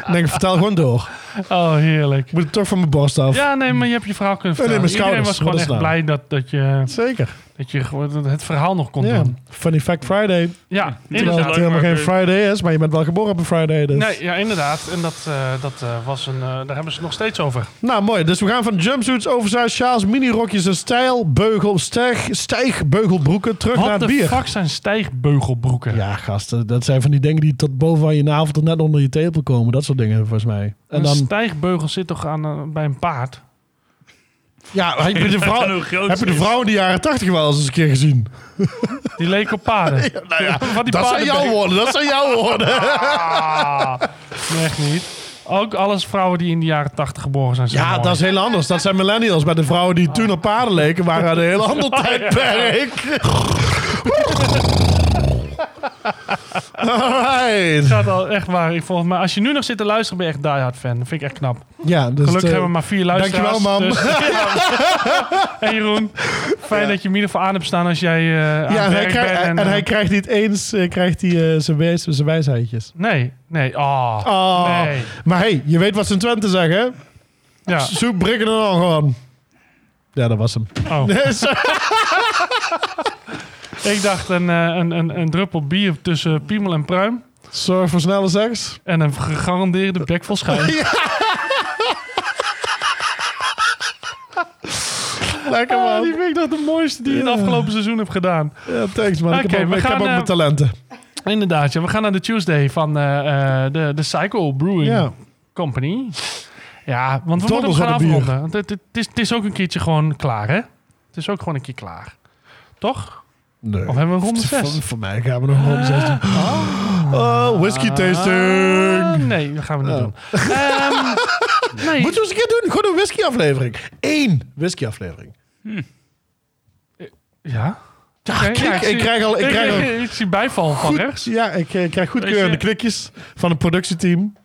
A: ik denk, vertel gewoon door.
B: Oh, heerlijk.
A: Ik moet het toch van mijn borst af.
B: Ja, nee, maar je hebt je verhaal kunnen
A: nee,
B: vertellen.
A: mijn
B: Iedereen
A: schouders.
B: was gewoon
A: Wat
B: echt
A: is nou?
B: blij dat, dat, je,
A: Zeker.
B: dat je gewoon het verhaal nog kon
A: Ja.
B: doen.
A: Funny Fact Friday.
B: Ja,
A: Terwijl het
B: inderdaad.
D: leuk,
A: helemaal
D: maar
A: geen
D: ik-
A: Friday is, maar je bent wel geboren op een Friday. Dus.
B: Nee, ja, inderdaad. En dat, eh, dat eh, was een... eh, daar hebben ze het nog steeds over.
A: Nou, mooi. Dus we gaan van jumpsuits, oversized sjaals, minirokjes en stijl, beugel, stijg, stijgbeugelbroeken terug naar
B: Wat
A: het
B: de
A: bier.
B: fuck zijn stijgbeugelbroeken?
A: Ja, gasten. Dat zijn van die dingen die tot boven aan je navel tot net onder je tepel komen. Dat soort dingen, volgens mij. En
B: Een
A: dan...
B: stijgbeugel zit toch aan, eh, bij een paard?
A: Ja, heb je de,
D: En
A: vrouw,
D: hoe groot
A: heb je
D: ze
A: de
D: is.
A: vrouwen in de jaren tachtig wel eens een keer gezien?
B: Die leek op paarden.
A: Nou ja,
B: Van die
A: dat zijn jouw
B: paardenbeen.
A: woorden, dat zijn jouw woorden.
B: Ah, nee, echt niet. Ook alles vrouwen die in de jaren 80 geboren zijn. zijn
A: Ja,
B: mooi.
A: dat is heel anders. Dat zijn millennials. Maar de vrouwen die toen op paarden leken, waren uit een heel ander tijdperk. Alright.
B: gaat al echt waar. Ik, volgens mij, als je nu nog zit te luisteren, ben je echt diehard fan. Dat vind ik echt knap.
A: Ja, dus eh,
B: Gelukkig hebben we maar vier luisteraars.
A: dankjewel, mam.
B: dus- en Jeroen, fijn dat je hem in ieder geval aan hebt staan als jij eh
A: ja,
B: aan het
A: en, hij
B: werk
A: krijgt,
B: bent.
A: en,
B: eh,
A: hij krijgt niet eens eh, krijgt hij, eh, zijn, wijs, zijn wijsheidjes.
B: Nee, nee. Oh,
A: Oh.
B: nee.
A: Maar hey, je weet wat ze in Twente zeggen, hè?
B: Ja.
A: Zoek Brikken en al gewoon. Ja, dat was hem.
B: Oh.
A: Nee, sorry.
B: Ik dacht een, eh, een, een, een druppel bier tussen piemel en pruim.
A: Zorg voor snelle seks.
B: En een gegarandeerde bek vol schuim.
A: Lekker
B: Ah, die
A: man.
B: vind ik nog de mooiste die je het afgelopen seizoen hebt gedaan.
A: Ja, thanks man. ik
B: Oké,
A: heb ook,
B: we
A: ik heb
B: gaan,
A: ook
B: eh,
A: mijn talenten.
B: Inderdaad, ja. we gaan naar de Tuesday van eh, eh, de, de Cycle Brewing
A: Ja.
B: Company. Ja, want we
A: Donders
B: moeten hem gaan
A: wat een bier.
B: afronden. Want het, het, is, het is ook een keertje gewoon klaar, hè? Het is ook gewoon een keer klaar. Toch?
A: Nee.
B: Of hebben we een ronde
A: Voor,
B: 6?
A: voor mij gaan we nog rond 6 doen.
B: Ah.
A: Oh, whisky tasting.
B: Eh, nee, dat gaan we niet
A: Oh.
B: doen. Ehm, nee,
A: Moeten we eens een keer doen? Gewoon een whisky aflevering. Eén whisky aflevering.
B: ja. Ja,
A: Ah, kijk, ik krijg al- ik krijg al-
B: ik zie bijval van rechts.
A: Ja, ik eh, krijg
D: Weet
A: goedkeurende
D: je-
A: knikjes van het productieteam.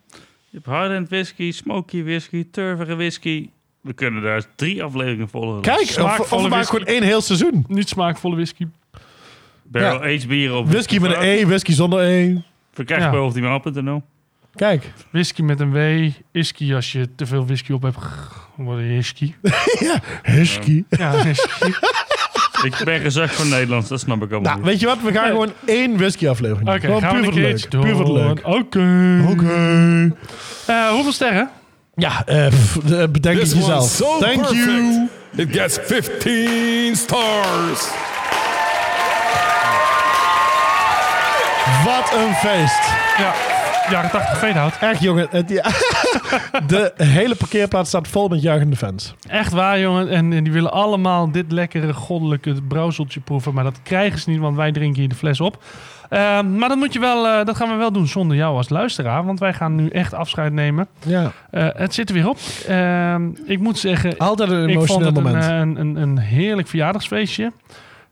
D: Je hebt hard end whisky, smoky whisky, turvige whisky. We kunnen daar drie afleveringen volgen.
A: Kijk, of, of we
B: Smaakvolle
A: maken
B: whisky.
A: gewoon één heel seizoen.
B: Niet smaakvolle whisky.
D: Barrel aged bier op.
A: Whisky met een E, whisky zonder E.
D: Verkrijgbaar
B: Ja.
D: op die maal.nl.
A: Kijk.
B: Whisky met een W. Isky als je te veel whisky op hebt. g- Wordt een whisky.
A: Husky.
B: Ja, whisky.
D: Ik ben gezegd voor Nederlands, dat snap ik allemaal
A: Nou,
D: niet.
A: weet je wat? We gaan gewoon één whisky aflevering doen.
B: Oké,
A: Gewoon
B: gaan we
A: puur
B: een
A: voor het
B: keertje
A: leuk. Puur voor het
B: doen.
A: leuk.
B: Oké. Eh, hoeveel sterren?
A: Ja, eh, pff, eh, bedenk het
C: This
A: jezelf.
C: one's so
A: Thank
C: perfect.
A: you.
C: It gets 15 stars.
A: Wat een feest.
B: Ja, jaren 80 Veedhout.
A: Echt, jongen. Het, ja. De hele parkeerplaats staat vol met juichende fans.
B: Echt waar, jongen. En, en die willen allemaal dit lekkere goddelijke brouwseltje proeven. Maar dat krijgen ze niet, want wij drinken hier de fles op. Eh, maar dat, moet je wel, eh, dat gaan we wel doen zonder jou als luisteraar. Want wij gaan nu echt afscheid nemen.
A: Ja.
B: Eh, het zit er weer op. Eh, ik moet zeggen,
A: Altijd een
B: ik vond
A: emotioneel
B: het een,
A: moment.
B: eh, een, een, een heerlijk verjaardagsfeestje.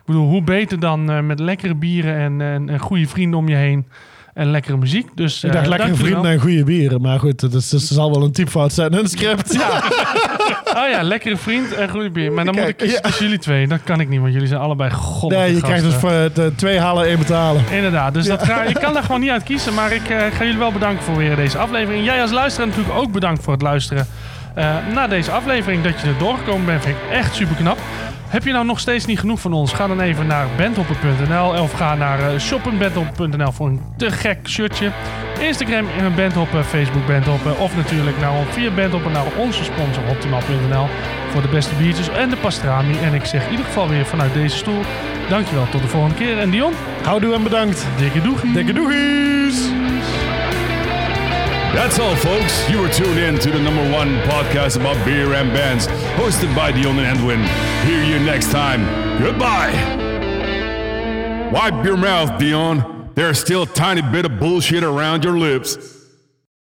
B: Ik bedoel, hoe beter dan eh, met lekkere bieren en, en, en goede vrienden om je heen. En lekkere muziek. Dus,
A: ik
B: eh,
A: dacht lekkere
B: dankjewel.
A: vrienden en goede bieren. Maar goed, het, is, het zal wel een typfout zijn in het script. Ja.
B: Oh ja, lekkere vriend en goede bier. Maar dan
A: Kijk,
B: moet ik kiezen
A: ja.
B: tussen jullie twee. Dat kan ik niet, want jullie zijn allebei god.
A: Nee, je krijgt dus voor het, eh, twee halen, één betalen.
B: Inderdaad, dus dat ga, ik kan daar gewoon niet uit kiezen. Maar ik eh, ga jullie wel bedanken voor weer deze aflevering. Jij als luisteraar natuurlijk ook bedankt voor het luisteren eh, naar deze aflevering. Dat je er doorgekomen bent, vind ik echt super knap. Heb je nou nog steeds niet genoeg van ons? Ga dan even naar bandhopper.nl of ga naar eh, shop.bandhopper.nl voor een te gek shirtje. Instagram en bandhopper, Facebook bandhopper of natuurlijk naar, ons- via bandhopper naar onze sponsor optimaal.nl voor de beste biertjes en de pastrami. En ik zeg in ieder geval weer vanuit deze stoel, dankjewel tot de volgende keer. En Dion?
A: Houdoe en bedankt.
B: Dikke doegie.
A: Dikke doegies.
C: That's all, folks. You were tuned in to the number one podcast about beer and bands, hosted by Dion and Edwin. Hear you next time. Goodbye. Wipe your mouth, Dion. There's still a tiny bit of bullshit around your lips.